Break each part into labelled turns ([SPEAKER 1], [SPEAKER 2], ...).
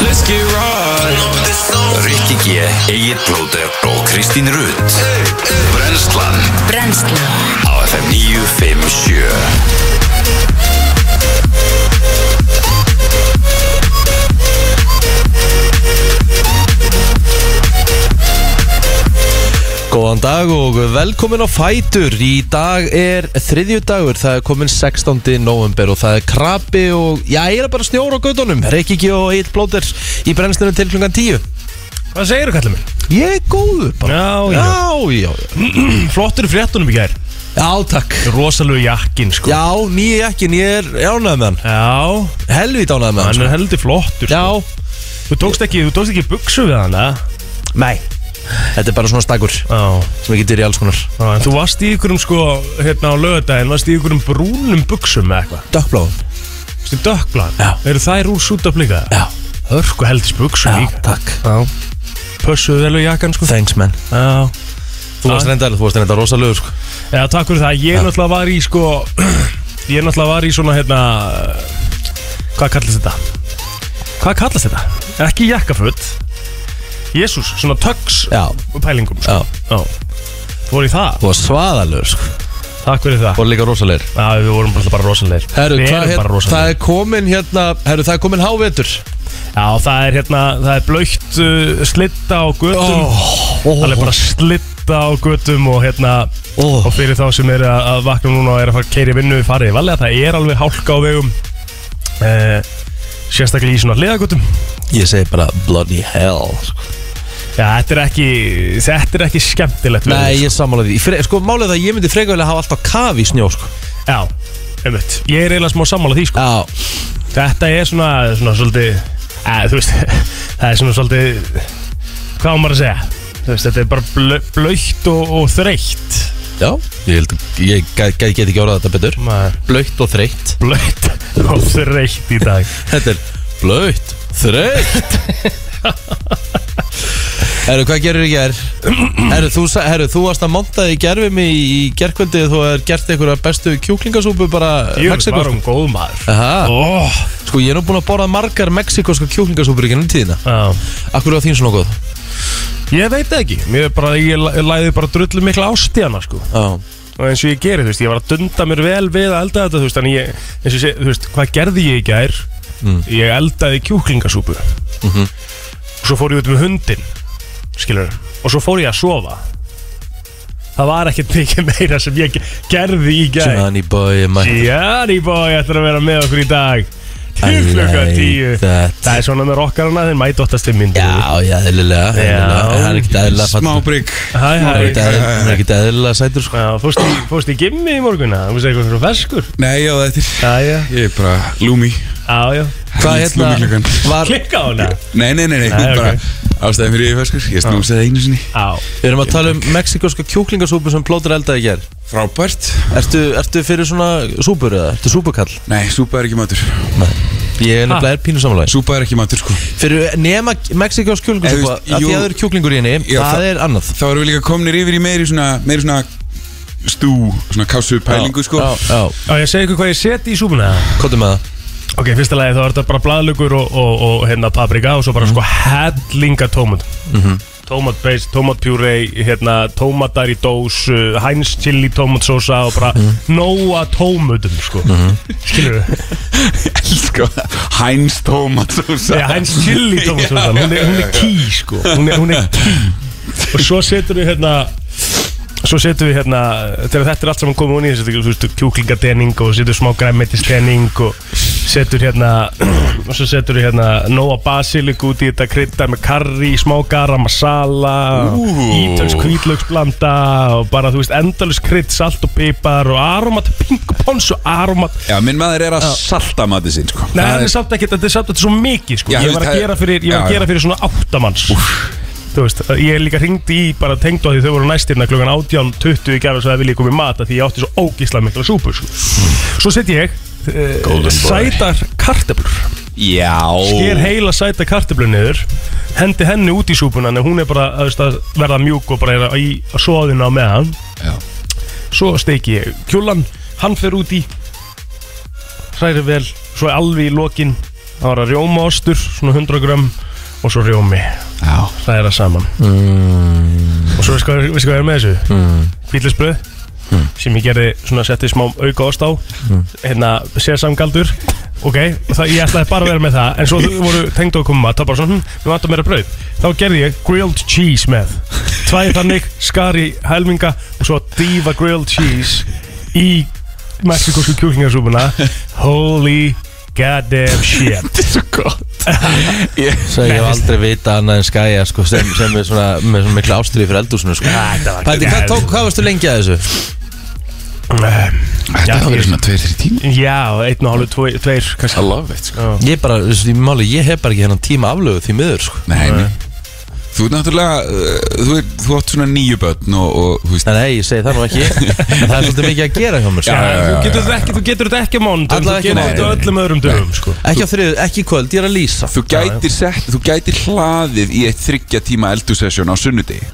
[SPEAKER 1] Let's get right
[SPEAKER 2] Rikki G, Egil Blóter og Kristín Rutt Brenslan
[SPEAKER 3] Brennslan
[SPEAKER 2] á FM 957
[SPEAKER 4] Góðan dag og velkomin á Fætur Í dag er þriðju dagur Það er komin 16. november og það er krabbi og Já, ég er bara snjór á gödunum Reykjiki og Egil Blóter í brennslunum til klungan 10
[SPEAKER 5] Hvað segir þú kallið minn?
[SPEAKER 4] Ég er góður bara
[SPEAKER 5] Já, já.
[SPEAKER 4] já, já,
[SPEAKER 5] Flottur í fréttunum í gær
[SPEAKER 4] já takk
[SPEAKER 5] Rosalegu jakkin sko
[SPEAKER 4] Já, nýja jakkin, ég er ánægð með hann
[SPEAKER 5] Já,
[SPEAKER 4] Helvít ánægð með hann
[SPEAKER 5] hann
[SPEAKER 4] sko.
[SPEAKER 5] er heldur flottur sko.
[SPEAKER 4] Já,
[SPEAKER 5] Þú tókst ekki, þú tókst ekki buksu við hann, eða?
[SPEAKER 4] nei Þetta er bara svona stakkur
[SPEAKER 5] Já,
[SPEAKER 4] sem ég getur í alls konar
[SPEAKER 5] já en þú varst í ykkurum sko, hérna á lögadaginn Varst í ykkurum brúnum buksum eða eitthvað
[SPEAKER 4] Dökkbláðum
[SPEAKER 5] Varst í dökkblan
[SPEAKER 4] Já.
[SPEAKER 5] Eru þær úr súta blika?
[SPEAKER 4] Já,
[SPEAKER 5] Hörku heldis buksum
[SPEAKER 4] já,
[SPEAKER 5] líka
[SPEAKER 4] takk
[SPEAKER 5] Já Pössuðu vel við jakkan sko
[SPEAKER 4] Thanks man
[SPEAKER 5] Já
[SPEAKER 4] Þú varst reyndar, þú varst reyndar rosalegur sko
[SPEAKER 5] Já, takk fyrir það. Ég náttúrulega var í sko Ég náttúrulega var í svona hérna Hvað kallast þetta? Hvað kallast þetta? Ekki jakkaföt Jésús, svona tögs
[SPEAKER 4] Já,
[SPEAKER 5] pælingum
[SPEAKER 4] já,
[SPEAKER 5] sko. Já Þú voru í það?
[SPEAKER 4] þú varst svaðalegur sko
[SPEAKER 5] Takk fyrir það
[SPEAKER 4] Og líka rosalegur
[SPEAKER 5] Já, við vorum bara, bara rosalegir
[SPEAKER 4] Herru,
[SPEAKER 5] Við
[SPEAKER 4] hvað
[SPEAKER 5] erum
[SPEAKER 4] hér,
[SPEAKER 5] bara
[SPEAKER 4] það
[SPEAKER 5] rosalegir
[SPEAKER 4] er komin hérna Herru, það er komin hávetur
[SPEAKER 5] Já, það er hérna, það er blöytt uh, slitta á götum
[SPEAKER 4] oh,
[SPEAKER 5] Það er bara slitta á götum og hérna
[SPEAKER 4] oh.
[SPEAKER 5] Og fyrir þá sem er að, að vakna núna og er að fara að keiri vinnu farið valega, það er alveg hálka á vegum eh, Sérstaklega í svona hliðagutum
[SPEAKER 4] Ég segi bara bloody hell sko.
[SPEAKER 5] Já, þetta er ekki, þetta er ekki skemmtilegt veður,
[SPEAKER 4] Nei, ég er sammála því Í fre, Sko, málið er það að ég myndi frekaðilega hafa alltaf kaf í snjó sko.
[SPEAKER 5] sko. Já, einmitt Ég er eiginlega smá sammála því, sko
[SPEAKER 4] Já,
[SPEAKER 5] Þetta er svona, svona svolítið að, Þú veist, það er svona svolítið Hvað á maður að segja? Þú veist, þetta er bara blö, blöytt og, og þreytt
[SPEAKER 4] já Ég, held, ég get, get ekki orðað þetta betur Blöytt og þreytt
[SPEAKER 5] Blöytt og þreytt í dag
[SPEAKER 4] Þetta er blöytt, þreytt Herru, hvað gerir í ger? Herru, þú, sa- herru, þú varst að montaði í gerfi mig í gerkvöldi þú er gert einhverja bestu kjúklingasúpu bara
[SPEAKER 5] Jú,
[SPEAKER 4] Mexíkó,
[SPEAKER 5] var hún góð maður
[SPEAKER 4] Aha.
[SPEAKER 5] Ó,
[SPEAKER 4] Sko ég er nú búin að borða margar mexikoska kjúklingasúpur í gennum tíðina
[SPEAKER 5] já
[SPEAKER 4] Akkur er á þín svona góð?
[SPEAKER 5] Ég veit það ekki, mér er bara, ég la- lagði bara drullu mikla ást í hana sko
[SPEAKER 4] Já
[SPEAKER 5] og eins og ég geri, þú veist, ég var að dunda mér vel við að elda þetta, þú veist, þannig ég, eins og ég, seg- þú veist, hvað gerði ég í gær? Ég eldaði kjúklingasúpu Mhm. og svo fór ég út með hundin, skilur, og svo fór ég að sofa Það var ekkert mikið meira sem ég ge- gerði í gær
[SPEAKER 4] Johnny boy my
[SPEAKER 5] Jari bói, ættir að vera með okkur í dag til
[SPEAKER 4] I
[SPEAKER 5] klukkan
[SPEAKER 4] like
[SPEAKER 5] tíu
[SPEAKER 4] that.
[SPEAKER 5] Það er svona með rokkarana, þeir mætu oftast til myndi
[SPEAKER 4] Já, já, eðlilega eðlilega.
[SPEAKER 5] Já.
[SPEAKER 4] Það er ekkert eðlilega
[SPEAKER 1] Smá
[SPEAKER 4] fattur.
[SPEAKER 1] brygg
[SPEAKER 5] Hæ,
[SPEAKER 4] Það er
[SPEAKER 5] hæ,
[SPEAKER 4] ekkert eðlilega- það er ekkert eðlilega sætur sko
[SPEAKER 5] Já, fórst í, fórst í gimmi í morgunna, þú veist eitthvað svona ferskur
[SPEAKER 1] Nei, já, þetta er
[SPEAKER 5] Já, já,
[SPEAKER 1] Ég er bara lúmi
[SPEAKER 5] já, já
[SPEAKER 4] Hvað
[SPEAKER 1] Helvítis
[SPEAKER 4] hérna
[SPEAKER 1] lúmiklukkan.
[SPEAKER 4] var,
[SPEAKER 5] Klikka á hana
[SPEAKER 1] Nei, nei, nei, nei,
[SPEAKER 5] Nei,
[SPEAKER 1] bara
[SPEAKER 5] ok.
[SPEAKER 1] Ástæðin fyrir ég ferskur Ég snúmsi það einu sinni
[SPEAKER 5] Já,
[SPEAKER 4] Við erum að tala um mexikoska kjúklingasúpu sem plótur eldaði í ger
[SPEAKER 1] Frábært
[SPEAKER 4] ertu, ertu fyrir svona súpur eða? Ertu súpukall?
[SPEAKER 1] Nei, súpa er ekki matur
[SPEAKER 4] Ég er nefnilega er pínusamlega
[SPEAKER 1] Súpa er ekki matur, sko
[SPEAKER 4] Fyrir nema mexikosk
[SPEAKER 1] Ef þú
[SPEAKER 4] kjúklingasúpa að
[SPEAKER 1] veist,
[SPEAKER 4] Því að
[SPEAKER 1] jú-
[SPEAKER 4] það eru kjúklingur í henni
[SPEAKER 1] Já,
[SPEAKER 4] Það
[SPEAKER 1] það-
[SPEAKER 4] er annað
[SPEAKER 1] Þá erum við líka komnir yfir í meiri svona Meiri svona stú Svona kásu pælingu, sko
[SPEAKER 4] Já, já
[SPEAKER 5] Já, ég segi ykkur hvað ég seti í súpuna
[SPEAKER 4] Kottu með það
[SPEAKER 5] Ok, í fyrsta lagi þá er þetta bara bladlugur og, og, og hérna paprika og svo bara sko hellinga tómat mm -hmm. Tómatbeis, tómatpjúrei, hérna tómatar í dós, uh, hæns chili tómatsósa og bara nóa tómutum sko mm -hmm. Skilur við?
[SPEAKER 1] Sko, Heinz Tomatsósa
[SPEAKER 5] Já, hæns chili tómatsósa, hún er, hún er ký sko, hún er, hún er ký Og svo setur við hérna Svo setur við hérna, þegar þetta er allt saman komið onni í þessu, þú veist, kjúklingadening og setur smá græmmetisdening og setur hérna, og svo setur við hérna nóa basilik út í þetta, kryddar með karri, smá garam masala,
[SPEAKER 1] Ú.
[SPEAKER 5] ítölsk hvítlaugsblanda og bara, þú veist, endalus krydd, salt og pipar og aromat, pingu pons og aromat.
[SPEAKER 1] Já, minn maður er að salta mati sinn, sko
[SPEAKER 5] Nei,
[SPEAKER 1] Það
[SPEAKER 5] það er samt ekki, þetta er samt þetta svo mikið, sko.
[SPEAKER 1] Já,
[SPEAKER 5] ég var
[SPEAKER 1] það
[SPEAKER 5] að
[SPEAKER 1] er-
[SPEAKER 5] gera fyrir, ég var að
[SPEAKER 1] já,
[SPEAKER 5] gera fyrir svona áttamanns. Þú veist, ég líka ringdi í bara tengd á því þau voru næstirna klukkan 18.20 í gerð og svo það vilja ég koma í mata því ég átti svo ógísla mikla súpu sko.
[SPEAKER 1] Hmm.
[SPEAKER 5] Svo set ég uh, sætar karteblur sker
[SPEAKER 1] Já
[SPEAKER 5] heila sæta karteblur niður hendi henni út í súpuna en hún er bara þú veist, að verða mjúk og bara er að- í svoðina á meðan
[SPEAKER 1] Já.
[SPEAKER 5] svo steiki ég kjúlan hann fer út í hræri vel, svo alveg í lokin Það var að rjóma ostur, svona 100 gram Og svo rjómi
[SPEAKER 1] Já Mm.
[SPEAKER 5] Það er það saman Og svo veistu hvað, veistu hvað er með þessu? Mm. Sem ég gerði svona setti smá auka ost á Hérna sérsamgaldur Ok, og það, ég ætlaði bara að vera með það En svo þau voru tengd að koma Það var bara svona, hm, við vantum meira brauð Þá gerði ég grilled cheese með Tvæði þannig, skari helminga Og svo dýfa grilled cheese Í mexikosku kjúklingarsúpuna Holy goddamn shit
[SPEAKER 1] Þetta er svo gott
[SPEAKER 4] Svo ég hef aldrei vita annað en skæja sko, sem, sem er svona með svona mikla ástriði fyrir eldúsinu sko. Pæti, hvað, tók, hvað varstu lengi að þessu?
[SPEAKER 1] Þetta
[SPEAKER 5] Já,
[SPEAKER 1] hafa verið
[SPEAKER 5] ég-
[SPEAKER 1] svona 2-3 tíma
[SPEAKER 5] Já, einn og hálfu, tvo- tveir kannski.
[SPEAKER 1] I love it sko
[SPEAKER 4] Ég bara, þú veist, í máli, ég hef bara ekki hennan tíma aflögu því miður sko.
[SPEAKER 1] Nei, nei Þú ert náttúrulega, uh, þú, er, þú átt svona nýju börn og, og þú veist
[SPEAKER 4] Nei, nei, ég segi það nú ekki En það er svolítið mikið að gera hjá mér sko.
[SPEAKER 5] Já, þú getur þetta ekki, þú getur þetta ekki á mánudum, þú
[SPEAKER 4] Allavega ekki
[SPEAKER 5] getur
[SPEAKER 4] á
[SPEAKER 5] þetta á
[SPEAKER 4] mánudögum.
[SPEAKER 5] öllum öðrum dögum, sko.
[SPEAKER 4] Ekki á þriðu, ekki í kvöld, ég er að lýsa
[SPEAKER 1] Þú gætir, sett, þú gætir hlaðið í eitt þryggja tíma eldursessjón á sunnudegi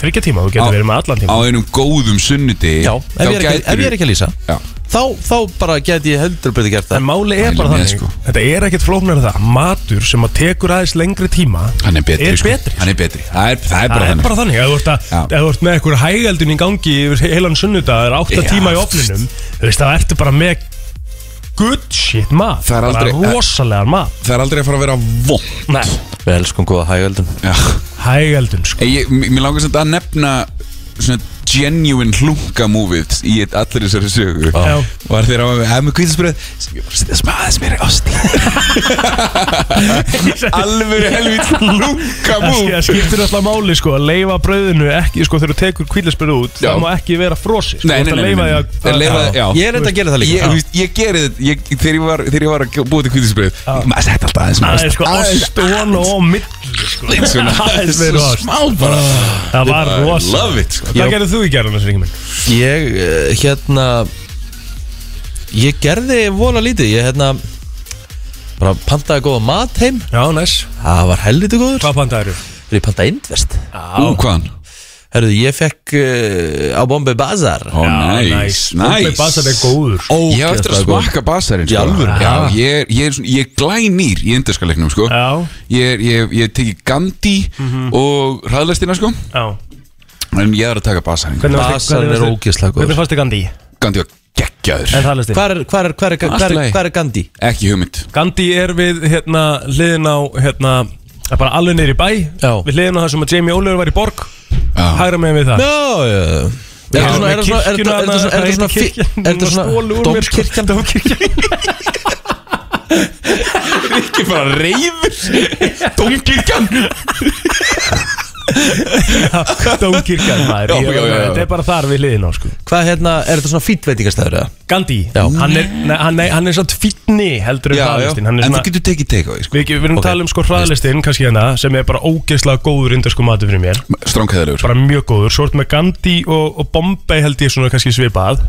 [SPEAKER 5] Þryggja tíma, þú getur verið með allan
[SPEAKER 1] Á
[SPEAKER 5] tíma.
[SPEAKER 1] einum góðum sunnudegi
[SPEAKER 4] Já, ef ég, er ekki, ef ég er ekki að lýsa
[SPEAKER 1] Já.
[SPEAKER 4] þá, þá bara get ég heldur betur gert
[SPEAKER 5] En
[SPEAKER 4] það
[SPEAKER 5] máli er
[SPEAKER 1] Mæli
[SPEAKER 5] bara
[SPEAKER 1] með,
[SPEAKER 5] þannig,
[SPEAKER 1] sko.
[SPEAKER 5] þetta er ekkert flóknar það, matur sem að tekur aðeins lengri tíma,
[SPEAKER 1] Hann er betri, sko.
[SPEAKER 5] er betri.
[SPEAKER 1] Hann er betri Það er, það er
[SPEAKER 5] Það
[SPEAKER 1] bara
[SPEAKER 5] er
[SPEAKER 1] þannig
[SPEAKER 5] bara þannig, ef þú ert, að,
[SPEAKER 1] Já.
[SPEAKER 5] ef þú ert með einhver hægældin í gangi yfir heilan sunnudag, það er átta
[SPEAKER 1] Já.
[SPEAKER 5] tíma í ofninum, þú veist, það ertu bara með good shit mat,
[SPEAKER 1] Það er aldrei-
[SPEAKER 5] bara rosalega mat.
[SPEAKER 1] Það er aldrei að fara að vera vond
[SPEAKER 5] Nei,
[SPEAKER 4] Við elskum góða hægöldum
[SPEAKER 5] hægældin, sko.
[SPEAKER 1] Ég, m- Mér langar samt að nefna svona genuine hlunga movið í allir þessari sögu
[SPEAKER 5] Já.
[SPEAKER 1] Var þeir á að hafa með kvíðisbröð sem ég var að setja smaðis mér í ásti Alvöru helvít hlunga
[SPEAKER 5] Það sk- það
[SPEAKER 1] múv
[SPEAKER 5] skiptir alltaf máli sko að leifa brauðinu ekki sko þegar þú tekur kvíðlisbyrðu út
[SPEAKER 1] Já.
[SPEAKER 5] það má ekki vera frosið sko,
[SPEAKER 1] Nei, nei, nei, nei,
[SPEAKER 5] Það
[SPEAKER 1] nei. Þeir leifa því- já.
[SPEAKER 4] Ég er reynda að gera það
[SPEAKER 1] Ég,
[SPEAKER 4] líka
[SPEAKER 1] þú veist, ég gerði þetta ég, þegar, ég var, þegar ég var að búa til kvíðisbröð Maður sett alltaf aðeins
[SPEAKER 5] Það er
[SPEAKER 1] ost.
[SPEAKER 5] sko
[SPEAKER 1] Aðeins-
[SPEAKER 5] ost og hon og milli sko
[SPEAKER 1] aðeins svona-
[SPEAKER 5] Aðeins meira
[SPEAKER 1] Svo
[SPEAKER 5] ost.
[SPEAKER 1] Smá bara
[SPEAKER 5] Það var
[SPEAKER 1] I
[SPEAKER 5] rosa
[SPEAKER 1] Love it sko.
[SPEAKER 5] Hvað gerðið þú í gerðan þessu ringum minn?
[SPEAKER 4] Ég, eh, hérna Ég gerði vola lítið Ég, hérna bara pantaði góða mat heim
[SPEAKER 5] Já, næs
[SPEAKER 4] Það Ah, var helviti góður
[SPEAKER 5] Hvað pantaðir þú?
[SPEAKER 4] Þegar ég pantaði indvest
[SPEAKER 1] Ú, hvaðan?
[SPEAKER 4] Herðu, ég fekk uh, á Bombay Bazaar
[SPEAKER 1] Ó, næs,
[SPEAKER 5] Bombay Bazaar er góður sko.
[SPEAKER 1] Ég hef eftir að
[SPEAKER 4] Ógeðslega
[SPEAKER 1] smakka basarinn sko.
[SPEAKER 4] Í alvöru?
[SPEAKER 1] Já, ég er, ég er, svona- ég er glænýr í inderskaleiknum sko
[SPEAKER 5] Já, Mhm.
[SPEAKER 1] Ég, er, ég, hef- ég hef tekið Gandhi og hraðlæstina sko
[SPEAKER 5] já
[SPEAKER 1] En ég er að taka basarinn
[SPEAKER 5] Hvernig varstu-
[SPEAKER 4] Basan er
[SPEAKER 5] hvernig varstu-
[SPEAKER 4] ógeðslega góður
[SPEAKER 5] Hvernig fannst þið Gandhi?
[SPEAKER 1] Gandhi var geggjaður
[SPEAKER 5] En það listi
[SPEAKER 4] Hvar er, hvar er, hvar er, hvar
[SPEAKER 1] Allt í
[SPEAKER 4] er,
[SPEAKER 1] lagi.
[SPEAKER 4] hvar er Gandhi?
[SPEAKER 1] Ekki hugmynd
[SPEAKER 5] Gandhi er við hérna hliðin á hérna það er bara alveg niður í bæ
[SPEAKER 4] Já.
[SPEAKER 5] Við hliðin á það sem að Jamie Oliver var í borg
[SPEAKER 1] Já.
[SPEAKER 5] Hægra með við það
[SPEAKER 4] Já, já Er þetta svona, er þetta svona, er þetta- er þetta svona, er þetta svona, fi- er þetta svona, dómkirkjan?
[SPEAKER 5] Dómkirkjan
[SPEAKER 1] Ekki bara reyfur Dómkirkjan
[SPEAKER 5] Dómkirkjan maður
[SPEAKER 1] Já,
[SPEAKER 5] Ég-
[SPEAKER 1] já, já, já.
[SPEAKER 5] Þetta er bara þar við hliðin á sko
[SPEAKER 4] Hvað hérna, er þetta svona fýtvetingastæður eða?
[SPEAKER 5] Gandhi,
[SPEAKER 4] Já.
[SPEAKER 5] hann er, nei, hann er, hann er satt fítni heldur en
[SPEAKER 1] Já, já
[SPEAKER 5] hraðlistin Hann
[SPEAKER 1] En
[SPEAKER 5] er
[SPEAKER 1] þú
[SPEAKER 5] svona
[SPEAKER 1] getur tekið take away sko
[SPEAKER 5] Við, við erum að tala um sko hraðlistin kannski hérna sem er bara ógeðslega góður indesku matur fyrir mér
[SPEAKER 1] Stránkæðilegur
[SPEAKER 5] bara mjög góður, svo ertu með Gandhi og, og Bombay held ég svona kannski svipað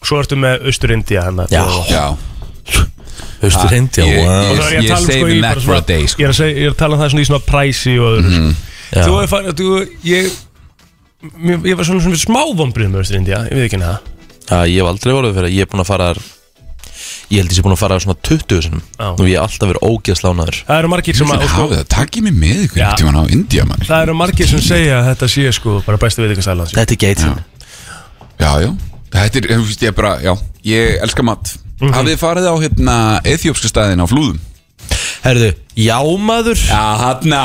[SPEAKER 5] svo ertu með hérna. Östur-India hann
[SPEAKER 4] Já.
[SPEAKER 1] Mhm. Já
[SPEAKER 4] Austur India,
[SPEAKER 1] ég-
[SPEAKER 4] wow
[SPEAKER 5] og þá er ég að
[SPEAKER 1] Ég
[SPEAKER 5] tala um sko
[SPEAKER 1] saving
[SPEAKER 5] í
[SPEAKER 1] that
[SPEAKER 5] bara
[SPEAKER 1] for
[SPEAKER 5] svona
[SPEAKER 1] a day, sko. Mhm.
[SPEAKER 5] ég, er að seg, ég er að tala um það svona í svona præsi og öðru mm
[SPEAKER 4] Já.
[SPEAKER 5] þú er farin þú, ég, mér, ég var svona, svona smá vonbrið með Östur-India ég veit ekki hérna
[SPEAKER 4] Já, ég hef aldrei volið fyrir, ég hef búin að fara þar- Ég held ég sé búin að fara þar svona 20 sinum
[SPEAKER 5] Já.
[SPEAKER 4] Og ég hef alltaf verið ógeðslánaður
[SPEAKER 5] það eru margir sem að,
[SPEAKER 1] Þið
[SPEAKER 5] og sko,
[SPEAKER 1] hafið það Takkið mér með ykkur
[SPEAKER 5] Já.
[SPEAKER 1] Eftir hann á India mann
[SPEAKER 5] það eru margir sem segja að þetta sé sko bara sko. bestu veit eitthvað stælan
[SPEAKER 4] Þetta er geitin
[SPEAKER 1] Já, já Þetta er, þú veist, ég er bara, já Ég elska mat
[SPEAKER 5] Mhm.
[SPEAKER 1] Hafið þið farið á hérna Eþjópska staðin á flúðum?
[SPEAKER 4] Herðu, jámaður
[SPEAKER 1] Já, hérna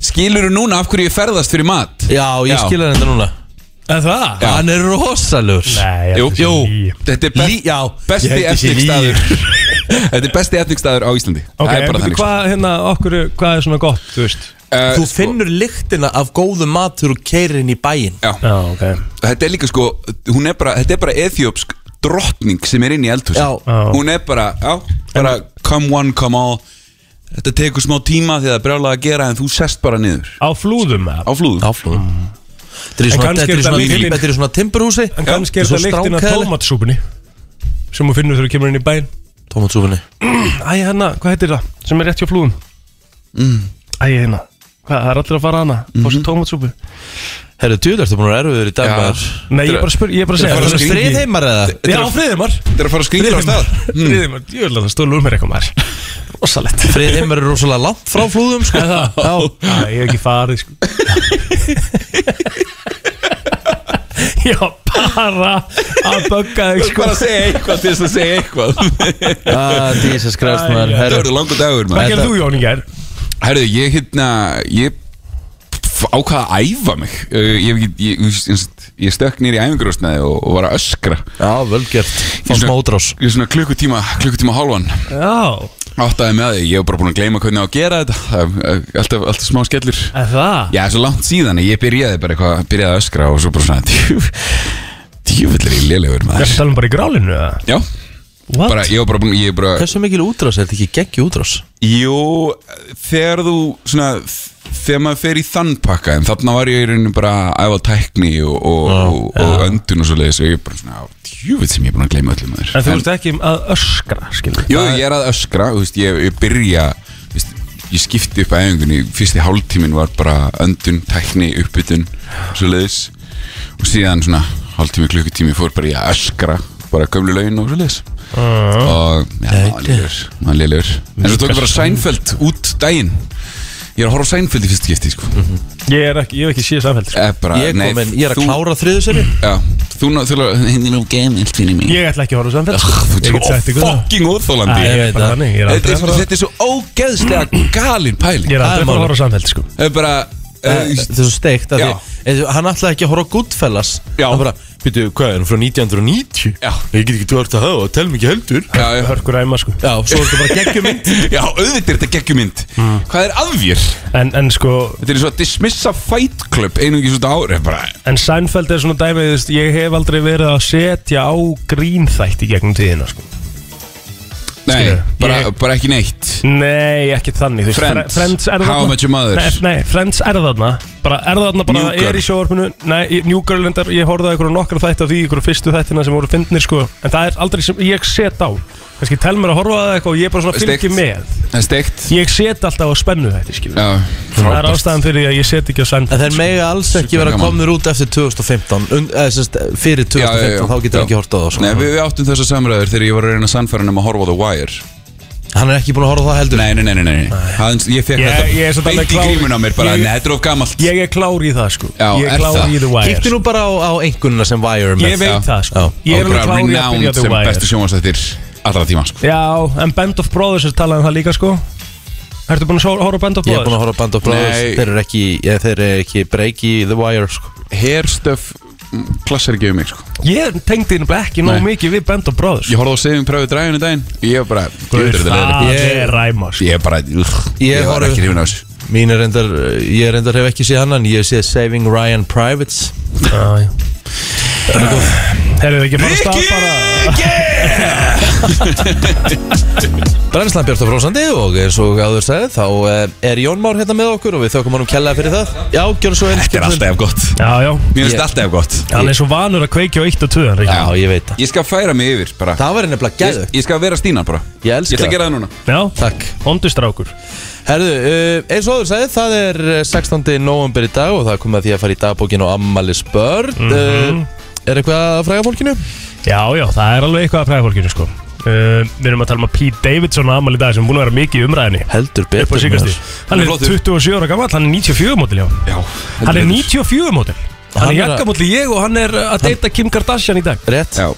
[SPEAKER 1] Skilur þú núna af hverju ég ferðast fyrir mat?
[SPEAKER 4] Já, ég
[SPEAKER 1] Já.
[SPEAKER 4] skilja þetta núna
[SPEAKER 5] en það?
[SPEAKER 1] Já.
[SPEAKER 4] Hann er rosalur
[SPEAKER 5] nei,
[SPEAKER 1] Jú,
[SPEAKER 5] þetta sé
[SPEAKER 1] jú
[SPEAKER 5] lygi.
[SPEAKER 1] Þetta er
[SPEAKER 4] Lí- já,
[SPEAKER 1] best, besti
[SPEAKER 4] ég held ég sé
[SPEAKER 1] etnikstaður Þetta er besti etnikstaður á Íslandi
[SPEAKER 5] ok,
[SPEAKER 1] Það er bara
[SPEAKER 5] en
[SPEAKER 1] þannig sko.
[SPEAKER 5] hvað hérna okkur hvað er svona gott, þú veist
[SPEAKER 1] Eh,
[SPEAKER 4] Þú
[SPEAKER 1] sko,
[SPEAKER 4] finnur lyktina af góðu matur og keirin í bæinn
[SPEAKER 5] já, ok
[SPEAKER 1] Þetta er líka sko Hún er bara, þetta er bara ethiopsk drottning sem er inn í eldhúsi
[SPEAKER 4] Já.
[SPEAKER 5] Já.
[SPEAKER 1] Hún er bara, já, bara come one, come all Þetta tekur smá tíma því að það er brjálega að gera en þú sest bara niður
[SPEAKER 5] á flúðum eða?
[SPEAKER 1] á flúðum
[SPEAKER 4] Áflóðum Þetta er í
[SPEAKER 5] En
[SPEAKER 4] svona,
[SPEAKER 5] kannski
[SPEAKER 4] þetta
[SPEAKER 5] er
[SPEAKER 4] er í
[SPEAKER 5] þetta
[SPEAKER 4] svona,
[SPEAKER 5] lyktin-
[SPEAKER 4] þetta er í svona timburhúsi
[SPEAKER 5] en kannski
[SPEAKER 4] Já,
[SPEAKER 5] er
[SPEAKER 4] svo
[SPEAKER 5] það lyktin af
[SPEAKER 4] strákaðileg.
[SPEAKER 5] tómatsúpunni sem þú finnur þegar þú kemur inn í bæn
[SPEAKER 4] Tómatsúfinni
[SPEAKER 5] Æ, hérna, hvað heitir það? Sem er rétt hjá flúðum mm. Æ, hérna, hvað Það er allir að fara hana Fá
[SPEAKER 1] Mhm.
[SPEAKER 5] sér tómatsúpu
[SPEAKER 4] Herru, djúðar, ertu búin að vera erfiður í dag
[SPEAKER 1] Já.
[SPEAKER 4] maður
[SPEAKER 5] Nei, ég er bara að spyrja Ég er bara að
[SPEAKER 4] Það
[SPEAKER 5] segja
[SPEAKER 4] er
[SPEAKER 1] bara
[SPEAKER 4] bara
[SPEAKER 1] skríti.
[SPEAKER 4] stríð heimar eða?
[SPEAKER 5] Já, friðimar
[SPEAKER 1] Þetta er að fara að skrýta á stað
[SPEAKER 5] Friðimar, ég vil að það stóla úr mér eitthvað maður Rosalett
[SPEAKER 4] Frið heimar er rosalega langt frá flúðum sko. Já,
[SPEAKER 5] Æ, ég hef ekki farið sko Já, bara að bögga
[SPEAKER 1] Þú
[SPEAKER 5] þig
[SPEAKER 1] ert
[SPEAKER 5] sko
[SPEAKER 1] bara að segja eitthvað til þess að segja eitthvað
[SPEAKER 4] ah, Jesus Christ maður
[SPEAKER 5] Æ,
[SPEAKER 1] Þetta
[SPEAKER 4] Herru,
[SPEAKER 1] verður langur dagur
[SPEAKER 5] Hvað
[SPEAKER 1] maður
[SPEAKER 5] gerðu þú Jón í gær?
[SPEAKER 1] Herðu, ég hérna Ég f- ákvað að æfa mig Uh, Ég, ég, ég, ég, ég stökk nýr í æfingrúsnaði og, og var að öskra
[SPEAKER 4] já, velgjört Fá smá útrás
[SPEAKER 1] Ég svona klukkutíma, klukkutíma hálfan
[SPEAKER 5] Já,
[SPEAKER 1] Áttaði með því, ég var bara búin að gleyma hvernig á að gera þetta Það er uh, alltaf, alltaf smá skellur
[SPEAKER 5] er það?
[SPEAKER 1] Já, svo langt síðan Ég byrjaði bara eitthvað, byrjaði að öskra og svo bara svona djú- Djúvill er ég lélegur
[SPEAKER 5] Það er
[SPEAKER 1] maður
[SPEAKER 5] talað um bara í grálinu eða?
[SPEAKER 1] Já,
[SPEAKER 5] What?
[SPEAKER 1] bara, ég var bara búin, ég bara
[SPEAKER 4] Hversu mikil útrás, er þetta ekki geggi útrás?
[SPEAKER 1] Jú, þegar þú svona, þegar maður fer í þann pakka en þarna var ég í rauninu bara að æfa tækni og, og, og, og öndun og svo leiðis og ég er bara svona, djúvit sem ég er búin að gleyma öllum maður.
[SPEAKER 5] En þú veist ekki um að öskra, skilur
[SPEAKER 1] Jú, ég er að öskra, þú veist, ég, ég byrja þú veist, ég skipti upp æfingunni fyrsti hálftíminn var bara öndun tækni, uppbytun, svo leiðis og síðan svona hálftími, klukkutími fór bara ég að öskra bara gömlu laun og svo leiðis og já, það var lélegur, það var lélegur en svo tók ég bara Seinfeld út daginn ég er að horfa á Seinfeld í fyrst skipti sko.
[SPEAKER 5] Ég er ekki, ég hef ekki síðan samfæld sko.
[SPEAKER 1] Eh, bara,
[SPEAKER 4] Ég,
[SPEAKER 1] nei,
[SPEAKER 4] komin, ég er að
[SPEAKER 1] þú-
[SPEAKER 4] klára þriðu seri
[SPEAKER 1] já, þú náttúrulega henni nú gemilt fyrir mig
[SPEAKER 5] Ég ætla ekki að horfa samfæld sko. Ég
[SPEAKER 1] Þú ert
[SPEAKER 5] get sagt
[SPEAKER 1] svo
[SPEAKER 5] ykkur það.
[SPEAKER 1] fucking óþólandi
[SPEAKER 5] Æ,
[SPEAKER 4] ég
[SPEAKER 5] ég
[SPEAKER 4] veit
[SPEAKER 5] er bara
[SPEAKER 4] það.
[SPEAKER 5] þannig, ég er
[SPEAKER 1] Þetta
[SPEAKER 5] aldrei
[SPEAKER 1] er
[SPEAKER 5] að
[SPEAKER 1] svo,
[SPEAKER 5] fara-
[SPEAKER 1] þetta er svo ógeðslega galin pæling
[SPEAKER 5] Ég
[SPEAKER 4] Það
[SPEAKER 5] er
[SPEAKER 4] er
[SPEAKER 5] aldrei að fara
[SPEAKER 4] málið.
[SPEAKER 5] að horfa samfæld sko
[SPEAKER 1] Það er bara
[SPEAKER 4] Það
[SPEAKER 1] eh,
[SPEAKER 4] það er svo steikt að
[SPEAKER 1] Já.
[SPEAKER 4] því eða, Hann ætlaði ekki að horfa á Goodfellas
[SPEAKER 1] Já.
[SPEAKER 4] Hann bara, býttu, hvað er hann frá 1990?
[SPEAKER 1] Já.
[SPEAKER 4] Ég get ekki tvart að hafa, tel mikið heldur
[SPEAKER 1] Já, já,
[SPEAKER 5] Hörkur æma sko
[SPEAKER 4] Já, svo er þetta bara geggjum mynd
[SPEAKER 1] já, auðvitað er þetta geggjumynd
[SPEAKER 5] Mm.
[SPEAKER 1] Hvað er að þér?
[SPEAKER 5] En, en sko,
[SPEAKER 1] Þetta er svo að dismissa fight club einungi svona ári bara,
[SPEAKER 5] en Seinfeld er svona dæmi þú veist, Ég hef aldrei verið að setja á grínþætt í gegnum tíðina sko
[SPEAKER 1] Nei,
[SPEAKER 5] Skilurðu?
[SPEAKER 1] bara,
[SPEAKER 5] Ég-
[SPEAKER 1] bara ekki neitt
[SPEAKER 5] Nei, ekkert þannig þú veist,
[SPEAKER 1] Friends.
[SPEAKER 5] Fre- Friends er
[SPEAKER 1] How
[SPEAKER 5] þarna.
[SPEAKER 1] I Met Your Mother.
[SPEAKER 5] Nei, nei, Friends er þarna Bara er þarna bara
[SPEAKER 1] New Girl.
[SPEAKER 5] er í sjóvarpinu Nei, ég- New Girl endar Ég horfði að ykkur nokkra þætti af því Ykkur fyrstu þættina sem voru fyndnir sko En það er aldrei sem ég set á Kannski tel mér að horfa að það eitthvað Og ég bara svona
[SPEAKER 1] Steikt.
[SPEAKER 5] fylgji með
[SPEAKER 1] Það er steikt
[SPEAKER 5] Ég set alltaf á spennu þetta skilur
[SPEAKER 1] Já,
[SPEAKER 5] Það er
[SPEAKER 1] frábært
[SPEAKER 5] ástæðan fyrir því að ég set ekki á
[SPEAKER 4] En
[SPEAKER 5] Seinfeld
[SPEAKER 4] þeir mega alls ekki
[SPEAKER 1] Super
[SPEAKER 4] vera
[SPEAKER 1] gaman.
[SPEAKER 4] komnir út eftir 2015 und, eða, sest, Fyrir 2015,
[SPEAKER 1] Já, já, já,
[SPEAKER 4] þá getur
[SPEAKER 1] já.
[SPEAKER 4] hann ekki hort á það
[SPEAKER 1] Nei,
[SPEAKER 4] sko.
[SPEAKER 1] við, við áttum þessar samræður þegar ég var að reyna að sannfæra um að horfa á The Wire
[SPEAKER 4] Hann er ekki búin að horfa á það heldur
[SPEAKER 1] Nei, nei, nei, nei, nei. Hans, Ég fekk
[SPEAKER 5] Ég- ég er
[SPEAKER 1] þetta
[SPEAKER 5] samt alveg
[SPEAKER 1] beint í
[SPEAKER 5] klár.
[SPEAKER 1] grímun á mér bara,
[SPEAKER 5] Ég-
[SPEAKER 1] nei, þetta er of gamalt
[SPEAKER 5] Ég er klár í það sko
[SPEAKER 1] Já,
[SPEAKER 5] Ég
[SPEAKER 1] er
[SPEAKER 5] er klár
[SPEAKER 1] það?
[SPEAKER 5] í The Wire
[SPEAKER 4] Kíktu
[SPEAKER 5] sko.
[SPEAKER 4] nú bara á, á einkunina sem Wire er með
[SPEAKER 5] Ég veit
[SPEAKER 1] Já.
[SPEAKER 5] það sko
[SPEAKER 4] Já.
[SPEAKER 5] Ég er alveg
[SPEAKER 1] bara
[SPEAKER 5] klár í að byrja
[SPEAKER 1] renowned
[SPEAKER 5] The
[SPEAKER 1] sem
[SPEAKER 5] Wire
[SPEAKER 1] bestu sjónvarsættir allra tíma sko.
[SPEAKER 5] Já, en Band of Brothers er talað um það líka sko Ertu búin að sjá- horfa á Band of
[SPEAKER 4] Ég er búin
[SPEAKER 5] Brothers?
[SPEAKER 4] að horfa á Band of Brothers
[SPEAKER 1] Nei.
[SPEAKER 4] Þeir eru ekki, ég, þeir eru ekki break í The Wire sko.
[SPEAKER 1] Hairstuff klassar ekki um mig sko.
[SPEAKER 5] Ég tengdi nefnilega ekki nóg
[SPEAKER 1] Nei.
[SPEAKER 5] mikið við Band of Brothers
[SPEAKER 1] Ég horfði á Saving Private Ryan í daginn Ég var bara,
[SPEAKER 5] Guð,
[SPEAKER 1] Guð, þetta er leiðilegt.
[SPEAKER 5] Það
[SPEAKER 4] Ég-
[SPEAKER 5] er ræma sko.
[SPEAKER 1] Ég er bara, ugh,
[SPEAKER 4] Ég
[SPEAKER 1] ég var
[SPEAKER 4] horfði-
[SPEAKER 1] ekki hrifin á þessu
[SPEAKER 4] Mín er reyndar, ég er reyndar hef ekki séð hann en Ég hef séð Saving Ryan Privates
[SPEAKER 5] Herðu þið ekki að fara að stað bara
[SPEAKER 4] Brænslan Björn Frósandi og eins og áður sagði þá eh, er Jón Már hérna með okkur og við þökkum honum kellaði fyrir það Já, gjörðu svo eins
[SPEAKER 1] Þetta er alltaf jafn gott
[SPEAKER 5] Já, já,
[SPEAKER 1] Mér finnst
[SPEAKER 4] Ég-
[SPEAKER 1] alltaf jafn gott
[SPEAKER 5] hann er svo vanur að kveikja á 1 og 2 hann, Ríkki.
[SPEAKER 4] Já, ég veit það
[SPEAKER 1] Ég skal færa mig yfir bara
[SPEAKER 4] Það var nefnilega
[SPEAKER 1] Ég,
[SPEAKER 4] gæðu
[SPEAKER 1] ég skal vera Stína bara
[SPEAKER 4] Ég elska
[SPEAKER 1] ætla
[SPEAKER 4] það.
[SPEAKER 1] að gera það núna
[SPEAKER 5] Já,
[SPEAKER 4] Takk
[SPEAKER 5] ondustrákur
[SPEAKER 4] Herðu, eh, eins og áður sagði, það er eh, 16. november í dag og það er komið að því að fara í dagbókin og ammali spörn
[SPEAKER 1] Mhm.
[SPEAKER 4] Eh, Er eitthvað að fræga fólkinu?
[SPEAKER 5] Já, já, það er alveg eitthvað að fræða fólkinu sko Uh, við erum að tala um að Pete Davidson á amal í dag sem er búin að vera mikið í umræðinni
[SPEAKER 4] Heldur
[SPEAKER 5] upp á
[SPEAKER 4] betur
[SPEAKER 5] síkastíð
[SPEAKER 4] maður.
[SPEAKER 5] hann
[SPEAKER 1] Hann er
[SPEAKER 5] er
[SPEAKER 1] flottur.
[SPEAKER 5] 27 ára gammal, hann er 94 mótil já.
[SPEAKER 1] Já
[SPEAKER 5] hann er
[SPEAKER 1] heldur betur.
[SPEAKER 5] 94 mótil hann
[SPEAKER 4] Hann
[SPEAKER 5] er
[SPEAKER 4] er að-
[SPEAKER 5] jakkamótil ég og hann er að deyta Kim Kardashian í dag
[SPEAKER 4] Rétt
[SPEAKER 1] Já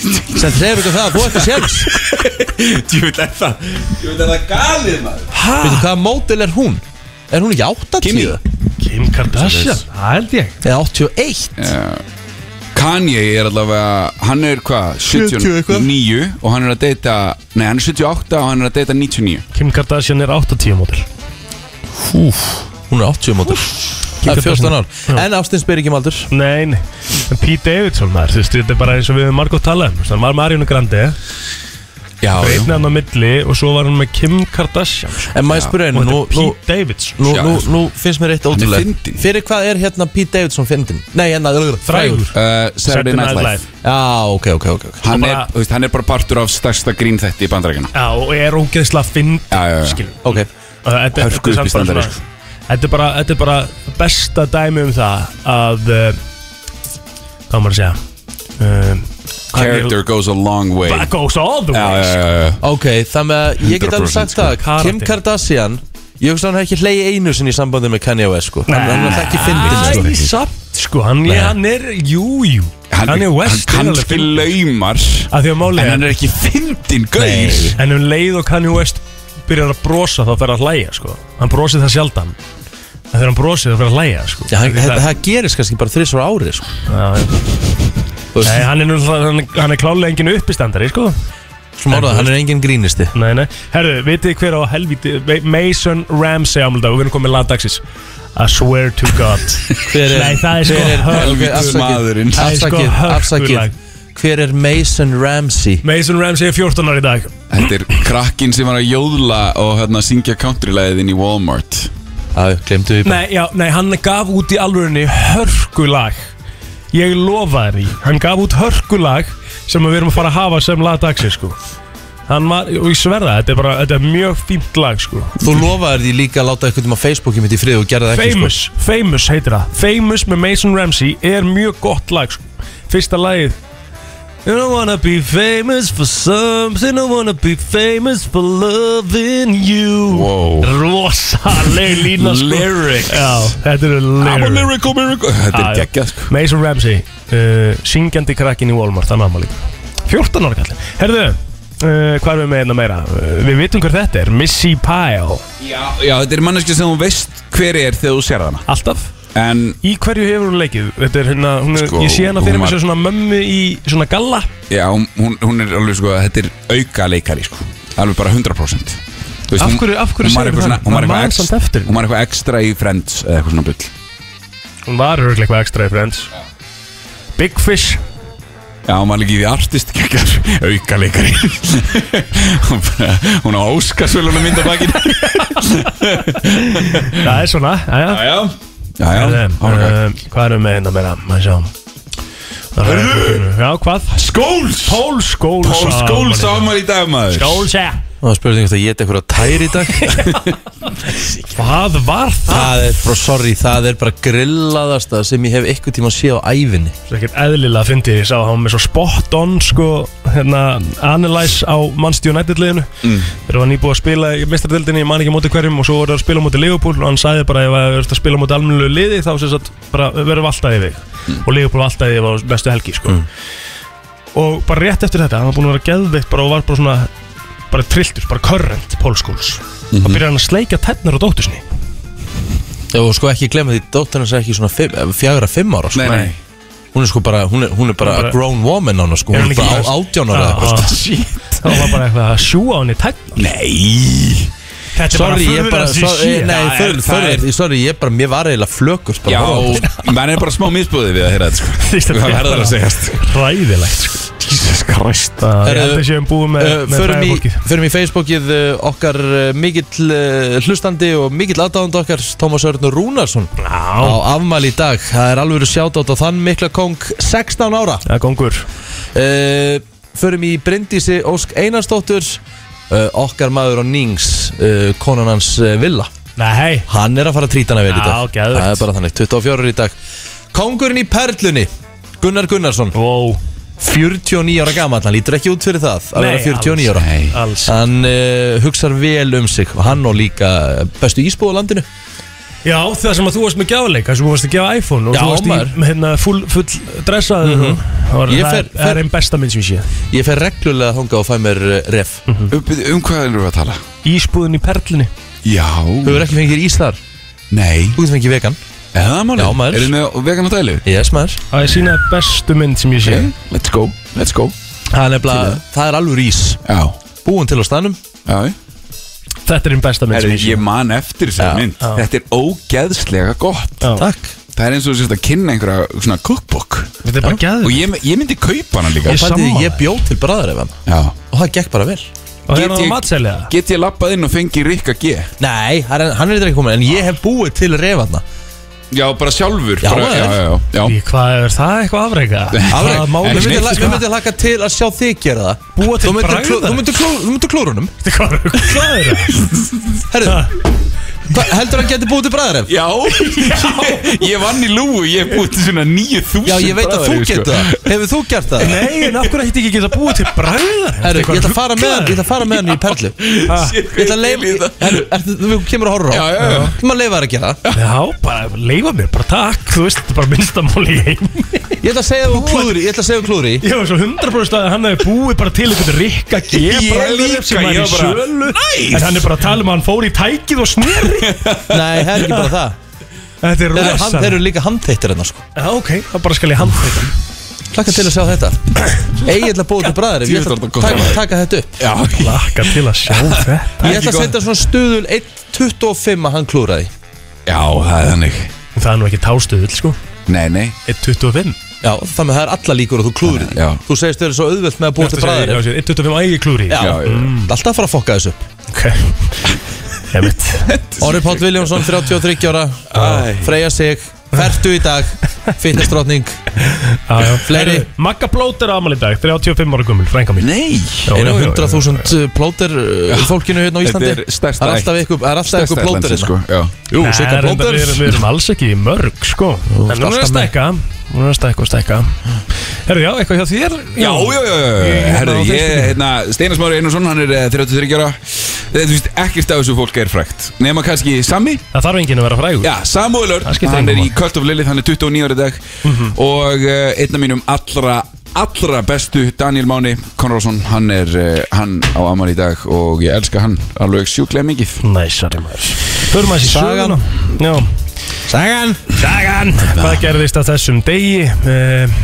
[SPEAKER 4] Sem trefur ykkur það að búa eitthvað sjálfs
[SPEAKER 1] Djúvill er það Djúvill er það galið maður
[SPEAKER 4] Veitu hvaða mótil er hún? Er hún ekki 80?
[SPEAKER 1] Kimi.
[SPEAKER 5] Kim Kardashian, það held ég
[SPEAKER 4] Eða 81?
[SPEAKER 1] Kanye er allavega Hann er hvað?
[SPEAKER 4] 70 eitthvað.
[SPEAKER 1] 79 Og hann er að deyta Nei, hann er 78 og hann er að deyta 99
[SPEAKER 5] Kim Kardashian er 80 mótil
[SPEAKER 4] Úf, hún er 80 mótil Það er 14 ár
[SPEAKER 5] Já.
[SPEAKER 4] En Ástins ber ekki um aldur
[SPEAKER 5] Nei, nei, en Pete Davidson maður, þú veist, þetta er bara eins og við höfum margótt talað um, þú veist, hann var Marionu Grande,
[SPEAKER 4] Já,
[SPEAKER 5] einn hann á milli og svo var hann með Kim Kardashian, sko.
[SPEAKER 4] En maður spyrir
[SPEAKER 5] og
[SPEAKER 4] einu,
[SPEAKER 5] þetta
[SPEAKER 4] nú,
[SPEAKER 5] er
[SPEAKER 4] nú,
[SPEAKER 5] Pete Davidson,
[SPEAKER 4] nú,
[SPEAKER 1] Já.
[SPEAKER 4] nú, nú finnst mér eitt
[SPEAKER 1] er
[SPEAKER 4] ótrúlega
[SPEAKER 1] fyndinn.
[SPEAKER 4] Fyrir hvað er hérna Pete Davidson fyndin? Nei, hérna
[SPEAKER 5] frægur,
[SPEAKER 1] uh, Saturday Night Live
[SPEAKER 4] Já, ok, ok, ok, ok.
[SPEAKER 1] Hann,
[SPEAKER 5] Og
[SPEAKER 1] er,
[SPEAKER 5] bara-
[SPEAKER 1] þú veist, hann er bara partur af stærsta grínþætti í bandrækina
[SPEAKER 5] já, og er ógeðslega fyndin,
[SPEAKER 1] Já, já, já.
[SPEAKER 5] skilur,
[SPEAKER 4] Ok,
[SPEAKER 5] og þetta þetta
[SPEAKER 1] Hörku
[SPEAKER 5] er samt bara
[SPEAKER 1] uppistandari,
[SPEAKER 5] svona,
[SPEAKER 1] sko.
[SPEAKER 5] Þetta er bara, þetta er bara besta dæmi um það að uh, hvað á maður að segja um, hvað er-
[SPEAKER 1] Character goes a long way
[SPEAKER 5] That goes all the way
[SPEAKER 1] Já, já,
[SPEAKER 5] sko.
[SPEAKER 1] já, já
[SPEAKER 4] Ok, þannig að ég get alveg
[SPEAKER 1] 100%
[SPEAKER 4] sagt
[SPEAKER 1] sko.
[SPEAKER 4] það Kim
[SPEAKER 5] Karate.
[SPEAKER 4] Kardashian Ég hugsa hann hef ekki hlegi einu sinni í sambandi með Kanye West sko. Hann hann er það ekki
[SPEAKER 5] Æ,
[SPEAKER 4] fyndin sko.
[SPEAKER 5] samt sko, hann, hann er, jú, jú Hann, er West
[SPEAKER 1] Hann kannski laumar
[SPEAKER 5] Af því að máli
[SPEAKER 1] En
[SPEAKER 5] er
[SPEAKER 1] hann er ekki fyndin gaur
[SPEAKER 5] Nei. En um leið og Kanye West byrjar að brosa þá fer að hlæja sko Hann brosið það sjaldan En þegar hann brosið þá fer að hlæja sko
[SPEAKER 4] Já, hann-
[SPEAKER 5] Því
[SPEAKER 4] Það það gerist kannski bara þrissur ári sko.
[SPEAKER 5] Já, já.
[SPEAKER 4] Þú veist,
[SPEAKER 5] Nei, hann er, nú- hann, hann er klálega engin uppistandari sko
[SPEAKER 4] Smáraða, hann er engin grínisti
[SPEAKER 5] Nei, nei Herðu, vitið þið hver á helvíti Mason Ramsey ámuldag Við erum komið lagdagsins I swear to God
[SPEAKER 4] Hver er-
[SPEAKER 5] Nei, það er sko
[SPEAKER 4] hver er-
[SPEAKER 5] hör-
[SPEAKER 1] Helvítis
[SPEAKER 4] Ok, afsakið,
[SPEAKER 1] maðurinn.
[SPEAKER 5] Það er sko
[SPEAKER 4] Afsakið,
[SPEAKER 5] hörkulag.
[SPEAKER 4] afsakið Hver er Mason Ramsey?
[SPEAKER 5] Mason Ramsey er 14 ára í dag
[SPEAKER 1] Þetta er krakkin sem var að jóðla og hérna syngja countrylæðið inn í Walmart
[SPEAKER 4] Á, glemdu við bara
[SPEAKER 5] Nei, já, nei, hann gaf út í alvörinni hörkulag Ég lofa þér í Hann gaf út hörkulag sem við erum að fara að hafa sem lagdagsins sko Hann var, og ég sverða, þetta er bara, þetta er mjög fínt lag sko
[SPEAKER 4] Þú lofaðir því líka að láta eitthvað um á Facebooki mitt í frið og gera það ekki sko.
[SPEAKER 5] Famous, Famous heitir það Famous með Mason Ramsey er mjög gott lag sko. Fyrsta lagið You don't wanna be famous for something You don't wanna be famous for loving you
[SPEAKER 1] Wow.
[SPEAKER 5] Rosaleg lína sko.
[SPEAKER 1] Lyrics.
[SPEAKER 5] Já, þetta eru
[SPEAKER 1] I'm a
[SPEAKER 5] lyrics
[SPEAKER 1] miracle, miracle
[SPEAKER 5] Ah, Já,
[SPEAKER 1] Þetta er
[SPEAKER 5] já.
[SPEAKER 1] geggjað sko
[SPEAKER 5] Mason Ramsey uh, Syngjandi krakkin í Walmart, þannig að maður líka 14 ára kallin Herðu, uh, hvað erum við með einna meira? Uh, við vitum hver þetta er, Missy Pyle
[SPEAKER 1] Já, já, þetta er manneski sem þú veist hver er þegar þú sér hana
[SPEAKER 5] Alltaf
[SPEAKER 1] En
[SPEAKER 5] Í hverju hefur hún leikið? Þetta er hérna, hún er,
[SPEAKER 1] Sko,
[SPEAKER 5] ég sé hana fyrir
[SPEAKER 1] hún
[SPEAKER 5] mig
[SPEAKER 1] var-
[SPEAKER 5] sem svona mömmu í svona galla
[SPEAKER 1] já, hún, hún er alveg sko Þetta er auka leikari sko Alveg bara 100% Þú veist,
[SPEAKER 5] Af
[SPEAKER 1] hún-
[SPEAKER 5] hverju- af hverju
[SPEAKER 1] hún var
[SPEAKER 5] segirðu það?
[SPEAKER 1] eitthvað svona- Hún var
[SPEAKER 5] Maður
[SPEAKER 1] eitthvað
[SPEAKER 5] man samt eftir.
[SPEAKER 1] ekstra- hún var eitthvað ekstra í Friends eða eitthvað svona bull
[SPEAKER 5] Hún var örglega eitthvað ekstra í Friends Big Fish
[SPEAKER 1] Já, hún var líka í því artist geggar auka leikari Hún bara- Hún á óskarsvölunum myndabakinn
[SPEAKER 5] Það er svona, aðja
[SPEAKER 1] Já, já, já,
[SPEAKER 5] Hvað
[SPEAKER 1] hún var eitthvað
[SPEAKER 5] erum við með hérna meira? Maður sjá Það er- Já, hvað?
[SPEAKER 1] Skóls
[SPEAKER 5] Pól Skóls
[SPEAKER 1] Pól Skóls á maður í dag maður
[SPEAKER 5] Skóls, ja
[SPEAKER 4] Og það spurði einhvern veginn að ég geta eitthvað tær í dag
[SPEAKER 5] Hvað var það?
[SPEAKER 4] Það er bara, sorry, það er bara grillaðasta sem ég hef eitthvað tíma að sé á ævinni
[SPEAKER 5] Það er ekkert eðlilega að fyndi Ég sá að hann var með svo spot on sko, hérna, Analyze á Manchester United liðinu Þegar hann nýbúið að spila í mestardöldinni Ég man ekki á móti hverjum og svo voru að spila á móti Liverpool Og hann sagði bara ef að verður að spila á móti almennilegu liði Þá sem sagt bara verður við alltaf yfir mm. Og Liverpool var alltaf yfir á bestu helgi sko. Og bara rétt eftir þetta Hann var búin að vera geðveikt bara og var bara svona Bara trilltur, bara current Paul Scholes Þá byrjar hann að sleika tennar á dóttusni
[SPEAKER 4] Og sko ekki glemma því, dóttir hans er ekki svona fimm, fjagra fimm ára sko.
[SPEAKER 1] Nei, nei
[SPEAKER 4] Hún er sko bara, hún er, hún er bara
[SPEAKER 5] Hún
[SPEAKER 4] a
[SPEAKER 5] bara-
[SPEAKER 4] grown woman ána sko.
[SPEAKER 5] Er
[SPEAKER 4] Hún er
[SPEAKER 5] hún ekki
[SPEAKER 4] bara
[SPEAKER 5] bara-
[SPEAKER 4] á- átján ára eða eitthvað. sko.
[SPEAKER 5] Ah.
[SPEAKER 1] Shit
[SPEAKER 5] Þá var bara eitthvað að sjúa á henni tennar
[SPEAKER 1] Nei
[SPEAKER 5] Þetta er
[SPEAKER 4] Sorry, ég bara,
[SPEAKER 5] furðulegasta sem ég
[SPEAKER 4] sorry,
[SPEAKER 5] sé.
[SPEAKER 4] nei,
[SPEAKER 5] Það er-
[SPEAKER 4] fyrir,
[SPEAKER 5] það er-
[SPEAKER 4] fyrir, sorry, ég bara, mér var eiginlega flökust bara
[SPEAKER 1] Já,
[SPEAKER 4] að horfa á þetta.
[SPEAKER 1] menn er bara smá misbúði við að heyra þetta
[SPEAKER 5] Fyrst
[SPEAKER 1] sko
[SPEAKER 5] að
[SPEAKER 1] Það verður að segjast
[SPEAKER 5] Ræðilegt sko. Ah,
[SPEAKER 1] Jesus Christ
[SPEAKER 5] Það er
[SPEAKER 4] Herðu,
[SPEAKER 5] þetta séum búið með,
[SPEAKER 4] Uh,
[SPEAKER 5] með
[SPEAKER 4] förum, í,
[SPEAKER 5] fræðabólkið
[SPEAKER 4] förum í Facebookið uh, okkar uh, mikill uh, hlustandi og mikill aðdáðand okkar Tómas Örnur Rúnarsson
[SPEAKER 5] Já,
[SPEAKER 4] á afmæli í dag það er alveg sjátátt á þann mikla kong 16 ára
[SPEAKER 5] það er gongur
[SPEAKER 4] uh, förum í Bryndísi Ósk Einarsdóttur uh, okkar maður á Nings uh, konan hans uh, Villa
[SPEAKER 5] Nei,
[SPEAKER 4] hann er að fara að trýta hana vel í dag
[SPEAKER 5] Já, geðvegt.
[SPEAKER 4] það er bara þannig 24 ára í dag kongurinn í Perlunni Gunnar Gunnarsson
[SPEAKER 5] wow
[SPEAKER 4] 49 ára gamall hann lítur ekki út fyrir það að
[SPEAKER 5] Nei,
[SPEAKER 4] vera 49 ára
[SPEAKER 1] Nei
[SPEAKER 5] Alls
[SPEAKER 4] hann uh, hugsar vel um sig og hann og líka eh, bestu ísbúð á landinu
[SPEAKER 5] Já, það sem að þú varst með gjáleika sem þú varst að gefa iPhone og
[SPEAKER 4] Já,
[SPEAKER 5] þú varst
[SPEAKER 4] maður. Mhm.
[SPEAKER 5] í hérna, full, full dressaður mm var,
[SPEAKER 4] Ég
[SPEAKER 5] það,
[SPEAKER 4] fer-
[SPEAKER 5] fer, það er einn besta minn sem ég sé
[SPEAKER 4] ég fer reglulega þangað og fæ mér uh, ref
[SPEAKER 1] Um um hvað erum við að tala?
[SPEAKER 5] Ísbúðin í perlinni
[SPEAKER 1] Já
[SPEAKER 4] þú hefur ekki fengið ís þar
[SPEAKER 1] Nei
[SPEAKER 4] þú getur fengið vegan
[SPEAKER 1] Er það málið?
[SPEAKER 4] Já, maður.
[SPEAKER 1] Eruð þið með vegan á dælu?
[SPEAKER 4] yes maður
[SPEAKER 5] Það er sína bestu mynd sem ég sé
[SPEAKER 1] Ok, let's go Let's go
[SPEAKER 4] Það er nefnilega, það er alveg ís
[SPEAKER 1] Já
[SPEAKER 4] Búin til á stanum
[SPEAKER 1] Já
[SPEAKER 5] Þetta er einn besta mynd
[SPEAKER 1] Herri,
[SPEAKER 5] sem ég sé
[SPEAKER 1] ég man eftir
[SPEAKER 4] Já.
[SPEAKER 1] þessari mynd Þetta er ógeðslega gott
[SPEAKER 5] Já.
[SPEAKER 4] Takk
[SPEAKER 1] Það er eins og þú sérst að kynna einhverja svona cookbook
[SPEAKER 5] Þetta er bara gæður
[SPEAKER 1] Og ég, ég myndi kaupa hana líka
[SPEAKER 5] Ég-
[SPEAKER 4] Fætti
[SPEAKER 5] sammála
[SPEAKER 4] því ég
[SPEAKER 5] þér.
[SPEAKER 4] bjóð til bræðar ef hann
[SPEAKER 1] Já
[SPEAKER 4] Og það gekk bara vel
[SPEAKER 5] Og það er
[SPEAKER 1] Get
[SPEAKER 5] það
[SPEAKER 1] ég-
[SPEAKER 5] matselja
[SPEAKER 1] Get ég lappað inn og fengi Rikka G?
[SPEAKER 4] Nei, hann er hann er eitthvað komin En ég hef búið til refanna
[SPEAKER 1] Já, bara sjálfur
[SPEAKER 4] Já,
[SPEAKER 1] bara,
[SPEAKER 4] maður.
[SPEAKER 1] já, já, já, já.
[SPEAKER 5] Hvað er það eitthvað afreika?
[SPEAKER 1] Afrek.
[SPEAKER 5] Það máli
[SPEAKER 1] Ekki
[SPEAKER 4] Við
[SPEAKER 1] neitt,
[SPEAKER 4] myndum
[SPEAKER 5] mitt,
[SPEAKER 4] la-
[SPEAKER 5] sko.
[SPEAKER 4] við myndum laka til að sjá þig gera það
[SPEAKER 5] Búa til
[SPEAKER 4] Þú myndir
[SPEAKER 5] bragðar.
[SPEAKER 4] kló- Þú myndir kló- þú myndir klóra honum
[SPEAKER 5] Hvað er það?
[SPEAKER 4] Herðu, Hva- Heldur hann getur búið til bræðaref?
[SPEAKER 1] Já, ég, ég vann í lúu, ég hef búið til svona 9000
[SPEAKER 4] Já, ég veit að þú
[SPEAKER 1] bræðri, sko.
[SPEAKER 4] getur það Hefur þú gert það?
[SPEAKER 5] Nei, en af hverju hætti ekki geta búið til bræðar?
[SPEAKER 4] Herru, ég ætla að fara með hann, ég ætla að fara með hann í perlu Ég
[SPEAKER 1] Shit,
[SPEAKER 4] ætla
[SPEAKER 1] hvað
[SPEAKER 4] að
[SPEAKER 1] til í
[SPEAKER 4] leifa,
[SPEAKER 1] þetta.
[SPEAKER 4] herru, ertu- þú kemur að horra á
[SPEAKER 1] Já, já, já.
[SPEAKER 4] Þú maður leifa þær að gera það
[SPEAKER 5] Já, bara leifa mér, bara takk Þú veist, þetta er bara minnstamóli í heim
[SPEAKER 4] Ég ætla að segja þú klúðri, ég ætla að segja þú klúðri
[SPEAKER 5] Ég var svo 100% að hann hefði búið bara til einhvern rikka G
[SPEAKER 1] Ég líka,
[SPEAKER 5] bræðar sem hann
[SPEAKER 1] ég
[SPEAKER 5] í
[SPEAKER 1] var bara,
[SPEAKER 5] sölu
[SPEAKER 1] nice!
[SPEAKER 5] En hann er bara að tala um að hann fór í tækið og sneri
[SPEAKER 4] Nei, það er ekki bara það
[SPEAKER 5] Þetta er
[SPEAKER 4] Þeir eru, hand,
[SPEAKER 5] rosa
[SPEAKER 4] þeir eru líka handteittir hennar sko
[SPEAKER 5] Já, ok, þá bara skal ég handfæta
[SPEAKER 4] Klakka til að sjá þetta Ég ætla að búið til bræðaref, ég ætla að
[SPEAKER 1] Djöfull er þetta gott.
[SPEAKER 4] taka, taka þetta upp
[SPEAKER 1] Já,
[SPEAKER 5] Laka til að sjá þetta
[SPEAKER 4] Ég ætla að setja svona stuðul 1.25 að hann klúðraði
[SPEAKER 1] já, það er þannig
[SPEAKER 5] Það er nú ekki tástuðull, sko
[SPEAKER 1] Nei, nei,
[SPEAKER 5] 1.25
[SPEAKER 4] Já, þannig að það er alla líkur og þú klúðrið því.
[SPEAKER 1] Já.
[SPEAKER 4] Þú segist þau eru svo auðvelt með að búið til bræðaref
[SPEAKER 5] 1.25 að ég klúri
[SPEAKER 4] Já,
[SPEAKER 1] já, já.
[SPEAKER 4] alltaf að fara að fokka þessu upp.
[SPEAKER 5] Ok Ég veit
[SPEAKER 4] Orri Páll Viljámsson, 33 ára Freyja sig, færtu í dag Fitnessdrottning
[SPEAKER 5] Já, já.
[SPEAKER 4] Fleiri.
[SPEAKER 5] Herru, Magga Blóter ámali dag, 35 ára gummul, frænka mín
[SPEAKER 1] nei
[SPEAKER 5] Já, já,
[SPEAKER 4] Einu
[SPEAKER 5] já, já.
[SPEAKER 4] 100.000 plóter uh, fólkinu hérna á Íslandi
[SPEAKER 1] Þetta er stærsta
[SPEAKER 4] Það er alltaf
[SPEAKER 1] ætt.
[SPEAKER 4] ykkur, það er alltaf ykkur plóter
[SPEAKER 1] landsins,
[SPEAKER 4] hérna
[SPEAKER 1] sko, já.
[SPEAKER 4] Jú,
[SPEAKER 5] Nei,
[SPEAKER 4] Sigga
[SPEAKER 5] reyndar,
[SPEAKER 4] plóter
[SPEAKER 5] við erum- við erum alls ekki í mörg sko En hún er að
[SPEAKER 4] alltaf með.
[SPEAKER 5] stækka Hún er að stækka og stækka Herru, já, eitthvað hjá þér?
[SPEAKER 1] Já, já, já, já, herru,
[SPEAKER 5] á
[SPEAKER 1] ég,
[SPEAKER 5] Facebooki.
[SPEAKER 1] hérna, Steinar Smári Einarsson, hann er eh, 33 ára Eh, Þú veist, ekkert af þessu fólk er frægt Nefna kannski Sami,
[SPEAKER 5] Það þarf enginn að vera frægur
[SPEAKER 1] já, Samuel Örn,
[SPEAKER 5] Það skiptir
[SPEAKER 1] hann
[SPEAKER 5] engu
[SPEAKER 1] er í
[SPEAKER 5] máli.
[SPEAKER 1] Cult of Lilith, hann er 29 ára í dag Og uh, einn af mínum allra, allra bestu, Daniel Máni Konrason Hann er, uh, hann á Amal í dag og ég elska hann alveg sjúklega mikið
[SPEAKER 5] Næsari maður Förum að þessi
[SPEAKER 4] Sagan.
[SPEAKER 5] söguna Já
[SPEAKER 4] sko. Sagan
[SPEAKER 5] Sagan Hvað gerðist að þessum degi? Eh,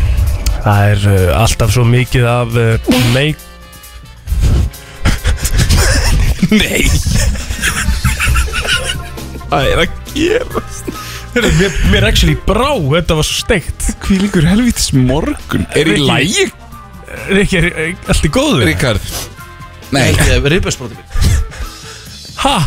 [SPEAKER 5] Það er eh, alltaf svo mikið af eh, meik
[SPEAKER 1] Nei Það er að gera
[SPEAKER 5] Herru, Mér, mér actually brá, þetta var svo steikt
[SPEAKER 1] Hvílingur helvitis morgun Er í
[SPEAKER 5] Rikki.
[SPEAKER 1] lægi,
[SPEAKER 5] Rikki, er er allt í góðu?
[SPEAKER 1] Ríkard? Nei
[SPEAKER 4] Ribbusbróti mín
[SPEAKER 5] Ha?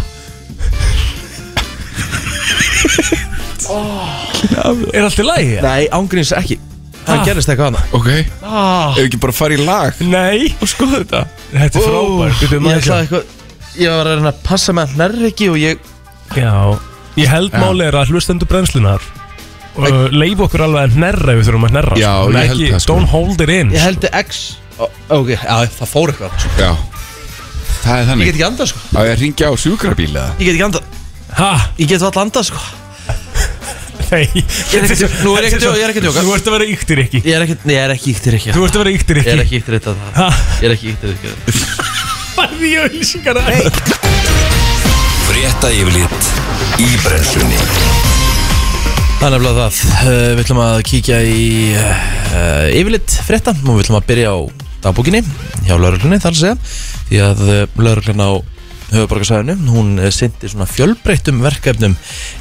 [SPEAKER 5] Er allt í lagi?
[SPEAKER 4] Nei, ángríns ekki Það
[SPEAKER 5] Ah.
[SPEAKER 4] gerist eitthvað annað
[SPEAKER 1] Ok
[SPEAKER 5] Ah,
[SPEAKER 1] Ef ekki bara að fara í lag
[SPEAKER 5] nei
[SPEAKER 1] og skoða þetta
[SPEAKER 5] Þetta er frábært Bíddu,
[SPEAKER 4] Ég
[SPEAKER 5] maður
[SPEAKER 4] ætlaði
[SPEAKER 5] sjá.
[SPEAKER 4] eitthvað Ég var að reyna að passa með hann nærri ekki og ég
[SPEAKER 5] Já, ég held
[SPEAKER 1] Já.
[SPEAKER 5] máli er að hlustendur brennslunar uh, leif okkur alveg að hnerra ef við þurfum að hnerra
[SPEAKER 1] Já,
[SPEAKER 5] sko. En
[SPEAKER 1] ég held
[SPEAKER 5] ekki,
[SPEAKER 1] það, sko.
[SPEAKER 5] Don't hold it in
[SPEAKER 4] Ég held að X Ó, Ok, já, það fór eitthvað sko.
[SPEAKER 1] Já Það er
[SPEAKER 4] Ég
[SPEAKER 1] þannig
[SPEAKER 4] get ekki andað sko
[SPEAKER 1] Á ég að ringja á sjúkrabíl eða?
[SPEAKER 4] Ég get ekki andað
[SPEAKER 5] Ha,
[SPEAKER 4] Ég get vall andað sko
[SPEAKER 5] nei
[SPEAKER 4] er ekki- nú er ég ekki- ég er ekki að djóka.
[SPEAKER 5] Þú ert að vera yktir ekki
[SPEAKER 4] Ég er ekkert Nei, ég er ekki yktir ekki
[SPEAKER 5] Þú ert að vera yktir
[SPEAKER 4] Ég er
[SPEAKER 5] ekki
[SPEAKER 4] ekki yktir þetta
[SPEAKER 5] Ha,
[SPEAKER 4] Ég er ekki yktir ekki
[SPEAKER 5] farði í auðlýsingar að
[SPEAKER 2] Frétta yfirlit í brennslunni
[SPEAKER 4] Það er nefnilega það Eh, Við ætlum að kíkja í uh, yfirleitt frétta og við ætlum að byrja á dagbókinni hjá lauruglunni þar að segja því að lauruglun á höfuborgarsæðinu hún sindi svona fjölbreyttum verkefnum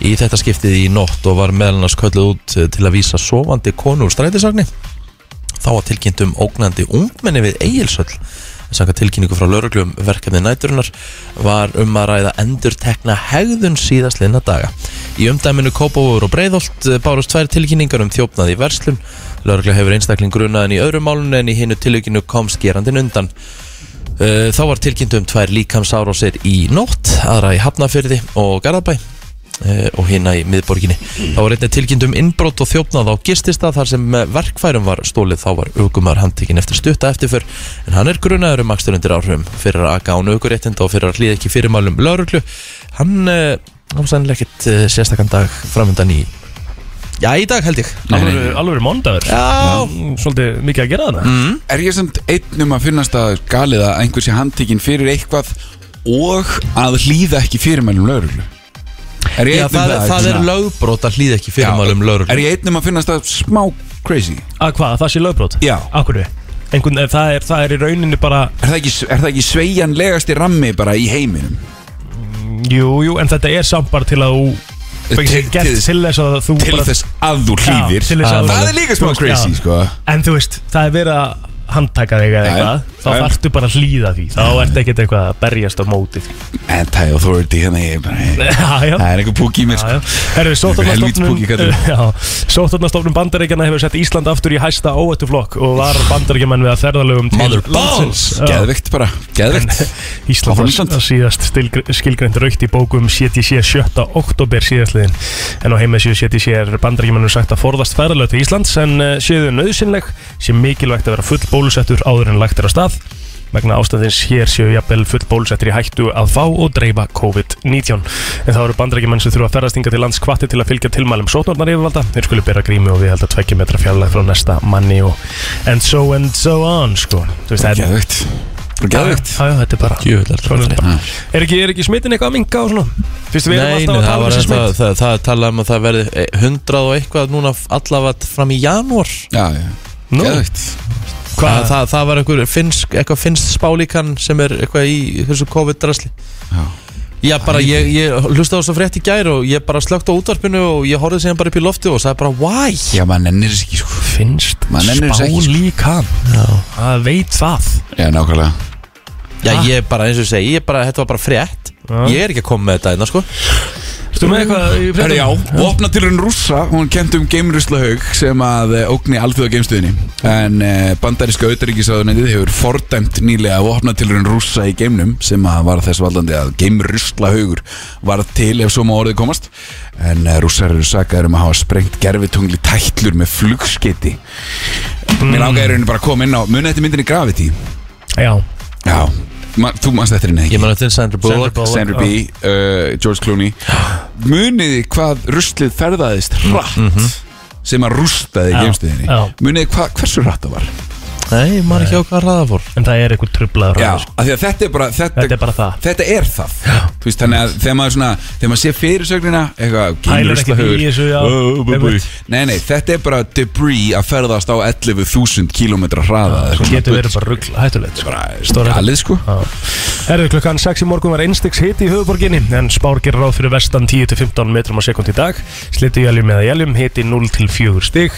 [SPEAKER 4] í þetta skiptið í nótt og var meðal annars kölluð út eh, til að vísa sofandi konu úr strætisagni þá var tilkynnt um ógnandi ungmenni við Egilsöll Sanga tilkynningu frá lauruglum verkefni næturinnar var um að ræða endur tekna hegðun síðast liðna daga. Í umdæminu Kópavóður og Breiðholt eh, bárust tvær tilkynningar um þjófnað í verslun. Laurugla hefur einstakling grunaðin í öðrum málun en í hinnu tilkynnu komst gerandin undan. Eh, Þá var tilkynnt um tvær líkamsárásir í nótt, aðra í Hafnafyrði og Garðabæ eh, og hérna í miðborginni. Þá var einnig tilkynnt um innbrot og þjófnað á gistista þar sem eh, verkfærum var stólið þá var aukumar handtekinn eftir stutta eftirför en hann er grunaður um akstur undir áhrifum fyrir að aga án aukuréttinda og fyrir að hlýða ekki fyrirmælum lauruglu. Hann eh, á sannilega ekkert eh, sérstakann dag framöndan í Já, í dag held ég.
[SPEAKER 5] Alveg er mondagur
[SPEAKER 4] Já,
[SPEAKER 5] Mm, Svolítið mikið að gera
[SPEAKER 1] Mm.
[SPEAKER 5] þarna
[SPEAKER 1] Er ég samt einn um að finnast að galið að einhver sé handtekinn fyrir eitthvað og að hlýða ekki fyrirmælum lauruglu? Er ég
[SPEAKER 4] já
[SPEAKER 1] einn um
[SPEAKER 4] það,
[SPEAKER 1] það?
[SPEAKER 4] það er
[SPEAKER 1] Svona-
[SPEAKER 4] lögbrót að hlýða ekki fyrirmælum
[SPEAKER 1] Já,
[SPEAKER 4] lauruglu.
[SPEAKER 1] Er ég einn um að finnast það smá crazy?
[SPEAKER 5] Að hvað, að það sé lögbrot?
[SPEAKER 1] Já.
[SPEAKER 5] Akkur Einhvern, eh, það, er, það er í rauninni bara
[SPEAKER 1] Er það ekki, er það ekki sveigjanlegasti rammi bara í heiminum?
[SPEAKER 5] Jú, jú, en þetta er samt bara til að þú Fengið sér
[SPEAKER 1] Til-
[SPEAKER 5] gert
[SPEAKER 1] til-
[SPEAKER 5] til þess að þú
[SPEAKER 1] Til
[SPEAKER 5] bara
[SPEAKER 1] þess að þú
[SPEAKER 5] Já,
[SPEAKER 1] hlýðir
[SPEAKER 5] til þess að-
[SPEAKER 1] Það er líka smá
[SPEAKER 5] Þú veist,
[SPEAKER 1] crazy
[SPEAKER 5] já.
[SPEAKER 1] sko
[SPEAKER 5] En þú veist, það er verið að handtaka þig eða
[SPEAKER 1] Já,
[SPEAKER 5] eitthvað þá
[SPEAKER 1] En-
[SPEAKER 5] þarftu bara að hlýða því þá ertu ekkert eitthvað að berjast á móti því
[SPEAKER 1] Anti-authority hérna ég er bara
[SPEAKER 5] Já, já.
[SPEAKER 1] Það er einhver púk í mér sko.
[SPEAKER 5] Já, já. Herru,
[SPEAKER 1] Helvítis
[SPEAKER 5] sóttvarnastofnun-
[SPEAKER 1] púki, kallinn.
[SPEAKER 5] Já, sóttvarnastofnun bandaríkjana hefur sett Ísland aftur í hæsta óættuflokk og var bandaríkjaman við að ferðalögum til
[SPEAKER 1] Mother balls
[SPEAKER 5] landsins. Já.
[SPEAKER 1] Geðvegt bara, geðvegt
[SPEAKER 5] Ísland
[SPEAKER 1] Áfram
[SPEAKER 5] var
[SPEAKER 1] Ísland.
[SPEAKER 5] Ísland. síðast stilgr- skilgreint raukt í bókum CTC 7. oktober síðastliðin en á heimasíðu CTC er bandaríkjumannu sagt að forðast ferðalög til Íslands en eh, séu þau nöðsynleg sem mikilvægt að vera full bólusettur áður en lagt er á stað vegna ástæðins hér séu jafnvel full bólusettir í hættu að fá og dreifa COVID-19 en þá eru bandarækjumenn sem þurfa að ferðast hingað til lands hvatti til að fylgja tilmælum sótnornar yfirvalda þeir skulu bera grími og við held að tvekja metra fjarlæð frá næsta manni og and so and so on sko Þú veist, það er-
[SPEAKER 1] Geðvegt Bara Geðvegt
[SPEAKER 5] Já, já, þetta er bara
[SPEAKER 4] Jöfnveld
[SPEAKER 5] Svona er þetta bara. Mm. Er ekki, er ekki smitin eitthvað að minga og svona? Fyrst við erum
[SPEAKER 4] Nei, nei, það var
[SPEAKER 5] alltaf að tala um þessi
[SPEAKER 4] það,
[SPEAKER 5] smit
[SPEAKER 4] það, það talaði um að það verði eh, 100 og eitthvað núna allavega fram í janúar
[SPEAKER 1] Já, já,
[SPEAKER 5] Nú,
[SPEAKER 1] geðvegt
[SPEAKER 4] það,
[SPEAKER 5] hvað?
[SPEAKER 4] það, það var einhver finnsk, eitthvað finnst spálíkan sem er eitthvað í þessu COVID-drasli
[SPEAKER 1] Já.
[SPEAKER 4] Já, bara ég, ég hlusta á þessu frétt í gær og ég bara slögt á útvarpinu og ég horfði síðan bara upp í lofti og sagði bara Why?
[SPEAKER 1] Já, maður nennir þess ekki sko
[SPEAKER 5] Finnst
[SPEAKER 1] Maður nennir þessu ekki, sko.
[SPEAKER 5] spálíkan Það veit það
[SPEAKER 1] Já, nákvæmlega
[SPEAKER 4] Já, ég bara, eins og ég segi, ég bara, þetta var bara frétt Ég er ekki að koma með þetta einna, sko
[SPEAKER 5] Ertu með eitthvað í fréttum?
[SPEAKER 1] Herri, já, vopnatilurinn rússa, hún kent um geimruslahaug sem að eh, ógni alþjóða geimstöðinni en eh, bandaríska auðaríkisáðunendið hefur fordæmt nýlega vopnatilurinn rússa í geimnum sem að var þess valdandi að geimruslahaugur var til ef svo má orðið komast en eh, rússar eru sakaður um að hafa sprengt gerfitungli tætlur með flugskiti Mér langaði í rauninni bara að koma inn á munið þetta myndinni Gravity
[SPEAKER 5] Já
[SPEAKER 1] Já, ma þú manst þetta henni ekki
[SPEAKER 4] Ég man að þetta er Sandra
[SPEAKER 5] Sandra
[SPEAKER 4] Bullock
[SPEAKER 5] Bullock.
[SPEAKER 1] Sandra B, uh, George Clooney Muniði hvað ruslið ferðaðist hratt sem að rústaði
[SPEAKER 5] Mhm. Já,
[SPEAKER 1] geimstuðinni
[SPEAKER 5] já.
[SPEAKER 1] Muniði hvað, hversu hratt það var
[SPEAKER 4] Nei, maður ekki á hvað hraða fór
[SPEAKER 5] En það er eitthvað trublaður
[SPEAKER 1] Já,
[SPEAKER 5] hraður.
[SPEAKER 1] af því að þetta er bara þetta,
[SPEAKER 5] sko. Þetta er bara það
[SPEAKER 1] þetta er það Þú veist, Þannig að þegar maður, svona, þegar maður sé fyrirsögnina eitthvað,
[SPEAKER 5] Pælir ekkert í þessu, já.
[SPEAKER 1] geimruslahaugur
[SPEAKER 5] Einmitt.
[SPEAKER 1] Nei, nei, þetta er bara debris að ferðast á 11.000 km hraða
[SPEAKER 5] Svo getur verið bara rugg Hættulegt sko Stóra
[SPEAKER 1] Galið sko
[SPEAKER 5] Erðu klukkan 6 í morgun var einstiks hiti í höfuborginni en spár gerir ráð fyrir vestan 10-15 metrum á sekund í dag sliti jæljum eða jæljum, hiti 0-4 stig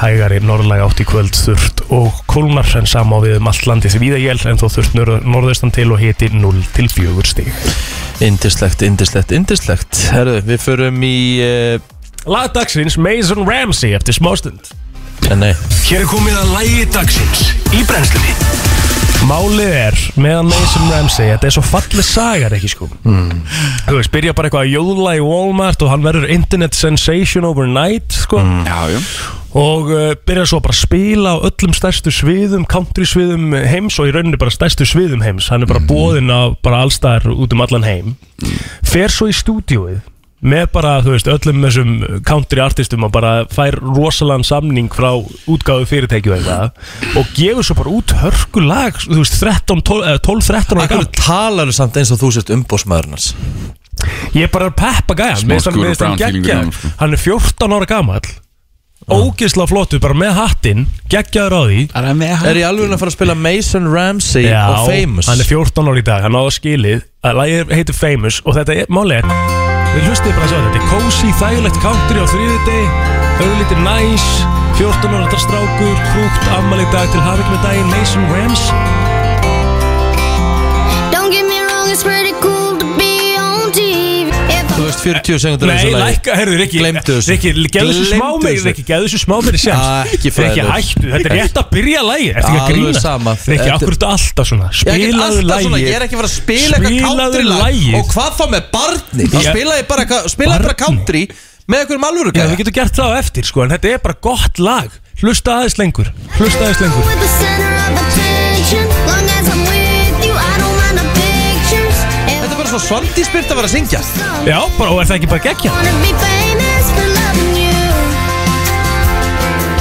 [SPEAKER 5] hægari norðlæg átt í kvöld þurft og kólnar en sama á við um allt landi því víða jæl en þó þurft nör- norðaustan til og hiti 0-4 stig
[SPEAKER 4] Indislegt, indislegt, indislegt Herðu, við förum í, uh,
[SPEAKER 5] Lagdagsins Mason Ramsey eftir smástund
[SPEAKER 4] nei
[SPEAKER 2] Hér er komið að lægi dagsins í brennslunni
[SPEAKER 5] Málið er meðan Mason Ramsey þetta er svo falleg sagar ekki sko
[SPEAKER 2] Hmm.
[SPEAKER 5] þú veist, byrja bara eitthvað að jóla í Walmart og hann verður internet sensation overnight sko
[SPEAKER 2] Hmm.
[SPEAKER 1] Já, já
[SPEAKER 5] og uh, byrjar svo bara að spila á öllum stærstu sviðum, country sviðum heims og í rauninni bara stærstu sviðum heims hann er
[SPEAKER 1] Mhm.
[SPEAKER 5] bara mm. bóðinn á bara allstæðar út um allan heim fer svo í stúdíóið með bara, þú veist, öllum þessum country artistum og bara fær rosalan samning frá útgáðu fyrirtækju eitthvað og gefur svo bara út hörku lag, þú veist, 13, 12, eh, 12 13 ára
[SPEAKER 4] Akkur
[SPEAKER 5] gamall.
[SPEAKER 4] talar þú samt eins og þú sért umbósmaðurnars
[SPEAKER 5] Ég er bara að peppa gæja
[SPEAKER 1] Smá
[SPEAKER 5] Mér finnst hann-
[SPEAKER 1] Scooter
[SPEAKER 5] mér finnst hann
[SPEAKER 1] Brown feelingur í honum,
[SPEAKER 5] geggjaður.
[SPEAKER 1] sko.
[SPEAKER 5] Hann er 14 ára gamall Ógisla flottur, bara með hattinn Geggjaður á því
[SPEAKER 4] Er ég alveg að fara að spila Mason Ramsey og Famous?
[SPEAKER 5] hann er 14 ára í dag, hann áða skilið að lagið heitir Famous og þetta er, málið er við hlustið bara að sjá þetta, þetta er cozy, þægilegt country á þriði deg auðvitað næs, 14 ára þetta strákur krúkt, ammali dag til hafing með daginn Mason Rams
[SPEAKER 3] Don't get me wrong, it's pretty cool to be on TV. If
[SPEAKER 4] Þú
[SPEAKER 3] I
[SPEAKER 4] veist 40 sekundur
[SPEAKER 5] Nei, lækka, herru, Rikki
[SPEAKER 4] Gleymdu þessu.
[SPEAKER 5] Rikki, geðu þessu smá
[SPEAKER 4] Gleymdu
[SPEAKER 5] meiri
[SPEAKER 4] þessu.
[SPEAKER 5] Rikki, geðu þessu smá meiri
[SPEAKER 4] Ah,
[SPEAKER 5] sjans
[SPEAKER 4] ekki
[SPEAKER 5] Rikki,
[SPEAKER 4] fræður.
[SPEAKER 5] hættu, þetta er rétt að byrja lægi Ertu ekki að
[SPEAKER 4] Alveg
[SPEAKER 5] grína
[SPEAKER 4] sama.
[SPEAKER 5] Rikki,
[SPEAKER 4] Þetta-
[SPEAKER 5] akkur ertu alltaf svona
[SPEAKER 4] Ég er ekki
[SPEAKER 5] Spilaðu
[SPEAKER 4] alltaf svona, ég er
[SPEAKER 5] lægi
[SPEAKER 4] ekki að fara að spila eitthvað
[SPEAKER 5] Spilaðu
[SPEAKER 4] country
[SPEAKER 5] lagið.
[SPEAKER 4] lag Og hvað þá með barni? Þá
[SPEAKER 5] Ég-
[SPEAKER 4] spila ég bara, eitthvað- spila bara
[SPEAKER 5] Barni?
[SPEAKER 4] country með einhverjum alvöru
[SPEAKER 5] Já,
[SPEAKER 4] gæja.
[SPEAKER 5] við getum gert það á eftir, sko En þetta er bara gott lag Hlusta aðeins lengur Hlusta aðeins lengur
[SPEAKER 3] with the center of attention, long as I'm with you, I don't mind the pictures. If
[SPEAKER 4] Þetta er bara svo svandísbyrt að vera að syngja
[SPEAKER 3] I
[SPEAKER 5] Já, bara, og er það ekki bara geggja?
[SPEAKER 3] wanna be famous for loving you,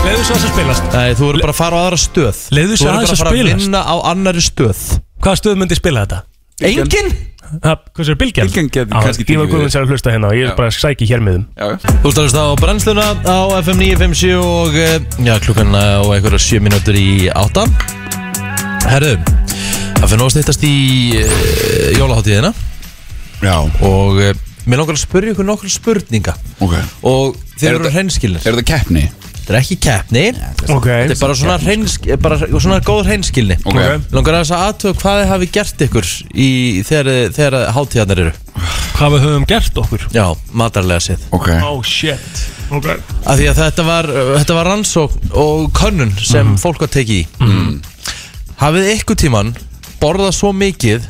[SPEAKER 5] Leðu svo þess að spilast
[SPEAKER 4] Nei, þú eru bara að fara á aðra stöð
[SPEAKER 5] Leyfðu
[SPEAKER 4] Þú
[SPEAKER 5] sér
[SPEAKER 4] eru bara
[SPEAKER 5] aðeins að
[SPEAKER 4] að fara að
[SPEAKER 5] spilast.
[SPEAKER 4] vinna á annari stöð
[SPEAKER 5] Hvaða stöð myndi spila þetta?
[SPEAKER 4] Engin?
[SPEAKER 5] Ha, Hvað sér, Bilgjarn?
[SPEAKER 1] Bylgjan gæti
[SPEAKER 5] Já,
[SPEAKER 1] kannski
[SPEAKER 5] Ég var
[SPEAKER 1] tekið
[SPEAKER 5] góðum
[SPEAKER 1] við.
[SPEAKER 5] sér að hlusta hérna og ég er bara að sæki hér með þeim
[SPEAKER 1] Já, já
[SPEAKER 4] Þú stafist á brennsluna á FM 957 og eh, já, klukkan á einhverja 7 mínútur í 8 Herðu, það fyrir nú að stýttast í uh, jólaháttíðina
[SPEAKER 1] Já,
[SPEAKER 4] og eh, uh, mér langar að spyrja ykkur nokkur spurninga
[SPEAKER 1] ok
[SPEAKER 4] og
[SPEAKER 1] Er
[SPEAKER 4] þeir eru
[SPEAKER 1] þetta-
[SPEAKER 4] hreinskilnir
[SPEAKER 1] Er það keppni?
[SPEAKER 4] Þetta er ekki keppni
[SPEAKER 5] Ok.
[SPEAKER 4] Þetta er bara svona, hreins, bara svona góð hreinskilni
[SPEAKER 1] Ok.
[SPEAKER 4] Langar aðeins að aðtöða hvað þið hafi gert ykkur í, þegar, þegar hátíðarnar eru
[SPEAKER 5] Hvað við höfum gert okkur
[SPEAKER 4] Já, matarlega séð
[SPEAKER 1] Ok,
[SPEAKER 5] Oh shit Ok
[SPEAKER 4] Af því að þetta var, eh, þetta var rannsókn og könnun sem
[SPEAKER 1] Mhm.
[SPEAKER 4] fólk var tekið í Hafið ykkur tíman borðað svo mikið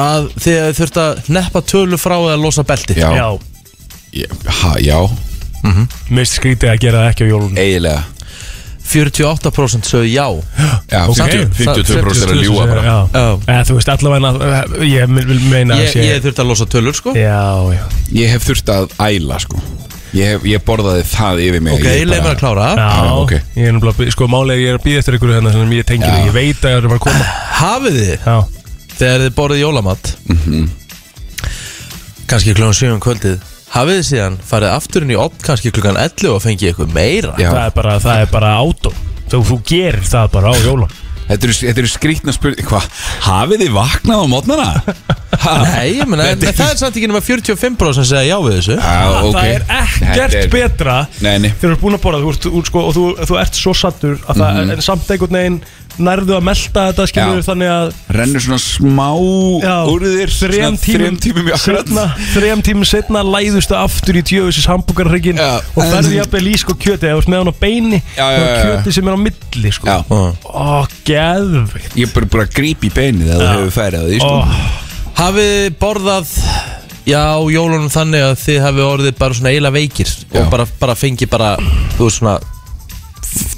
[SPEAKER 4] að þið hafið þurft að neppa tölu frá eða losa belti
[SPEAKER 1] já, já.
[SPEAKER 5] Já
[SPEAKER 1] Ha, já.
[SPEAKER 5] Mist skrítið að gera það ekki á jólun
[SPEAKER 1] eiginlega
[SPEAKER 4] 48% sögðu já
[SPEAKER 1] Já,
[SPEAKER 5] Ok.
[SPEAKER 1] 50 52% er að ljúa bara
[SPEAKER 5] Já
[SPEAKER 4] Já.
[SPEAKER 5] Eða, Þú veist allavega eh, Ég vil- vil meina að
[SPEAKER 4] Ég,
[SPEAKER 5] sé-
[SPEAKER 4] ég þurft að losa tölur sko
[SPEAKER 5] Já, já
[SPEAKER 1] Ég hef þurft að æla sko Ég, hef, ég borðaði það yfir mig
[SPEAKER 4] Ok,
[SPEAKER 1] Ég
[SPEAKER 4] leið mér að klára
[SPEAKER 5] Já,
[SPEAKER 1] Já, ok.
[SPEAKER 5] ég er náttúrulega, sko, málið er að ég er að býða eftir ykkur hérna sem ég tengi
[SPEAKER 1] Já.
[SPEAKER 5] þig, ég veit að það er bara að koma
[SPEAKER 4] Hafið þið,
[SPEAKER 5] Já,
[SPEAKER 4] þegar þið borðið jólamat kannski klukkan 7 um kvöldið Hafið þið síðan farið aftur inn í opn kannski klukkan 11 og fengið ykkur meira
[SPEAKER 1] Já.
[SPEAKER 5] það er bara, það er bara átó Þú, þú gerir það bara á jólan
[SPEAKER 1] Þetta eru, þetta eru skrýtna spurning Hvað, hafið þið vaknað á mótnana?
[SPEAKER 4] Nei, ég meina, en það er samt ekki nema 45% sem segja já við þessu
[SPEAKER 1] ah,
[SPEAKER 5] Það er ekkert betra
[SPEAKER 1] Nei, nei.
[SPEAKER 5] þegar þú ert búin að borða þú ert, úr, sko, og þú, þú ert svo sattur að það er samt einhvern veginn nærðu að melta þetta skilur
[SPEAKER 1] Mhm. Já.
[SPEAKER 5] þannig að
[SPEAKER 1] Rennur svona smá
[SPEAKER 5] já,
[SPEAKER 1] úr þér svona
[SPEAKER 5] þrem tímum,
[SPEAKER 1] Þrem tímum í akkurat
[SPEAKER 5] setna, þrem tímum setna læðustu aftur í tjöfusis hambúkarryggin
[SPEAKER 1] Já.
[SPEAKER 5] og ferði jafnvel í sko kjöti eða þú ert með hann á beini
[SPEAKER 1] Já, já,
[SPEAKER 5] og
[SPEAKER 1] já, já.
[SPEAKER 5] kjöti sem er á milli sko
[SPEAKER 1] Já,
[SPEAKER 5] Ó, geðvikt
[SPEAKER 1] ég er bara, bara að grípa í beinið að þú hefur færið að því sko.
[SPEAKER 5] Ó,
[SPEAKER 4] Hafið þið borðað Já, jólunum þannig að þið hafið orðið bara svona eiginlega veikir
[SPEAKER 1] Já.
[SPEAKER 4] og bara, bara fengið bara, þú veist svona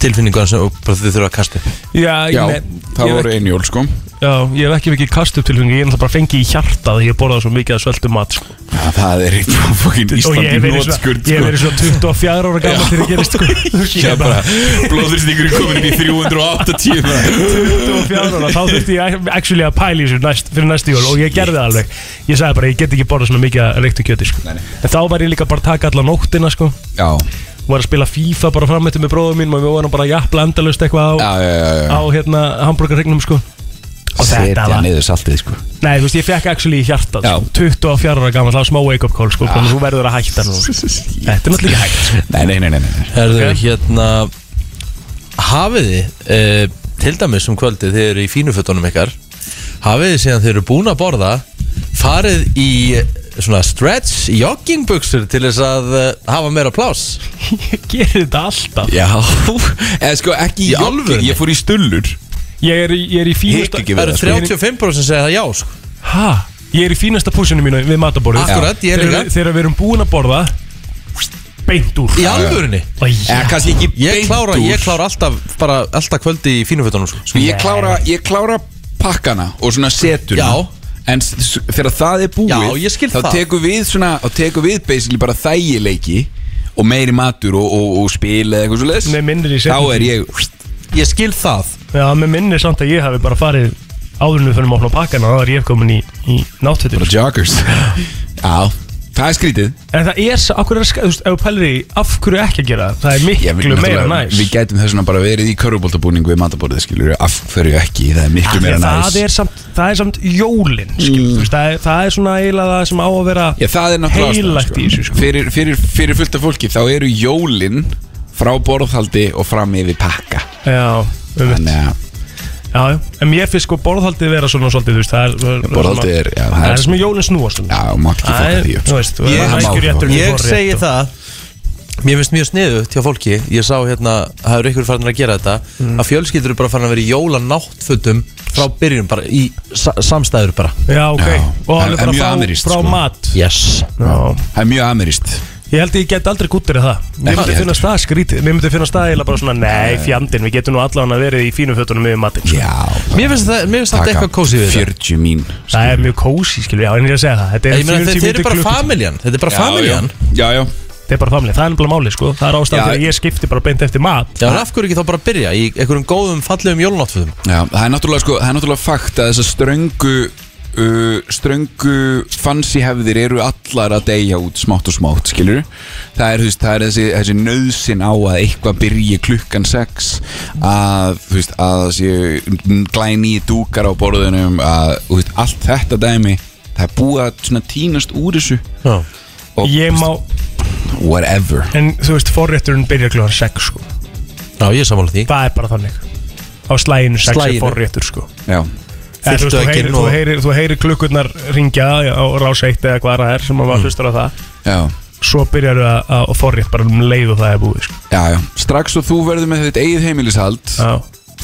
[SPEAKER 4] tilfinningar sem og bara þið þurfa að kasta upp.
[SPEAKER 5] Já, ég,
[SPEAKER 1] Já,
[SPEAKER 5] með, ég,
[SPEAKER 1] það
[SPEAKER 5] hef
[SPEAKER 1] voru
[SPEAKER 5] ekki,
[SPEAKER 1] einn jól sko
[SPEAKER 5] já, ég hef ekki mikið kast upp tilfengi Ég er náttúrulega fengi í hjarta Þegar ég borðaði svo mikið að sveltu mat sko.
[SPEAKER 1] Já, Það er eitt frá fokkin
[SPEAKER 5] Og
[SPEAKER 1] Íslandi
[SPEAKER 5] ég hef verið
[SPEAKER 1] nótskurt
[SPEAKER 5] svona- ég hef
[SPEAKER 1] sko.
[SPEAKER 5] verið svona 24 ára gammal Þegar ég gerist sko. Ég
[SPEAKER 1] Já,
[SPEAKER 5] er
[SPEAKER 1] bara
[SPEAKER 5] bara
[SPEAKER 1] Blóðrýstingur er komin upp í 380 bara.
[SPEAKER 5] 24 ára Þá þurfti ég actually að pæla í þessu næst, Fyrir næstu jól og ég gerði það alveg Ég sagði bara, ég get ekki borðað svona mikið að reyktu kjöti sko.
[SPEAKER 1] Nei, nei.
[SPEAKER 5] En þá var ég líka bara að taka alla nóttina sko.
[SPEAKER 1] Já,
[SPEAKER 5] Var að spila FIFA bara framöttu með bróðum mín Og við vorum bara jafnla endalust eitthvað
[SPEAKER 1] já,
[SPEAKER 5] á,
[SPEAKER 1] já, já, já.
[SPEAKER 5] á hérna, hambúrgarregnum sko. Og þetta var
[SPEAKER 1] niður saltið sko
[SPEAKER 5] Nei, þú veist, ég fekk actually í hjartað
[SPEAKER 1] Já. Ah.
[SPEAKER 5] sko, 24 ára gammal, það var smá wake-up call sko, þannig að þú verður að hætta nú Þetta er náttúrulega ekki hægt sko.
[SPEAKER 1] Nei, nei, nei, nei, nei.
[SPEAKER 4] Herðu,
[SPEAKER 5] Ok.
[SPEAKER 4] hérna Hafið þið eh, Til dæmis um kvöldið þið eru í fínufötunum ykkar Hafið þið síðan þið eru búin að borða Farið í eh, svona stretch joggingbuxur Til þess að eh, hafa meira pláss
[SPEAKER 5] Ég gerir þetta alltaf
[SPEAKER 1] Já Eða sko ekki
[SPEAKER 4] Í
[SPEAKER 1] í alveg
[SPEAKER 4] alvörunni?
[SPEAKER 1] Ég fór í stullur
[SPEAKER 5] Ég er, í- ég er í
[SPEAKER 1] Hikk
[SPEAKER 5] fínasta
[SPEAKER 1] ekki
[SPEAKER 4] Það
[SPEAKER 1] við
[SPEAKER 4] eru
[SPEAKER 1] það sko
[SPEAKER 4] 35% sem segja það já sko.
[SPEAKER 5] Hæ? Ég er í fínasta púsinu mínu við mataborðið
[SPEAKER 4] Akkurat, ég er
[SPEAKER 5] Þegar-
[SPEAKER 4] líka.
[SPEAKER 5] Þegar við erum búin að borða Beint úr
[SPEAKER 4] Í alvörinni
[SPEAKER 5] Æ,
[SPEAKER 1] Eða kannski ekki
[SPEAKER 4] Ég
[SPEAKER 1] beint
[SPEAKER 4] klára,
[SPEAKER 1] úr.
[SPEAKER 4] ég klára alltaf, bara, alltaf kvöldi í fínufötunum sko.
[SPEAKER 1] Sko ég klára, ég klára pakkana og svona setuna
[SPEAKER 4] Já.
[SPEAKER 1] En s- s- þegar það er búið
[SPEAKER 4] Já, ég skil
[SPEAKER 1] þá
[SPEAKER 4] það.
[SPEAKER 1] tekur við svona Þá tekur við basically bara þægileiki Og meiri matur og, og, og spil eða eitthvað svo leis
[SPEAKER 5] Með minnir í
[SPEAKER 1] Þá
[SPEAKER 5] seinni
[SPEAKER 1] er ég
[SPEAKER 4] Ég skil það
[SPEAKER 5] Já, með minnir samt að ég hafi bara farið áðurinn við fyrir að opna pakkana þá er ég komin í, í náttfittur
[SPEAKER 1] Bara joggers Já, það er skrítið
[SPEAKER 5] En það er, s- af hverju er, það ska- þú veist, ef þú pælir í, af hverju ekki að gera það? Það er
[SPEAKER 1] Já, við-
[SPEAKER 5] miklu meira
[SPEAKER 1] náttúrulega,
[SPEAKER 5] næs
[SPEAKER 1] Við gætum þess vegna bara verið í körfuboltabúningu við matabórið skilur Af hverju ekki, það er miklu
[SPEAKER 5] Af því
[SPEAKER 1] meira
[SPEAKER 5] að
[SPEAKER 1] næs
[SPEAKER 5] það er samt, það er samt jólin skilur, mm. veist, það, er, það er svona eiginlega það sem á að vera
[SPEAKER 1] Já, það er náttúrulega ástæðan,
[SPEAKER 5] Heilagt í þessu, sko.
[SPEAKER 1] fyrir, fyrir, fyrir fullt af fólki þá eru jólin frá borðhaldi og fram yfir pakka
[SPEAKER 5] já, um mitt
[SPEAKER 1] Þannig að
[SPEAKER 5] já, já. en mér finnst sko borðhaldið vera svona svolítið þú veist, það er, það
[SPEAKER 1] borðhaldið
[SPEAKER 5] svona-
[SPEAKER 1] er- já, það
[SPEAKER 5] það
[SPEAKER 1] er-
[SPEAKER 5] er sem jólin snúast um.
[SPEAKER 1] já, mátt ekki
[SPEAKER 5] það
[SPEAKER 1] fokka
[SPEAKER 5] er,
[SPEAKER 1] því upp
[SPEAKER 5] þú
[SPEAKER 1] sko.
[SPEAKER 5] veist, þú
[SPEAKER 4] Ég-
[SPEAKER 5] er
[SPEAKER 1] Það má
[SPEAKER 5] hækjur réttur
[SPEAKER 1] fokka.
[SPEAKER 5] og
[SPEAKER 4] Ég
[SPEAKER 5] þú er
[SPEAKER 4] segi
[SPEAKER 5] réttur.
[SPEAKER 4] það Mér finnst mjög sniðugt hjá fólki Ég sá hérna, það eru ykkur farin að gera þetta Að fjölskyldur eru bara farin að vera í jólanáttfötum Frá byrjun, bara í sa samstæður bara
[SPEAKER 5] já, ok,
[SPEAKER 1] Já.
[SPEAKER 5] og
[SPEAKER 1] En-
[SPEAKER 5] alveg
[SPEAKER 1] en
[SPEAKER 5] bara
[SPEAKER 1] mjög
[SPEAKER 5] frá,
[SPEAKER 1] amerískt,
[SPEAKER 5] frá
[SPEAKER 1] sko.
[SPEAKER 5] mat
[SPEAKER 4] Yes
[SPEAKER 5] já.
[SPEAKER 1] Það er mjög ameríst
[SPEAKER 5] ég held ég get aldrei gúttir að það
[SPEAKER 1] Ekki
[SPEAKER 5] mér myndi
[SPEAKER 1] heldur.
[SPEAKER 5] finnast það skrítið, mér myndi finnast það eiginlega bara svona, nei, fjandinn, við getum nú allan að verið í fínum fötunum yfir matinn sko.
[SPEAKER 1] Já
[SPEAKER 4] Mér finnst það, mér finnst það eitthvað kósi við þetta
[SPEAKER 1] 40 mín
[SPEAKER 5] það er mjög kósi, skilur, já, en ég er að segja það þetta
[SPEAKER 4] Ég
[SPEAKER 5] er
[SPEAKER 4] meina,
[SPEAKER 5] 40
[SPEAKER 4] þeir, þeir eru
[SPEAKER 5] mínútur
[SPEAKER 4] bara
[SPEAKER 5] klukkutími.
[SPEAKER 4] familjan Þetta er bara familjan
[SPEAKER 1] Já, já
[SPEAKER 5] Þetta er bara family, það er nefnilega máli sko Það er ástæðan
[SPEAKER 1] Já.
[SPEAKER 5] fyrir að ég skipti bara beint eftir mat
[SPEAKER 4] Já, en af hverju ekki þá bara að byrja í einhverjum góðum fallegum jólanáttfötum
[SPEAKER 1] Já, það er náttúrulega sko, það er náttúrulega fakt að þessar ströngu uh, ströngu fancy hefðir eru allar að deyja út smátt og smátt, skilur það er, þú veist, það er þessi, þessi nöðsin á að eitthvað byrji klukkan 6 að, þú veist, að það séu glæni dúkar á borðunum að, þú veist, allt þetta dæmi það er búið að svona tínast úr þessu
[SPEAKER 4] Já
[SPEAKER 1] og
[SPEAKER 5] Ég má,
[SPEAKER 1] whatever
[SPEAKER 5] En þú veist, forrétturinn byrjar kljóðan 6 sko
[SPEAKER 4] Já, ég er sammála því
[SPEAKER 5] Það er bara þannig Á slæginu 6
[SPEAKER 4] Slaginu.
[SPEAKER 5] er forréttur sko
[SPEAKER 1] Já,
[SPEAKER 5] Eða, þú, veist, þú,
[SPEAKER 4] Fyllt
[SPEAKER 5] heyrir,
[SPEAKER 4] vegginn
[SPEAKER 5] þú,
[SPEAKER 4] og-
[SPEAKER 5] heyrir, þú heyrir klukkurnar ringja á rás 1 eða hvað það er sem maður hlustar á það
[SPEAKER 1] já,
[SPEAKER 5] Svo byrjar það að forrétt bara um leið og það er búið sko.
[SPEAKER 1] já, já Strax og þú verður með þitt eigið heimilishald
[SPEAKER 5] Já,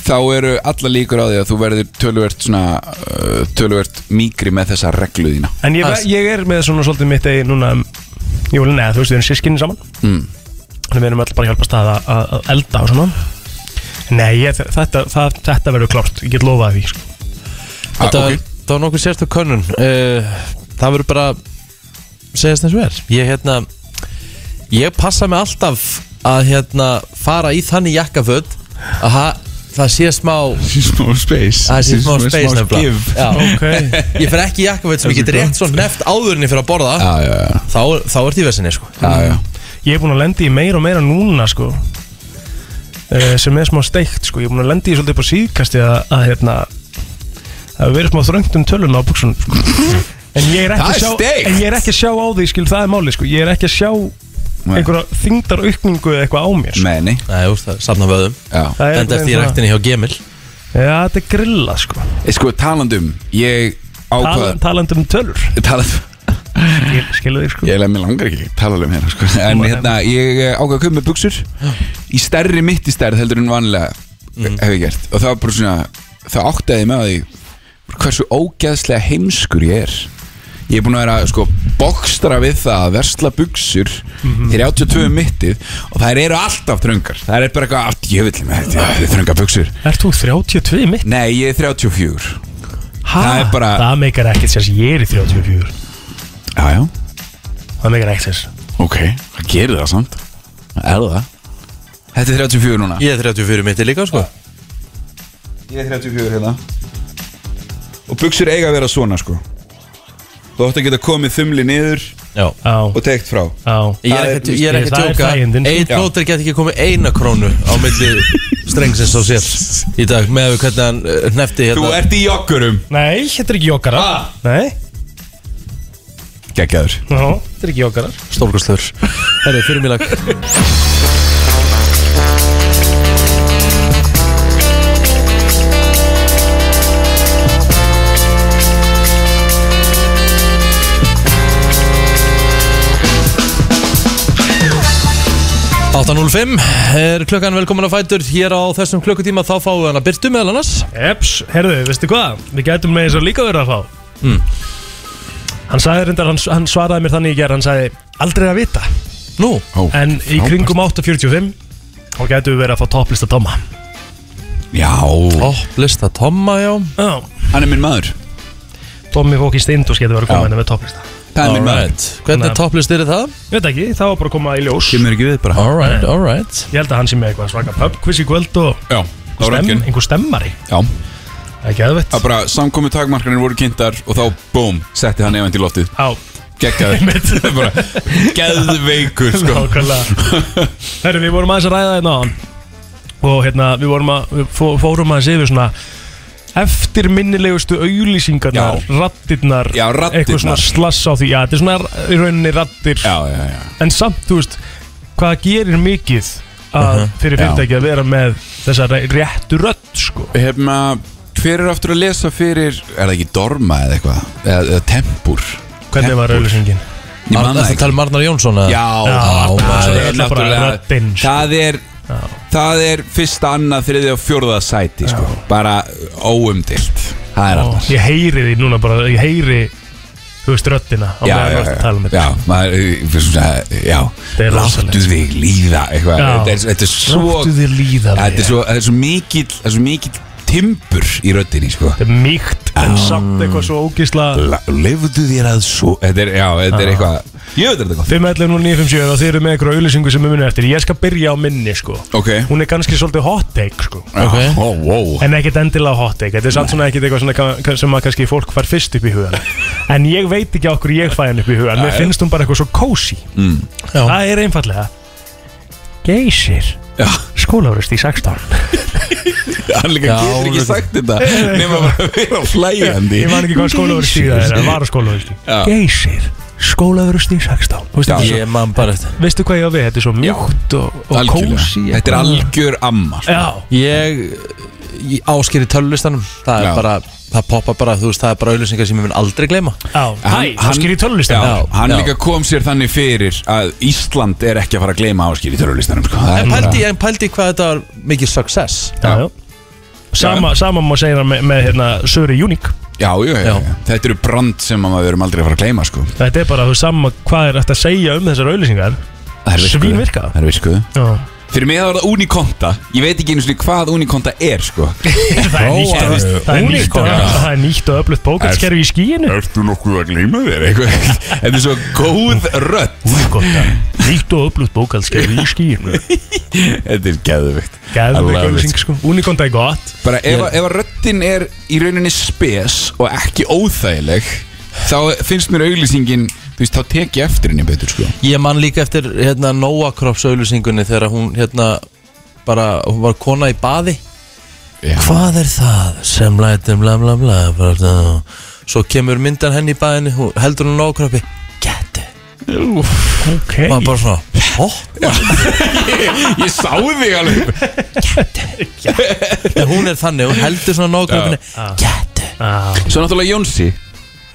[SPEAKER 1] Þá eru alla líkur á því að þú verður tölvert svona uh, Tölvert mýkri með þessa reglu þína
[SPEAKER 5] En ég,
[SPEAKER 4] Það-
[SPEAKER 5] ég er með svona svolítið mitt eigin núna um, Júli, neða, þú veist, við erum sískinni saman
[SPEAKER 1] Mm.
[SPEAKER 5] Þannig við erum öll bara að hjálpa stað að, að- að elda og svona Nei, ég, þetta, það, þetta verður klárt, ég get lofað því sko.
[SPEAKER 4] Þetta
[SPEAKER 1] Ah, ok.
[SPEAKER 4] það var nokkuð sérstu könnun uh, Það verður bara segjast eins og er Ég hérna Ég passa mig alltaf að hérna fara í þannig jakkaföld að ha- það sé smá
[SPEAKER 1] Smá space
[SPEAKER 4] það sé smá space
[SPEAKER 1] give.
[SPEAKER 4] nefnilega Já.
[SPEAKER 5] okay.
[SPEAKER 4] Ég fer ekki í jakkaföld sem ég get rétt svo neft áðurinni fyrir að borða
[SPEAKER 1] Já, já, já,
[SPEAKER 4] þá, þá ert í vesinni sko
[SPEAKER 1] já, já.
[SPEAKER 5] Ég er búin að lendi í meira og meira núna sko uh, sem er smá steikt sko, ég er búin að lendi í svolítið upp á síðkasti að, að hérna það hefur verið smá þröngt um töluna á buksunum sko. en, ég er
[SPEAKER 1] Það
[SPEAKER 5] ekki
[SPEAKER 1] er
[SPEAKER 5] að sjá,
[SPEAKER 1] steikt!
[SPEAKER 5] en ég er ekki að sjá á því skil, það er máli sko, ég er ekki að sjá einhverja þingdaraukningu eða eitthvað á mér sko.
[SPEAKER 1] Nei, nei,
[SPEAKER 4] Nei, úr, það safna vöðum
[SPEAKER 1] já
[SPEAKER 4] Enda
[SPEAKER 5] Það einhvern
[SPEAKER 4] eftir í
[SPEAKER 5] veginn
[SPEAKER 4] ræktinni hjá Gemil
[SPEAKER 5] svona- Já, þetta er grilla sko
[SPEAKER 1] Eh, Sko, talandum, ég
[SPEAKER 5] Tal,
[SPEAKER 1] ákvað
[SPEAKER 5] Talandi um tölur
[SPEAKER 1] Talandum
[SPEAKER 5] Skil, Skilu þig sko
[SPEAKER 1] Ég lef mér langar ekki að tala um hérna sko. En hérna, ég eh, ákvað að köpa með buksur Í stærri mitt í stærð heldur en vanlega Hef ég gert Og það var bara svona Það áttaði ég með því Hversu ógeðslega heimskur ég er Ég er búin að vera sko Bokstra við það að versla buksur Þeir 82 um mittið Og þær eru alltaf þröngar Það er bara eitthvað allt jöfnvill með þetta Það er þröngar buksur
[SPEAKER 5] Ert þú 32 mitt?
[SPEAKER 1] Nei, ég er 34
[SPEAKER 5] Ha,
[SPEAKER 1] Það er bara-
[SPEAKER 5] Það meikar ekkert sér Ég er í 34
[SPEAKER 1] Já, já,
[SPEAKER 5] Það meikar ekkert sér
[SPEAKER 1] ok Það gerir það samt Það Er það Þetta er 34 núna
[SPEAKER 4] Ég er 34 mitti líka sko
[SPEAKER 1] Ég er 34 hérna Og buksur eiga að vera svona sko Þú ætti að geta komið þumli niður
[SPEAKER 4] Já
[SPEAKER 5] Á,
[SPEAKER 1] og teikt frá
[SPEAKER 5] á
[SPEAKER 4] Ég er ekkert- ég er ekki að
[SPEAKER 5] Það er
[SPEAKER 4] tjóka
[SPEAKER 5] þægindin, sko.
[SPEAKER 4] Eitt
[SPEAKER 1] Já.
[SPEAKER 4] blóter get ekki komið eina krónu á milli strengsins á sér í dag með við hvernig hann eh, hnefti
[SPEAKER 1] Þú
[SPEAKER 4] hérna
[SPEAKER 1] ert í joggurum
[SPEAKER 5] Nei, þetta er ekki jokkara Nei,
[SPEAKER 1] Gekkjaður
[SPEAKER 5] Ná, þetta er ekki jokkara
[SPEAKER 4] stórkastlur Herri, fyrir mér lag er klukkan velkomin að fætur hér á þessum klukkutíma þá fáum við hana Byrtu meðal annars
[SPEAKER 5] Eps, herðu, veistu hvað? Við gætum með þess að líka verið að fá mm.
[SPEAKER 1] Hmm.
[SPEAKER 5] Hann sagði reyndar, hann, hann svaraði mér þannig í gerð Hann sagði, aldrei að vita
[SPEAKER 4] Nú,
[SPEAKER 1] Ó,
[SPEAKER 5] En í kringum 8.45 Þá gætum við verið að fá topplista Tomma
[SPEAKER 1] Já
[SPEAKER 4] topplista Tomma já
[SPEAKER 5] Já,
[SPEAKER 1] Hann er minn maður
[SPEAKER 5] Tommi fók í stindus getur verið að
[SPEAKER 1] Já.
[SPEAKER 5] koma henni með topplista
[SPEAKER 1] Það er minn maður
[SPEAKER 4] Hvernig topplist er það?
[SPEAKER 5] Ég veit ekki, það var bara að koma í ljós
[SPEAKER 1] Kemur ekki við bara
[SPEAKER 4] Alright, alright
[SPEAKER 5] Ég held að hann sé með eitthvað svaka pubquiz í kvöld og
[SPEAKER 1] Já Það var
[SPEAKER 5] stemm,
[SPEAKER 1] röntgen
[SPEAKER 5] einhver stemmari
[SPEAKER 1] Já Það
[SPEAKER 5] Ekki aðvett
[SPEAKER 1] bara samkomi takmarkanir voru kynntar og þá búm setti hann event í loftið
[SPEAKER 5] Á,
[SPEAKER 1] Gekkjaður bara Geðveikur sko
[SPEAKER 5] Nákvæmlega Herru, við vorum aðeins að ræða þetta á hann Og hérna, við vorum að við fó- fórum aðeins yfir svona Eftirminnilegustu auglýsingarnar
[SPEAKER 1] Já.
[SPEAKER 5] Rattirnar
[SPEAKER 1] Já, raddirnar.
[SPEAKER 5] Eitthvað svona slass á því Já, þetta er svona í rauninni rattir
[SPEAKER 1] Já, já, já
[SPEAKER 5] En samt, þú veist Hvað gerir mikið að, Fyrir
[SPEAKER 1] Mhm. Já.
[SPEAKER 5] fyrirtæki að vera með Þessa re- réttu rödd, sko
[SPEAKER 1] Hérna Hver er aftur að lesa fyrir Er það ekki dorma eða eitthvað Eða, eða tempur
[SPEAKER 5] Hvernig var auglýsingin?
[SPEAKER 1] Ég man
[SPEAKER 4] Það
[SPEAKER 1] það
[SPEAKER 4] tala um Arnar Jónsson eða?
[SPEAKER 1] Já,
[SPEAKER 5] Já,
[SPEAKER 1] á,
[SPEAKER 5] það
[SPEAKER 1] maður,
[SPEAKER 5] er náttúrulega
[SPEAKER 1] náttúrulega-
[SPEAKER 5] röddin, sko.
[SPEAKER 1] Það er Það er fyrsta, annað, þriði og fjórða sæti sko. Bara óumdilt Það er alltaf
[SPEAKER 5] Ég heyri því núna bara Ég heyri, þú veist, röddina á
[SPEAKER 1] Já,
[SPEAKER 5] meðan
[SPEAKER 1] já,
[SPEAKER 5] þú ert að tala um
[SPEAKER 1] já,
[SPEAKER 5] þetta.
[SPEAKER 1] já, maður, fyrir svona, já
[SPEAKER 5] Þetta er
[SPEAKER 1] Láttu
[SPEAKER 5] rosalegt.
[SPEAKER 1] þig líða eitthvað
[SPEAKER 5] Já.
[SPEAKER 1] Þetta er- Þetta er svo
[SPEAKER 5] Láttu þér líða
[SPEAKER 1] Þetta er
[SPEAKER 5] vel.
[SPEAKER 1] svo- þetta er svo mikill Það er svo mikill timbur í röddinni sko.
[SPEAKER 5] Þetta er mýkt en samt eitthvað svo ógísla
[SPEAKER 1] La- Leyfðu þér að svo Þetta er, já, þetta er eitthvað Ég veit þetta er gott
[SPEAKER 5] 511 og 957 og þið eru með eitthvað auðlýsingu sem við munum eftir Ég skal byrja á minni sko
[SPEAKER 1] Ok
[SPEAKER 5] Hún er kannski svolítið hot take sko
[SPEAKER 1] Ok
[SPEAKER 4] Ok.
[SPEAKER 1] Ó, ó
[SPEAKER 5] En ekkert endilega hot take Þetta er samt svona ekkert eitthvað svona ka- ka- sem að kannski fólk fær fyrst upp í hugan En ég veit ekki á okkur ég fæ hann upp í hugan Mér finnst
[SPEAKER 1] Mm.
[SPEAKER 5] hún bara eitthvað svo cozy
[SPEAKER 4] Já.
[SPEAKER 5] Það er einfallega Geysir
[SPEAKER 1] Já.
[SPEAKER 5] skólaurist í 16
[SPEAKER 1] Hann líka
[SPEAKER 4] Já,
[SPEAKER 1] getur ekki
[SPEAKER 4] líka.
[SPEAKER 1] sagt þetta nema bara að vera flæjandi
[SPEAKER 5] Ég man ekki hvað skólaverust í það er, en var skólaverust í
[SPEAKER 1] Já.
[SPEAKER 5] Geysir, skólaverust í 16 Veistu,
[SPEAKER 1] Já.
[SPEAKER 5] já,
[SPEAKER 4] Ég man bara þetta
[SPEAKER 5] veistu hvað ég á við, þetta er svo mjúkt og, og
[SPEAKER 1] Algjörlega.
[SPEAKER 5] kósi
[SPEAKER 1] Þetta er algjör amma sko.
[SPEAKER 5] Já,
[SPEAKER 4] Ég, ég áskýri tölvlistanum Það er
[SPEAKER 1] Já.
[SPEAKER 4] bara, það poppa bara, þú veist, það er bara auðlýsingar sem ég mun aldrei gleyma
[SPEAKER 5] já, hæ, það skýr í tölulistin
[SPEAKER 1] Já, Hann
[SPEAKER 4] já.
[SPEAKER 1] líka kom sér þannig fyrir að Ísland er ekki að fara að gleyma áskýr í tölulistanum sko. Það er
[SPEAKER 4] En
[SPEAKER 1] bara-
[SPEAKER 4] pældi, en pældi hvað þetta var mikið success
[SPEAKER 5] já, já. Sama, sama má segja með, með hérna, Söri Unique
[SPEAKER 1] Já, jú, já, já.
[SPEAKER 4] Já.
[SPEAKER 1] Þetta eru brand sem að við erum aldrei að fara að gleyma sko.
[SPEAKER 5] Þetta er bara þú veist, sama hvað er hægt að segja um þessar auðlýsingar
[SPEAKER 1] Það er virkuð.
[SPEAKER 5] Svínvirka.
[SPEAKER 1] Það er virkuð
[SPEAKER 5] Já,
[SPEAKER 1] Fyrir mig það var það Unikonta Ég veit ekki einu sinni hvað Unikonta er sko.
[SPEAKER 5] það er nýtt
[SPEAKER 1] Prófaðu.
[SPEAKER 5] Það er nýtt og-
[SPEAKER 1] Unicorn.
[SPEAKER 5] það er nýtt og öflugt bókartskerfi í skíinu
[SPEAKER 1] Ertu nokkuð að gleyma þér? eitthvað? Þetta er svo góð rödd
[SPEAKER 5] Úrgóta, nýtt og öflugt bókartskerfi í skíinu
[SPEAKER 1] Þetta er geðvikt
[SPEAKER 5] Gæðum
[SPEAKER 1] I love
[SPEAKER 5] ekki
[SPEAKER 1] it.
[SPEAKER 5] auðlýsing sko, Unikonda er gott
[SPEAKER 1] Bara ef, ef að röddin er í rauninni spes og ekki óþægileg þá finnst mér auglýsingin þú veist, þá tek ég eftir henni betur sko.
[SPEAKER 4] Ég man líka eftir hérna Nóakrops auðlýsingunni þegar hún hérna bara, hún var kona í baði
[SPEAKER 1] Já.
[SPEAKER 4] Hvað er það sem lætur bla bla bla bla bla Svo kemur myndan henni í baðinni, hún heldur hún Nóakropi Gæti
[SPEAKER 5] Ok,
[SPEAKER 4] Og hann bara svona, hó?
[SPEAKER 1] Ég sá þig alveg
[SPEAKER 4] En hún er þannig, hún heldur svona Nóakropinni Gæti
[SPEAKER 5] Ah,
[SPEAKER 1] Svo náttúrulega Jónsi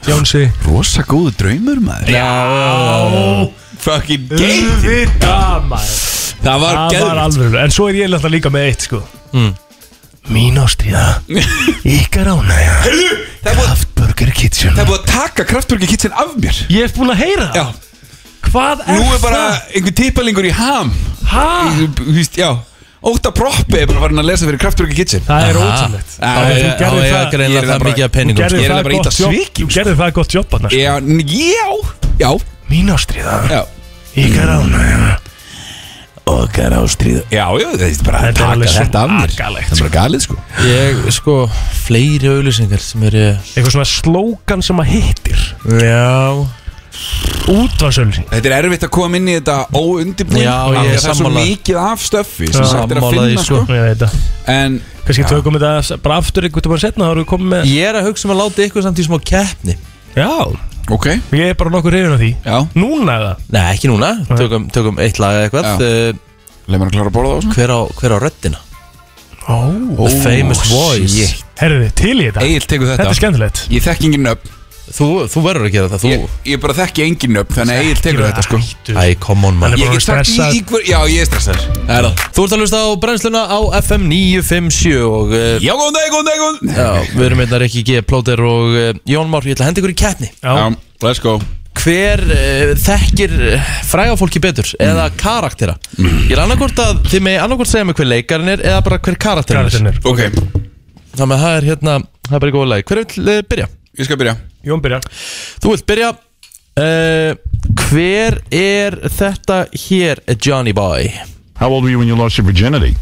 [SPEAKER 5] Jónsi
[SPEAKER 1] Rosa góðu draumur maður
[SPEAKER 5] Já,
[SPEAKER 1] Fucking gay
[SPEAKER 5] auðvitað maður
[SPEAKER 1] Það
[SPEAKER 5] Það var
[SPEAKER 1] var geðvikt
[SPEAKER 5] alveg En svo er ég alltaf líka með eitt sko
[SPEAKER 1] Hmm.
[SPEAKER 5] Mín ástríða Ykkar ánægja
[SPEAKER 1] Það er búið-
[SPEAKER 5] Burger Kitchen
[SPEAKER 1] það er búið að taka kraftbörgi kitsin af mér
[SPEAKER 5] Ég hef búin að heyra
[SPEAKER 1] Já,
[SPEAKER 5] það Hvað er,
[SPEAKER 1] nú er bara einhver tippalingur í ham
[SPEAKER 5] það? Ha?
[SPEAKER 1] Í- þú veist, Já, Óta Proppi er bara farin að lesa fyrir kraftbörgi kitsin
[SPEAKER 5] Það er ótrúlegt
[SPEAKER 1] Á,
[SPEAKER 5] Það er-
[SPEAKER 1] ég-
[SPEAKER 5] þú gerðir
[SPEAKER 4] Það er
[SPEAKER 5] það-
[SPEAKER 1] ég er
[SPEAKER 4] greinlega
[SPEAKER 1] það
[SPEAKER 4] það
[SPEAKER 1] bara-
[SPEAKER 4] mikið sko. að
[SPEAKER 5] Þú
[SPEAKER 4] penningum
[SPEAKER 5] gerðir
[SPEAKER 1] Ég
[SPEAKER 5] það
[SPEAKER 1] er bara að
[SPEAKER 5] gott
[SPEAKER 1] ýta
[SPEAKER 5] jobb-
[SPEAKER 1] svikim,
[SPEAKER 5] Þú gerðir það gott jobb annars
[SPEAKER 1] Já, já, já,
[SPEAKER 5] Mín ástríða
[SPEAKER 1] já
[SPEAKER 5] Ykkar ánægja
[SPEAKER 1] Okkar ástríð Já, já, þetta er bara að
[SPEAKER 5] Þetta er
[SPEAKER 1] taka
[SPEAKER 5] alveg
[SPEAKER 1] þetta af mér
[SPEAKER 5] svakalegt,
[SPEAKER 1] Það er bara galið sko
[SPEAKER 4] Ég, sko, fleiri auðlýsingar sem eru
[SPEAKER 5] Eitthvað svona slókan sem að hittir
[SPEAKER 4] Já
[SPEAKER 5] Útvarsölsing
[SPEAKER 1] Þetta er erfitt að koma inn í þetta óundibúin
[SPEAKER 4] Já, ég er
[SPEAKER 1] Það er svo
[SPEAKER 4] sammála.
[SPEAKER 1] mikið af stöffi sem
[SPEAKER 5] Já,
[SPEAKER 1] sagt er að
[SPEAKER 4] sammála því,
[SPEAKER 1] finna sko
[SPEAKER 4] sko.
[SPEAKER 5] Ég veit það
[SPEAKER 1] En
[SPEAKER 5] Kanski tökum þetta bara aftur einhvern veginn setna Það eru komið með
[SPEAKER 4] Ég er að hugsa um að láta ykkur samt í smá keppni
[SPEAKER 5] Já
[SPEAKER 1] Ok,
[SPEAKER 5] Ég er bara nokkur reyðin á því
[SPEAKER 1] já,
[SPEAKER 5] Núna er það
[SPEAKER 4] Nei, ekki núna, tökum, tökum eitt lag eða eitthvað uh,
[SPEAKER 1] leið mér að klára að borða það
[SPEAKER 4] hver, á, hver á röddina?
[SPEAKER 5] oh.
[SPEAKER 4] The famous voice
[SPEAKER 5] Herðu, til í þetta
[SPEAKER 1] Egil tekur
[SPEAKER 5] Þetta er
[SPEAKER 1] þetta
[SPEAKER 5] skemmtilegt
[SPEAKER 1] Ég þekki engin nöfn
[SPEAKER 4] Þú, þú verður að gera það, þú
[SPEAKER 1] ég, ég bara þekki engin nöfn Þannig að Egil tekur þetta sko
[SPEAKER 5] Hættu.
[SPEAKER 4] Æ, come on man
[SPEAKER 5] Hann er
[SPEAKER 1] Ég
[SPEAKER 5] bara
[SPEAKER 1] get sagt í,
[SPEAKER 5] stressað.
[SPEAKER 1] í hver Já, ég er stressar
[SPEAKER 4] Það er það. Þú ert að hlusta á brennsluna á FM 957 og uh,
[SPEAKER 1] Já, góðan dag, góðan dag, góðan
[SPEAKER 4] já, við erum einnig Rikki G. Plóter og uh, Jón Már, ég ætla að henda ykkur í keppni
[SPEAKER 5] Já,
[SPEAKER 1] let's go
[SPEAKER 4] Hver uh, þekkir fræga fólki betur eða
[SPEAKER 5] Mm.
[SPEAKER 4] karaktera? Ég er annarkvort að þið með annarkvort segja mig hver leikarinn er eða bara hver karakterinn er
[SPEAKER 5] Garðarinn
[SPEAKER 1] Ok,
[SPEAKER 4] Þannig að það er hérna, það er bara í góða lagi Hver vil uh, byrja?
[SPEAKER 1] ég skal byrja
[SPEAKER 5] Jón byrjar
[SPEAKER 4] Þú vilt byrja uh, Hver er þetta hér Johnny Boy?
[SPEAKER 6] How old were you when you lost your virginity?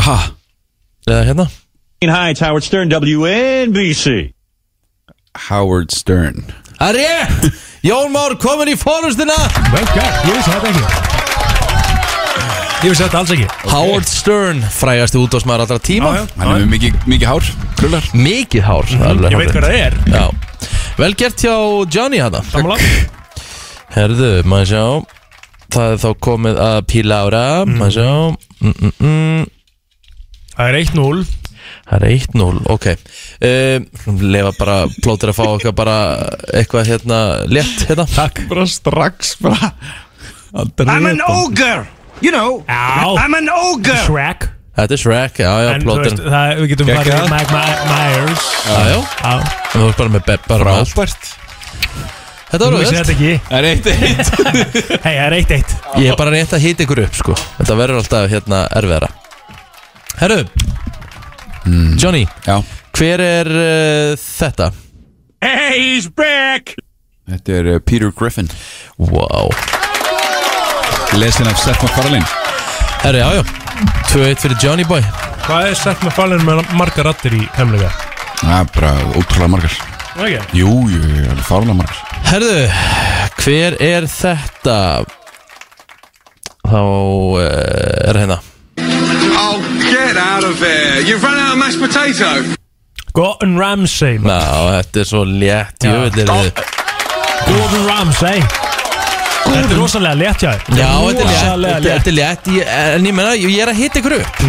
[SPEAKER 1] Ha,
[SPEAKER 4] Eða hérna
[SPEAKER 7] Green Heights, Howard Stern, WNBC.
[SPEAKER 1] Howard Stern
[SPEAKER 4] Það er rétt! Jón Már komin í fórumstina
[SPEAKER 5] Vel gert, ég vissi þetta ekki Ég vissi þetta alls ekki
[SPEAKER 4] Howard Stern, frægasti útdósmaður allra tíma
[SPEAKER 5] Já, já.
[SPEAKER 1] Hann er með mikið, mikið hár Krullar
[SPEAKER 4] Mikið hár
[SPEAKER 5] Ég veit hvað það er
[SPEAKER 4] Já Vel gert hjá Johnny hérna. hana
[SPEAKER 5] Sammála
[SPEAKER 4] Herðu, maður sjá Það er þá komið að píla ára Maður sjá mm, mm, mm.
[SPEAKER 5] Það er 1-0
[SPEAKER 4] Það er 1-0, ok um, Lefa bara, plótir að fá okkar bara Eitthvað hérna, létt hérna Takk
[SPEAKER 1] Bara strax, bara
[SPEAKER 8] I'm an ogre. You know,
[SPEAKER 5] Já
[SPEAKER 8] I'm an ogre.
[SPEAKER 5] Shrek
[SPEAKER 4] Þetta er Shrek, já, já,
[SPEAKER 5] En þú veist, uh,
[SPEAKER 4] plótin
[SPEAKER 5] það, við getum farið
[SPEAKER 1] Gekkað.
[SPEAKER 5] í Mike My- Myers
[SPEAKER 4] Já, já,
[SPEAKER 5] Já
[SPEAKER 4] þú veist bara með Beb bara með allt.
[SPEAKER 1] Frábært
[SPEAKER 4] Þetta
[SPEAKER 5] Þú
[SPEAKER 4] var
[SPEAKER 5] vissi
[SPEAKER 4] auðvitað
[SPEAKER 5] þetta ekki
[SPEAKER 1] Það er eitt, eitt
[SPEAKER 5] Hei, það er 1-1
[SPEAKER 4] Ég er bara rétt að hita ykkur upp, sko Þetta verður alltaf hérna erfiðara Herru Johnny,
[SPEAKER 1] Já,
[SPEAKER 4] hver er uh, þetta?
[SPEAKER 8] Hey, he's back.
[SPEAKER 1] þetta er uh, Peter Griffin
[SPEAKER 4] Wow
[SPEAKER 1] Lesin af Seth MacFarlane
[SPEAKER 4] Herru, já, já 2-1 fyrir Johnny boy
[SPEAKER 5] Hvað er sett með fallin með margar rattir í hemlega?
[SPEAKER 1] Það er bara ótrúlega margar
[SPEAKER 5] Okay.
[SPEAKER 1] Jú, jú, jú, alveg fárlega margar
[SPEAKER 4] Herru, hver er þetta? þá uh, er það hérna
[SPEAKER 9] Oh, get out of here. You've run out of mashed potato.
[SPEAKER 5] Gordon Ramsay maður.
[SPEAKER 4] Ná, þetta er svo létt jöfnir
[SPEAKER 5] Gordon Ramsay Þetta er rosalega létt hjá þér.
[SPEAKER 4] Já, þetta er létt,
[SPEAKER 5] Rosalega
[SPEAKER 4] þetta- þetta er létt ég- En ég menna, ég er að hitta ykkur upp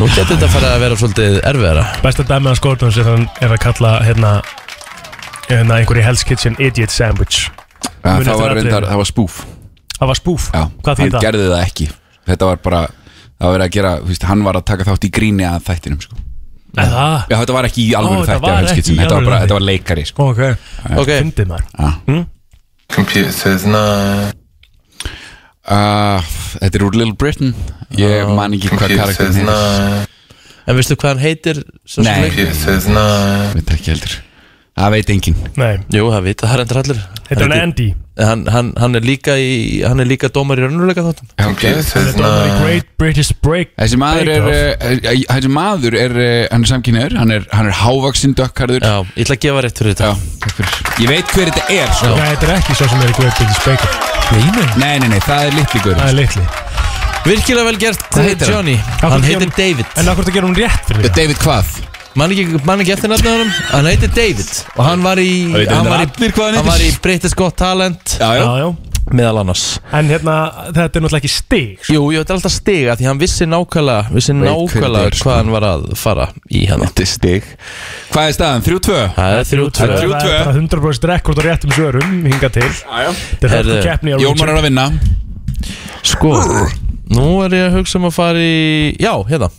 [SPEAKER 4] Nú getur þetta að fara að vera svolítið erfiðara
[SPEAKER 5] Besta dæmi hans Gordons er hann er að kalla hérna hérna einhverju Hell's Kitchen Idiot Sandwich
[SPEAKER 1] Ja,
[SPEAKER 5] Muni
[SPEAKER 1] það,
[SPEAKER 5] eftir
[SPEAKER 1] var reyndar,
[SPEAKER 5] atriðinu.
[SPEAKER 1] það var spoof
[SPEAKER 5] Það var spoof,
[SPEAKER 1] Já,
[SPEAKER 5] hvað
[SPEAKER 1] hann
[SPEAKER 5] þýð það?
[SPEAKER 1] gerði það ekki Þetta var bara, það var verið að gera þú veist, Hann var að taka þátt í gríni að þættinum sko.
[SPEAKER 5] Er það?
[SPEAKER 1] Já, þetta var ekki í
[SPEAKER 5] Ó,
[SPEAKER 1] alvöru
[SPEAKER 5] þetta
[SPEAKER 1] þætti
[SPEAKER 5] var
[SPEAKER 1] af
[SPEAKER 5] ekki
[SPEAKER 1] helskitsin
[SPEAKER 5] í
[SPEAKER 1] Þetta var bara,
[SPEAKER 5] alvöru
[SPEAKER 1] þetta var leikari sko.
[SPEAKER 5] Ok,
[SPEAKER 4] Ok,
[SPEAKER 5] fyndið maður
[SPEAKER 9] Computer says no.
[SPEAKER 1] uh, Þetta er úr Little Britain Ég
[SPEAKER 9] Oh,
[SPEAKER 1] man ekki hvað karakterin heitir
[SPEAKER 4] en veistu hvað hann heitir? sá sem
[SPEAKER 1] Nei.
[SPEAKER 4] leikur?
[SPEAKER 9] says no.
[SPEAKER 1] Veit ekki heldur Það veit enginn
[SPEAKER 5] Nei,
[SPEAKER 4] Jú, það vita, það er endur allir
[SPEAKER 5] þetta er hann Andy
[SPEAKER 4] hann, hann, hann er líka í, hann er líka dómar í rönnuleika þáttum
[SPEAKER 1] okay.
[SPEAKER 9] says
[SPEAKER 5] Þetta var í Great British Break
[SPEAKER 1] Þessi maður er,
[SPEAKER 5] Bake Off.
[SPEAKER 1] eh, eh, þessi maður er, eh, hann er samkynniður Hann er, hann er hávaksin dökkarður
[SPEAKER 4] Já, ég ætla að gefa rétt fyrir
[SPEAKER 1] Já,
[SPEAKER 4] þetta
[SPEAKER 1] takk fyrir Ég veit hver þetta er sko.
[SPEAKER 5] Nei, þetta er ekki svo sem er í Great British Break Nei,
[SPEAKER 1] Nei, nei, nei, það er litli gaur
[SPEAKER 5] það er litli
[SPEAKER 4] Virkilega vel gert,
[SPEAKER 1] heitir hann?
[SPEAKER 4] Johnny
[SPEAKER 5] Af
[SPEAKER 4] Hann
[SPEAKER 5] hverju
[SPEAKER 4] heitir
[SPEAKER 5] gefur- En
[SPEAKER 4] David
[SPEAKER 5] af hvort að gera hún rétt fyrir það?
[SPEAKER 1] David hvað?
[SPEAKER 4] Man ekki, man ekki eftir nafnaðunum Hann heitir David Og hann var í,
[SPEAKER 1] veit
[SPEAKER 4] hann var í,
[SPEAKER 1] allir hvað hann
[SPEAKER 4] hann var í
[SPEAKER 1] heitir.
[SPEAKER 4] British Got Talent
[SPEAKER 1] Já, já,
[SPEAKER 5] Já, já
[SPEAKER 4] Meðal annars
[SPEAKER 5] En hérna, þetta er náttúrulega ekki stig sko.
[SPEAKER 4] Jú, jú, þetta er alltaf stiga því hann vissi nákvæmlega vissi
[SPEAKER 1] hver þetta
[SPEAKER 4] nákvæmlega
[SPEAKER 1] er, sko.
[SPEAKER 4] hvað hann var að fara í hann
[SPEAKER 1] Þetta er stig Hvað er staðan? 3-2?
[SPEAKER 4] Það er þrjú
[SPEAKER 5] Það
[SPEAKER 4] tvö
[SPEAKER 1] þrjú- tvö.
[SPEAKER 5] er 100% rekord á réttum svörum hinga til Þetta er
[SPEAKER 4] Herðu,
[SPEAKER 5] þetta keppni á
[SPEAKER 1] Jónmar er að vinna
[SPEAKER 4] Sko, nú er ég að hugsa um að fara í Já, hérna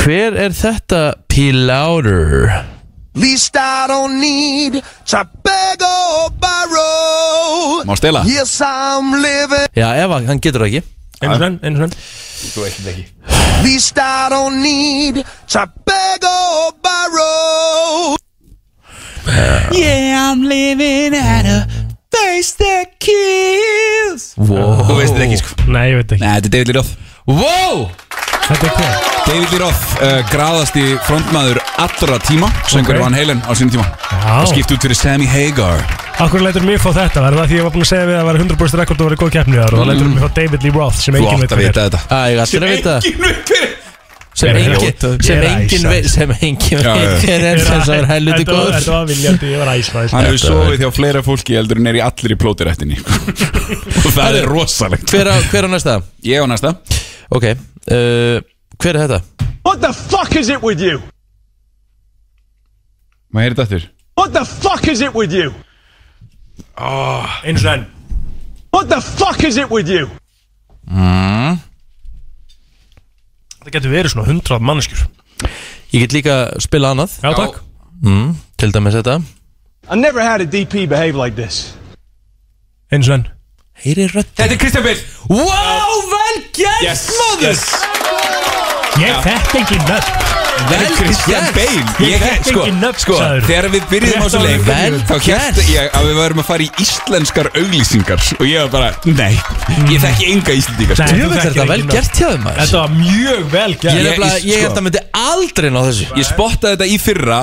[SPEAKER 4] Hver er þetta Piláður?
[SPEAKER 8] Least I don't need to beg or borrow.
[SPEAKER 1] Má stela?
[SPEAKER 8] Yes, I'm living.
[SPEAKER 4] Já, ef hann- hann getur það ekki
[SPEAKER 5] Einu svenn, einu svenn
[SPEAKER 8] Least I don't need to beg or borrow.
[SPEAKER 1] Þú veist þetta ekki sko
[SPEAKER 5] Nei, ég veit ekki
[SPEAKER 1] Nei, þetta er David Lee Roth
[SPEAKER 4] Wow!
[SPEAKER 5] Þetta er hver?
[SPEAKER 1] David Lee Roth uh, gráðasti frontmaður allra tíma Söngur
[SPEAKER 5] Ok.
[SPEAKER 1] Van Halen á sínum tíma
[SPEAKER 5] Já.
[SPEAKER 1] Og skipt út fyrir Sammy Hagar
[SPEAKER 5] Akkur lætur mig fá þetta, var það því ég var búin að segja við að það var 100% rekord og var í góð keppni þar og það lætur mig fá David Lee Roth sem
[SPEAKER 1] Þú
[SPEAKER 5] enginn veit
[SPEAKER 1] átt að
[SPEAKER 5] hver
[SPEAKER 1] vita þetta
[SPEAKER 4] Æ, ég ætla að vita það.
[SPEAKER 5] Er
[SPEAKER 4] sem
[SPEAKER 5] það
[SPEAKER 4] engin
[SPEAKER 5] ljótt að
[SPEAKER 4] sem
[SPEAKER 5] gera
[SPEAKER 4] engin
[SPEAKER 5] æsa?
[SPEAKER 4] veit sem engin
[SPEAKER 1] Já, já.
[SPEAKER 4] veit hver er sem sem er helviti
[SPEAKER 5] Þetta var-
[SPEAKER 4] góður
[SPEAKER 5] Þetta var viljandi, ég var æsnaðist
[SPEAKER 1] Hann hefur sofið hjá fleira fólki heldur en er í allir í plótirættinni Og það er rosalegt
[SPEAKER 4] hver, á, hver á næsta?
[SPEAKER 1] Ég á næsta
[SPEAKER 4] Ok, uh, hver er þetta?
[SPEAKER 8] What the fuck is it with you?
[SPEAKER 1] Má heyrði þetta aftur
[SPEAKER 8] What the fuck is it with you?
[SPEAKER 5] Einu svenn
[SPEAKER 8] What the fuck is it with you?
[SPEAKER 5] Það getur verið svona 100 manneskjur
[SPEAKER 4] Ég get líka spila annað
[SPEAKER 5] Já, takk
[SPEAKER 4] mm, til dæmis þetta
[SPEAKER 8] I never had a DP behave like this.
[SPEAKER 5] Einu svenn
[SPEAKER 4] Heyri rödd
[SPEAKER 1] Þetta er Kristján Bill
[SPEAKER 4] Wow, vel gert
[SPEAKER 1] Yes,
[SPEAKER 4] maður
[SPEAKER 1] yes.
[SPEAKER 5] Ég þekkt engin nöfn
[SPEAKER 1] Þetta er Kristján
[SPEAKER 4] gert.
[SPEAKER 1] Bale
[SPEAKER 5] Ég
[SPEAKER 1] Ég
[SPEAKER 5] þekki
[SPEAKER 1] sko,
[SPEAKER 5] engin nöfn,
[SPEAKER 1] sko,
[SPEAKER 5] sagður.
[SPEAKER 1] Þegar við byrjum á
[SPEAKER 5] Rétt
[SPEAKER 1] svo leik
[SPEAKER 5] áður
[SPEAKER 4] en
[SPEAKER 1] Þá
[SPEAKER 4] byrjuðum.
[SPEAKER 1] hérst ég að við varum að fara í íslenskar auglýsingar Og ég var bara, nei Ég þekki enga íslendingar
[SPEAKER 5] Nei.
[SPEAKER 1] sko.
[SPEAKER 5] Þú
[SPEAKER 4] Jöfnveld er
[SPEAKER 5] þekkir
[SPEAKER 4] þetta vel
[SPEAKER 5] ekki nöfn.
[SPEAKER 4] gert hjá þeim maður
[SPEAKER 5] Þetta var mjög vel
[SPEAKER 4] Ég
[SPEAKER 5] gert
[SPEAKER 4] er
[SPEAKER 1] Ég-
[SPEAKER 4] nefnilega,
[SPEAKER 1] ég-
[SPEAKER 4] ég
[SPEAKER 1] sko.
[SPEAKER 4] held að myndi aldrei ná þessu
[SPEAKER 1] Ég spottaði þetta í fyrra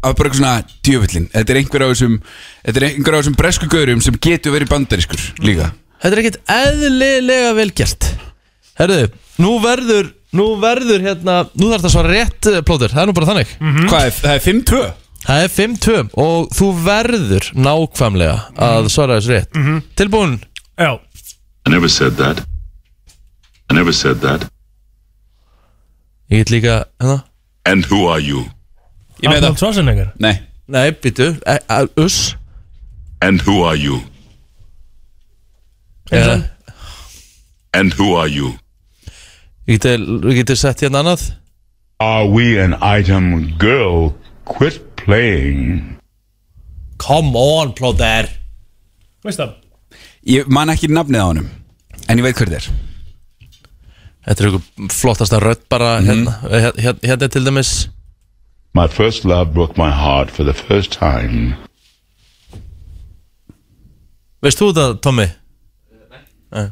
[SPEAKER 1] Af bara eitthvað svona djöfullin Þetta er einhver á þessum Þetta er einhver á þessum bresku gaurum Sem getur verið bandarískur líka
[SPEAKER 4] Þetta er ekkert eðlilega vel gert Herðu, nú verður Nú verður hérna, nú þarf það að svara rétt eh, plóter, það er nú bara þannig
[SPEAKER 5] Mhm.
[SPEAKER 1] Hvað er, það er 5-2
[SPEAKER 4] Það er 5-2 og þú verður nákvæmlega að svara þessu rétt Tilbúin,
[SPEAKER 5] Já
[SPEAKER 6] I never said that. I never said that.
[SPEAKER 4] ég get líka hérna.
[SPEAKER 6] And who are you?
[SPEAKER 1] Ég með
[SPEAKER 5] Arnold
[SPEAKER 1] það
[SPEAKER 5] Schwarzenegger
[SPEAKER 1] Nei,
[SPEAKER 4] Nei, býtu, e- a- uss
[SPEAKER 6] And who are you?
[SPEAKER 4] Eða,
[SPEAKER 6] And who are you?
[SPEAKER 4] Ég geti, ég geti sett hérna annað
[SPEAKER 6] Are we an item girl? Quit playing.
[SPEAKER 4] Come on, plóter
[SPEAKER 5] Veist það?
[SPEAKER 1] ég man ekki nafnið á honum En ég veit hver þetta er
[SPEAKER 4] Þetta er einhver flottasta rödd bara hérna, hér, hér, hérna er til dæmis
[SPEAKER 6] My first love broke my heart for the first time.
[SPEAKER 4] Veist þú þetta, Tommy?
[SPEAKER 5] Ég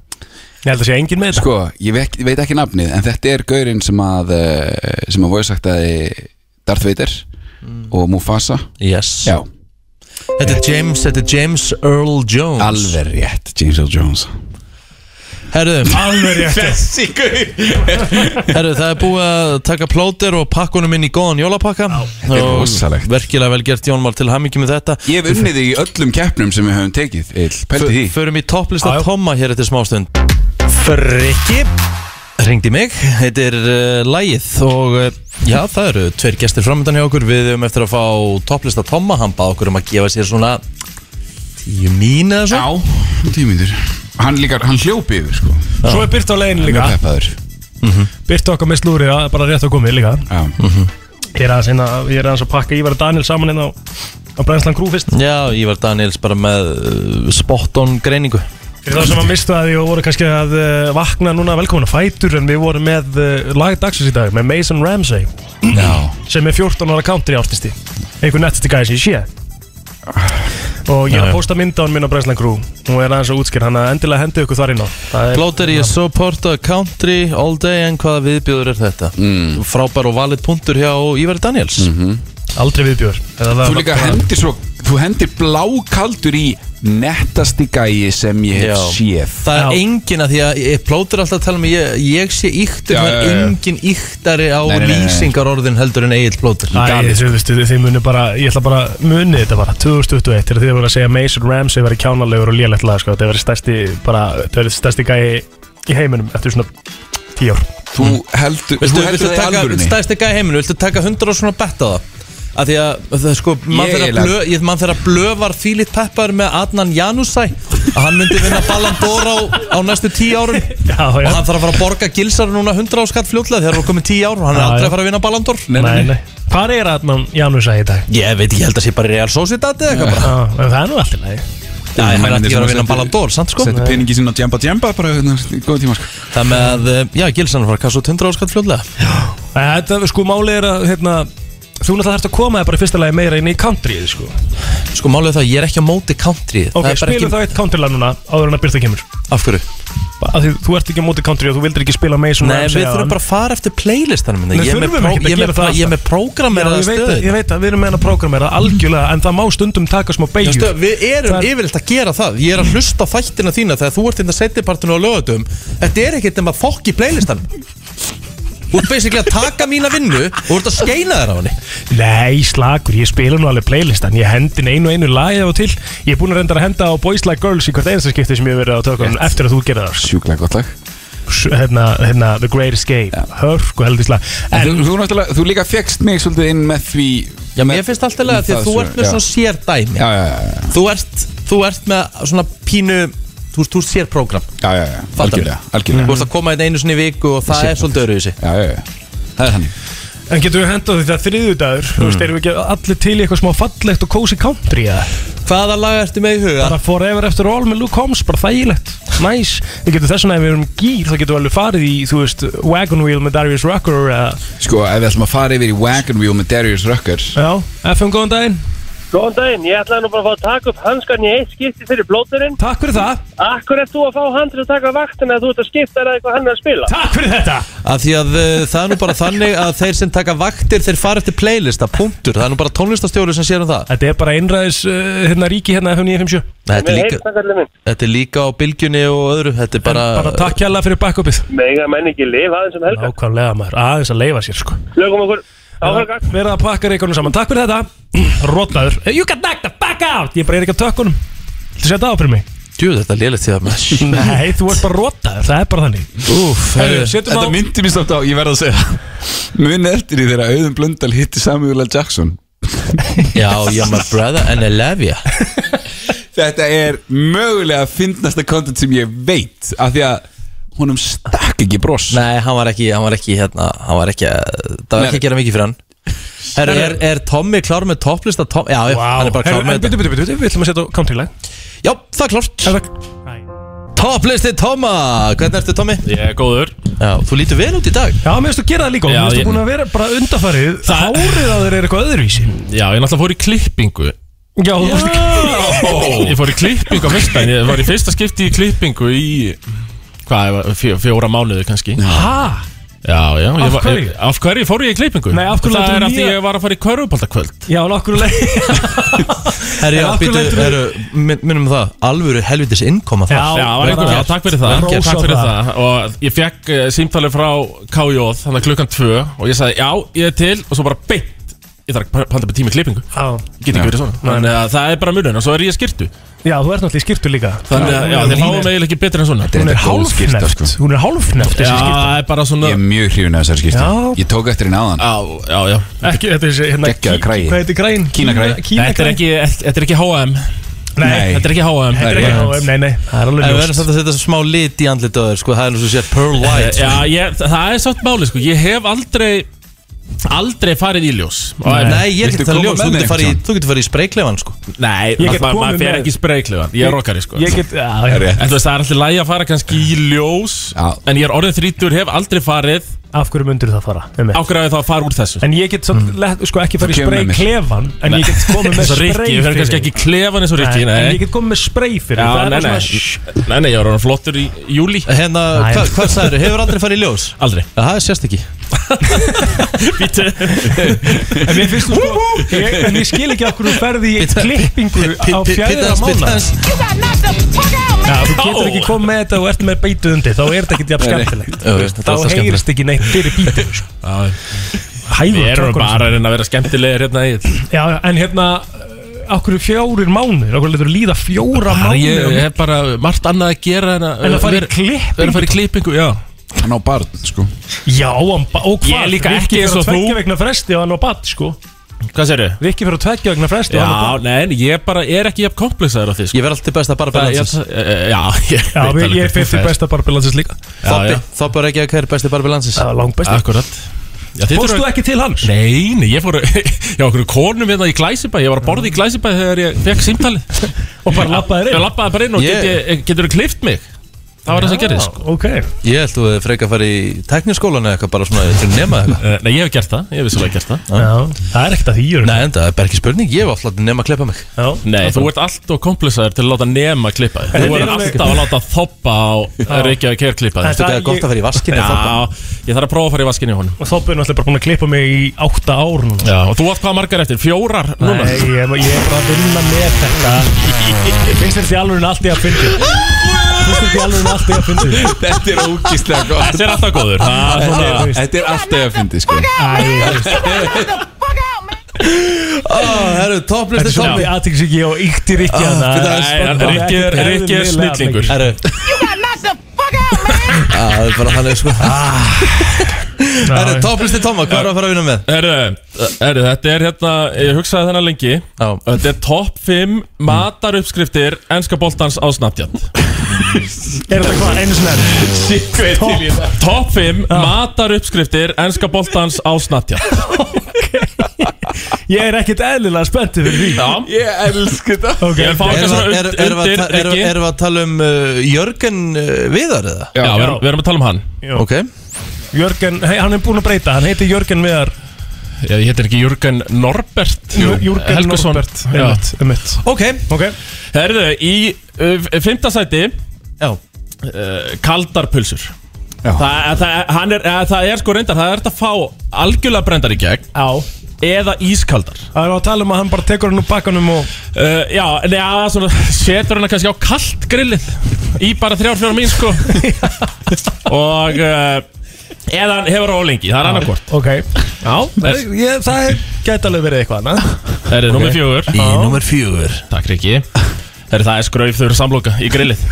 [SPEAKER 5] held að sé engin með þetta
[SPEAKER 1] Sko, ég veit, ég veit ekki nafnið En þetta er gaurinn sem að eh, Sem að voru sagt að Darth Vader Og Mufasa
[SPEAKER 4] Yes
[SPEAKER 1] Já,
[SPEAKER 4] Þetta er James, þetta er James Earl Jones
[SPEAKER 1] alveg rétt James Earl Jones
[SPEAKER 4] Herðu,
[SPEAKER 5] Alveg rétt
[SPEAKER 1] Þessi gauð
[SPEAKER 4] herðu, það er búið að taka plóter og pakka honum inn í góðan jólapakka
[SPEAKER 1] er
[SPEAKER 4] Og
[SPEAKER 1] rosalegt.
[SPEAKER 4] Verkilega vel gert Jónmál til hamingi með þetta
[SPEAKER 1] Ég hef unnið þig í öllum keppnum sem við höfum tekið Eil, pælti því
[SPEAKER 4] Förum í topplista
[SPEAKER 5] Já, já.
[SPEAKER 4] Tomma hér eftir smástund Frikki Ringdi mig, heitir uh, Lægið og uh, já, það eru tveir gestir framöndan hjá okkur Við höfum eftir að fá topplista Tomma Hann bað okkur um að gefa sér svona tíu mín eða svo
[SPEAKER 1] Já, tímyndur Hann líka, hann hljópi yfir sko
[SPEAKER 5] Svo er Byrta á leiðinu
[SPEAKER 1] Mjög
[SPEAKER 5] líka
[SPEAKER 1] peppaður
[SPEAKER 5] Byrta okkar með slúrið að bara rétt á komið líka
[SPEAKER 1] Já,
[SPEAKER 5] Ég er aðeins, hérna- ég er aðeins að pakka Ívar og Daniel saman hérna á, á Brænslan Crew fyrst
[SPEAKER 4] Já, Ívar Daniels bara með uh, spot-on greiningu
[SPEAKER 5] Fyrir þá sem að mistu að því og voru kannski að uh, vakna núna velkomin að fætur En við vorum með uh, lag dagsins í dag með Mason Ramsey
[SPEAKER 1] já
[SPEAKER 5] Sem er 14 ára country artisti Einhver nettasti gæði sem ég sé Og ég er
[SPEAKER 4] Já, já.
[SPEAKER 5] að posta mynda á hann minn á Brænslan Crew Nú er aðeins að útskýr hann að endilega hendi ykkur þar inn á Það er-
[SPEAKER 4] Blóter ég supporta country all day en hvaða viðbjóður er þetta mm. Frábær og valid punktur hjá Ívar Daniels
[SPEAKER 5] aldrei viðbjör
[SPEAKER 1] Þú líka hendir svo, þú hendir blákaldur í nettasti gæi sem ég hef
[SPEAKER 4] Já.
[SPEAKER 1] séð
[SPEAKER 4] Það er
[SPEAKER 5] Já.
[SPEAKER 4] engin að því að ég plótur alltaf að tala um að ég, ég sé íktur,
[SPEAKER 1] Já,
[SPEAKER 4] það
[SPEAKER 1] já,
[SPEAKER 4] er
[SPEAKER 1] já.
[SPEAKER 4] engin íktari á
[SPEAKER 1] Nei, nei, nei, nei.
[SPEAKER 4] lýsingarorðin heldur en Egil plótur
[SPEAKER 5] Æ,
[SPEAKER 1] Galið,
[SPEAKER 5] þú veist, þið þið munu bara, ég ætla bara munið þetta bara, 2021 þegar þið voru að segja Mason Ramsey verið kjánalegur og lélegt lag, sko, þetta verið stærsti bara, þetta verið stærsti gæi í heiminum eftir svona tíu ár
[SPEAKER 1] Þú heldur,
[SPEAKER 4] Viltu,
[SPEAKER 1] þú
[SPEAKER 4] viltu
[SPEAKER 1] heldur það í
[SPEAKER 4] taka,
[SPEAKER 1] alvörunni
[SPEAKER 4] stæðst ekki að heiminu, viltu taka hundra og svona betta á það? Að því að, það, sko, mann
[SPEAKER 1] Ég
[SPEAKER 4] þeirra
[SPEAKER 1] eiginlega-
[SPEAKER 4] blö, ég- mann þeirra blövar Fílit Peppar með Adnan Janusæ að hann myndi vinna Ballon d'Or á, á næstu tíu árum
[SPEAKER 5] Já,
[SPEAKER 4] og
[SPEAKER 5] já,
[SPEAKER 4] hann þarf að fara að borga gilsar núna hundra á skatt fljótlega þegar hann er komið tíu ár og hann er
[SPEAKER 5] Já,
[SPEAKER 4] aldrei
[SPEAKER 5] já.
[SPEAKER 4] að fara að vinna Ballon d'Or
[SPEAKER 5] nei, nei Hvað er að mann Janus að í dag?
[SPEAKER 4] Ég veit ekki, ég held að sé bara Real Sociedad eða eitthvað bara
[SPEAKER 5] Já, en það er nú allt í lagi
[SPEAKER 4] Já, hann er ekki að fara að vinna
[SPEAKER 1] Settu-
[SPEAKER 4] Ballon d'Or, sant sko
[SPEAKER 1] Settu peningi sinna á djemba djemba bara hérna, í góða tíma sko
[SPEAKER 4] Það með að, eh, já, Gilsan var að kasta út 100 áskatt fljóðlega
[SPEAKER 5] Nei, Þetta, sko, málið er að, hérna, þú náttúrulega þarfst að koma þér bara í fyrsta lagi meira inn í countryið, sko
[SPEAKER 4] Sko málið er það, að ég er ekki á móti country
[SPEAKER 5] Ok,
[SPEAKER 4] Það er bara
[SPEAKER 5] spilum þá eitt countrylag núna áður en að byrta kemur
[SPEAKER 4] Af hverju?
[SPEAKER 5] Af því Þú ert ekki á móti country og þú vildir ekki spila Mason
[SPEAKER 4] Nei,
[SPEAKER 5] Ramsey
[SPEAKER 4] við
[SPEAKER 5] áðan.
[SPEAKER 4] þurfum bara að fara eftir playlistanum minni
[SPEAKER 5] Nei,
[SPEAKER 4] Ég er með
[SPEAKER 5] þurfum
[SPEAKER 4] pró-
[SPEAKER 5] ekkert
[SPEAKER 4] ég
[SPEAKER 5] að
[SPEAKER 4] er
[SPEAKER 5] gera
[SPEAKER 4] með
[SPEAKER 5] það
[SPEAKER 4] pla- ég er með
[SPEAKER 5] Já,
[SPEAKER 4] prógrameraða
[SPEAKER 5] ég veit, að, ég
[SPEAKER 4] stöðin
[SPEAKER 5] veit að við erum með hennar prógramera algjörlega en það má stundum taka smá
[SPEAKER 4] Já,
[SPEAKER 5] beigjur
[SPEAKER 4] stöð, Við erum
[SPEAKER 5] Það er-
[SPEAKER 4] yfirleitt að gera það Ég er að hlusta á þættina þína þegar þú ert inn að setja partinu á lögatum Þetta er ekkert nema fokk í playlistanum Þú ert basically að taka mína vinnu og þú ert að skeina þér á henni
[SPEAKER 5] Nei, slagur, ég spila nú alveg playlistan ég hendin einu og einu lagi af og til ég er búin að reynda að henda á Boys Like Girls í hvert einasta skipti sem ég hef verið á tökum eftir að þú gerði það
[SPEAKER 1] Sjúklega gott lag
[SPEAKER 5] S- hérna, hérna, The Great Escape ja. hörku heldislega
[SPEAKER 1] En
[SPEAKER 5] en
[SPEAKER 1] þú, þú, náttúrulega- þú líka fegst mig svolítið inn með því
[SPEAKER 4] Já, mér finnst alltaf lega því að þú ert með svona sér dæmi
[SPEAKER 1] Já, já, já,
[SPEAKER 4] Þú ert, þú ert með svona pínu Þú veist, þú sér prógram
[SPEAKER 1] já, já, já,
[SPEAKER 4] Fattar Mm.
[SPEAKER 1] algjörlega,
[SPEAKER 4] mig.
[SPEAKER 1] algjörlega
[SPEAKER 4] Þú veist að koma einn einu sinni í viku og það er svolítið öruvísi
[SPEAKER 1] Já, já, já, það er þannig
[SPEAKER 5] En getur við hendað þetta þriðjudagur mm. Þú veist, erum við ekki allir til í eitthvað smá fallegt og cozy country eða?
[SPEAKER 4] Hvaða lag ertu með í huga?
[SPEAKER 5] Bara forever after all með Luke Holmes, bara þægilegt Næs, við getum þess vegna ef við erum gýr þá getum við alveg farið í, þú veist, Wagon Wheel með Darius Rucker eða,
[SPEAKER 1] Sko, ef við ætlum að fara yfir í Wagon Wheel með Darius Rucker
[SPEAKER 5] já, FM góðan daginn
[SPEAKER 10] Góðan daginn, ég ætlaði nú bara að fá að taka upp hanskan í eitt skipti fyrir blóturinn.
[SPEAKER 5] Takk fyrir það,
[SPEAKER 10] Akkur er þú að fá hann til að taka vaktina að þú ert að skipta þér að eitthvað hann er að spila?
[SPEAKER 5] takk fyrir þetta
[SPEAKER 4] Af því að uh, það er nú bara þannig að þeir sem taka vaktir þeir fara eftir playlista, punktur Það er nú bara tónlistastjóri sem sér um það
[SPEAKER 5] Þetta er bara einræðis uh, hérna ríki hérna FM 957
[SPEAKER 4] Nei, þetta, er
[SPEAKER 10] Með
[SPEAKER 4] líka,
[SPEAKER 10] heilstakallið minn.
[SPEAKER 4] þetta er líka á bylgjunni og öðru Þetta er bara,
[SPEAKER 5] Bara takk hjá fyrir backupið
[SPEAKER 10] Mega menn ekki lif aðeins um helga.
[SPEAKER 5] Nákvæmlega maður, aðeins að leifa sér sko
[SPEAKER 10] Lögum okkur áhörgar.
[SPEAKER 5] Verða að pakka reikunum saman, takk fyrir þetta Rótlaður, you can knock the fuck out Ég bara er ekki að tökkunum Þú setja á fyrir mig
[SPEAKER 4] djú þetta er lélegt því að maður
[SPEAKER 5] Nei, þú ert bara rótlaður, það er bara þannig
[SPEAKER 4] Úf,
[SPEAKER 5] Herru,
[SPEAKER 4] herru,
[SPEAKER 5] setjum á
[SPEAKER 1] Þetta myndi mér stótt á, ég verð að segja Mun eftir því þegar Auðun Blöndal hitti Samuel L. Jackson
[SPEAKER 4] já, you're my brother and I love you
[SPEAKER 1] Þetta er mögulega fyndnasta content sem ég veit Af því að honum stakk ekki bross
[SPEAKER 4] Nei, hann var ekki, hann var ekki hérna, hann var ekki, það var ekki
[SPEAKER 1] Nei.
[SPEAKER 4] að gera mikið fyrir hann Herru, er, er Tommy klár með topplista? Tom, já, já, hann er bara klár
[SPEAKER 5] Herru,
[SPEAKER 4] með
[SPEAKER 5] en
[SPEAKER 4] þetta
[SPEAKER 5] Bitu, bitu, bitu, við ætlum að setja á countrylag
[SPEAKER 4] Já, það er klárt Topplisti Tóma, hvernig ertu Tómi?
[SPEAKER 11] Ég er góður
[SPEAKER 4] Já, þú lítur vel út í dag
[SPEAKER 5] Já, mér finnst þú gera það líka og
[SPEAKER 11] Já,
[SPEAKER 5] Mér finnst þú
[SPEAKER 11] ég-
[SPEAKER 5] búin að vera bara undarfarið Hárið á þér er eitthvað öðruvísi
[SPEAKER 11] Já, ég náttúrulega fór í klippingu
[SPEAKER 5] Já, þú veist ekki
[SPEAKER 11] Ég fór í klippingu á fyrsta Ég var í fyrsta skipti í klippingu í Hvað, fjó, fjóra mánuði kannski
[SPEAKER 5] Hæ?
[SPEAKER 12] Já, já,
[SPEAKER 5] Af
[SPEAKER 12] ég var,
[SPEAKER 5] hverju?
[SPEAKER 12] af hverju fór ég í klippingu?
[SPEAKER 5] Nei, af hverju
[SPEAKER 12] Það
[SPEAKER 5] lætur
[SPEAKER 12] er
[SPEAKER 5] þú
[SPEAKER 12] af því
[SPEAKER 5] nýja-
[SPEAKER 12] ég var að fara í kvörfubaldakvöld
[SPEAKER 5] Já, en okkur leið
[SPEAKER 4] Herri, já,
[SPEAKER 5] En af hverju
[SPEAKER 4] býtu,
[SPEAKER 5] lætur þú-
[SPEAKER 4] herru, min- minnum það Alvöru helvitis innkoma það
[SPEAKER 12] Já, var einhver, já, takk fyrir það,
[SPEAKER 4] Vel gert.
[SPEAKER 12] takk fyrir það. Og ég fekk uh, símtalið frá KJ Þannig klukkan 2 Og ég sagði já, ég er til Og svo bara beint Ég þarf að panta upp tími í klippingu
[SPEAKER 5] Já.
[SPEAKER 12] Get ekki verið svona Þannig að það er bara munurinn Og svo er ég í skyrtu
[SPEAKER 5] Já, þú ert náttúrulega í skýrtu líka
[SPEAKER 12] Þannig að já, þið fáum eiginlega ekki betur en svona
[SPEAKER 5] Hún er
[SPEAKER 1] góð skyrta,
[SPEAKER 5] hálfneft
[SPEAKER 1] sko.
[SPEAKER 5] Hún er hálfneft
[SPEAKER 12] Já,
[SPEAKER 5] þessi skýrta
[SPEAKER 12] það er bara svona
[SPEAKER 1] Ég er mjög hrifin af þessari skipta
[SPEAKER 5] Já.
[SPEAKER 1] Ég tók eftir henni áðan
[SPEAKER 12] Já, já, já
[SPEAKER 5] Ekki, þetta er þessi hérna
[SPEAKER 1] Geggjaður
[SPEAKER 5] kí-
[SPEAKER 1] kragi.
[SPEAKER 5] Hvað heitir græn?
[SPEAKER 1] Kínakragi.
[SPEAKER 5] Kína
[SPEAKER 12] Þetta er ekki, þetta er ekki HM
[SPEAKER 5] Nei,
[SPEAKER 12] Þetta er ekki HM
[SPEAKER 5] þetta er ekki HM, nei, nei Það er
[SPEAKER 4] En
[SPEAKER 5] alveg
[SPEAKER 4] við verðum
[SPEAKER 5] ljóst
[SPEAKER 4] samt að setja smá lit í andlit á þér sko, það er nú svo sér Pearl White
[SPEAKER 12] Eh, Já, ég, það er samt máli sko Ég hef aldrei Aldrei farið í ljós Og-
[SPEAKER 4] Nei, ég er
[SPEAKER 1] Viltu
[SPEAKER 4] ekki það
[SPEAKER 1] koma
[SPEAKER 4] ljós,
[SPEAKER 1] með
[SPEAKER 4] þú
[SPEAKER 1] mig
[SPEAKER 4] getur farið í-
[SPEAKER 1] einhvern
[SPEAKER 4] þú getur farið í spreikleifan sko
[SPEAKER 12] Nei,
[SPEAKER 5] Ég get
[SPEAKER 12] maður ma
[SPEAKER 5] komið
[SPEAKER 12] fer
[SPEAKER 5] með-
[SPEAKER 12] ekki spreiklegan Ég er rockari sko
[SPEAKER 5] Ég get, já, já,
[SPEAKER 1] Rétt.
[SPEAKER 12] En þú veist, það er alltaf lægi að fara kannski í ljós
[SPEAKER 1] Já.
[SPEAKER 12] En ég er orðin þrítur, hef aldrei farið
[SPEAKER 5] af hverju myndir það fara? Um
[SPEAKER 12] Ákveðið þá að fara úr þessu
[SPEAKER 5] en ég get
[SPEAKER 12] Mm.
[SPEAKER 5] samt, let, sko, ekki farið í
[SPEAKER 1] kemur
[SPEAKER 5] spray
[SPEAKER 1] með mér.
[SPEAKER 5] klefan En ég get komið með
[SPEAKER 12] Svo
[SPEAKER 5] spray
[SPEAKER 12] Rikki, ég fer kannski ekki í klefan eins og Rikki
[SPEAKER 5] Nei, En ég
[SPEAKER 12] Nei,
[SPEAKER 5] get komið með spray fyrir
[SPEAKER 12] Já,
[SPEAKER 5] það er
[SPEAKER 12] nei,
[SPEAKER 5] svona-
[SPEAKER 12] nei.
[SPEAKER 5] Shh.
[SPEAKER 12] nei, nei, ég var orðin flottur í júli
[SPEAKER 4] Hérna,
[SPEAKER 5] Nei.
[SPEAKER 4] hva, hvað sagður, hefur aldrei farið í ljós?
[SPEAKER 12] Aldrei
[SPEAKER 4] Já, það sést ekki
[SPEAKER 5] En mér finnst þú sko ég, En ég skil ekki af hverju þú ferði í
[SPEAKER 4] Bíddu,
[SPEAKER 5] klippingu á fjæðra mánu Já, þú getur ekki komið með þetta og ert með beitu undir Þá er þetta ekki jafn
[SPEAKER 1] Nei, nei.
[SPEAKER 5] skemmtilegt
[SPEAKER 4] Jú,
[SPEAKER 5] Þú
[SPEAKER 4] jú,
[SPEAKER 5] veist,
[SPEAKER 4] þetta er
[SPEAKER 5] Þá
[SPEAKER 4] alltaf
[SPEAKER 5] heyrist ekki neitt fyrir bítu sko.
[SPEAKER 12] Við
[SPEAKER 5] Hæfur
[SPEAKER 12] erum bara að reyna að vera skemmtilegir hérna í
[SPEAKER 5] Já, já, en hérna Af hverju fjórir mánuðir? Af hverju letur líða fjóra
[SPEAKER 12] Ég
[SPEAKER 5] mánuðir?
[SPEAKER 12] ég hef bara margt annað að gera En að
[SPEAKER 5] En að fara í
[SPEAKER 12] vera-
[SPEAKER 5] klippingu?
[SPEAKER 12] vera að fara í klippingu, já
[SPEAKER 1] Hann á barn, sko
[SPEAKER 5] Já, hann ba- og hvað?
[SPEAKER 12] Ég er líka ekki eins
[SPEAKER 5] Rikki fyrir að
[SPEAKER 12] og þú.
[SPEAKER 5] tveggja vegna fresti og hann á bad, sko
[SPEAKER 12] Hvað sérðu?
[SPEAKER 5] Rikki fyrir að tveggja vegna fresti og hann á
[SPEAKER 12] Já,
[SPEAKER 5] bad
[SPEAKER 12] nei, en ég bara er ekki jafn komplexaður á því sko.
[SPEAKER 4] Ég verð alltaf best að bara
[SPEAKER 12] Það- ég-
[SPEAKER 4] balansins
[SPEAKER 12] eh, Já, ég
[SPEAKER 5] Já,
[SPEAKER 12] veit
[SPEAKER 5] við-
[SPEAKER 12] alveg
[SPEAKER 5] ég er
[SPEAKER 12] hvernig
[SPEAKER 5] fyrir
[SPEAKER 12] það er.
[SPEAKER 5] besta barbilansins líka
[SPEAKER 12] Já, já.
[SPEAKER 4] Þá bara ekki að hver er besti bara balansins
[SPEAKER 5] Það var langt besti
[SPEAKER 12] Akkurat Já, þið
[SPEAKER 5] Fórstu
[SPEAKER 12] þurfa-
[SPEAKER 5] ekki til hans?
[SPEAKER 12] Ah, Nei, nei, ég fór Já, okkur konum hérna í Glæsibæ Ég var að borða í Glæsibæ þegar ég fekk símtali Og bara
[SPEAKER 5] labbaðir inn?
[SPEAKER 12] Ég labbaði bara inn og
[SPEAKER 4] Ég-
[SPEAKER 12] yeah. getur þú klift mig Það var þess að gera sko.
[SPEAKER 5] Ok
[SPEAKER 4] Ég held þú freka að fara í tekniskólan eða eitthvað bara svona til að nema eitthvað
[SPEAKER 12] Eh, Nei, ég hef gert það, ég hef vissulega gert það
[SPEAKER 5] Já, það er ekkert að því jörn
[SPEAKER 4] Nei, en það er bara ekki spurning, ég hef alltaf látið nema að klippa mig
[SPEAKER 12] Nei, þú ert allt og komplexaður til að láta nema klippa þig Þú
[SPEAKER 5] þetta ah, er
[SPEAKER 12] ert
[SPEAKER 5] alveg-
[SPEAKER 12] alltaf að láta þoppa á Reykjavík að kera klippa
[SPEAKER 5] Þetta
[SPEAKER 12] þig
[SPEAKER 4] Það er gott að fara í vaskinni
[SPEAKER 12] Já, ég þarf að prófa að fara í vaskinni í honum
[SPEAKER 5] Og þá byrjum alltaf bara búin að klippa mig í átta ár núna
[SPEAKER 12] Já, og þú átt hvað margar eftir? Fjórar núna?
[SPEAKER 5] Nei, ég, er- ég er bara að vinna með þetta Ég finnst þetta í alveg allt ég að fyndi Finnst þetta í alveg allt ég að fyndi
[SPEAKER 1] Þetta er ógíslega gott
[SPEAKER 12] Þessi er alltaf góður Það er svona
[SPEAKER 1] Þetta er alltaf að fyndi, sko
[SPEAKER 4] Herru, topplisti
[SPEAKER 5] Þetta er svolítið aðtíksíki og ykti Rikki
[SPEAKER 4] Ah,
[SPEAKER 5] hana
[SPEAKER 4] þetta er
[SPEAKER 5] Nei,
[SPEAKER 4] spennandi.
[SPEAKER 5] hann er
[SPEAKER 12] Rikki er-
[SPEAKER 5] ekkert
[SPEAKER 12] Rikki er
[SPEAKER 5] eðlilega
[SPEAKER 12] snillingur.
[SPEAKER 5] mikið.
[SPEAKER 4] Herru Það er bara hann er sko Herru, topplisti Toma, hvað er að fara að vinna með?
[SPEAKER 12] Herru, herru, þetta er hérna, ég hugsaði þennan lengi
[SPEAKER 4] Já.
[SPEAKER 12] Þetta er topp 5 mataruppskriftir Enska boltans á Snapchat
[SPEAKER 5] Er þetta hvað, einu sinni enn?
[SPEAKER 12] Topp 5 mataruppskriftir Enska boltans á Snapchat
[SPEAKER 5] Ég er ekkert eðlilega spenntið fyrir því
[SPEAKER 12] Já
[SPEAKER 1] Ég elsku þetta
[SPEAKER 5] Ok,
[SPEAKER 12] Ég vil fá eitthvað
[SPEAKER 4] Erum
[SPEAKER 12] svona
[SPEAKER 4] við- erum
[SPEAKER 12] und-
[SPEAKER 4] við að
[SPEAKER 12] undir,
[SPEAKER 4] ta- erum-
[SPEAKER 12] Rikki
[SPEAKER 4] erum við að tala um uh, Jörgen uh, Viðar eða?
[SPEAKER 12] Já, við erum- við erum að tala um hann
[SPEAKER 4] Ok
[SPEAKER 5] Jörgen, hei, hann er búin að breyta, hann heitir Jörgen Viðar
[SPEAKER 12] Ég heitir ekki Jörgen Norbert
[SPEAKER 5] Jörgen
[SPEAKER 12] Helgason.
[SPEAKER 5] Norbert
[SPEAKER 12] Já.
[SPEAKER 5] Einmitt, einmitt
[SPEAKER 4] Ok
[SPEAKER 5] Ok,
[SPEAKER 12] Herðu, í uh, fymta sæti
[SPEAKER 4] Já
[SPEAKER 12] uh, kaldar pulsur Þa, það, hann er, eh, það er sko reyndar, það er þetta að fá algjörlega brendar í gegn
[SPEAKER 5] á
[SPEAKER 12] eða ískaldar
[SPEAKER 5] Það er á að tala um að hann bara tekur hann úr bakkanum og
[SPEAKER 12] uh, Já, neða, svona setur hana kannski á kalt grillið í bara þrjár, fjórar mín sko og uh, eða hann hefur á lengi, það er annarkvort
[SPEAKER 5] Ok,
[SPEAKER 12] Já, er,
[SPEAKER 5] ég, það er gæti alveg verið eitthvað annað
[SPEAKER 12] er okay. nummer fjögur
[SPEAKER 4] Í nummer fjögur
[SPEAKER 12] Takk Riki Herri, það er skraufþur samloka í grillið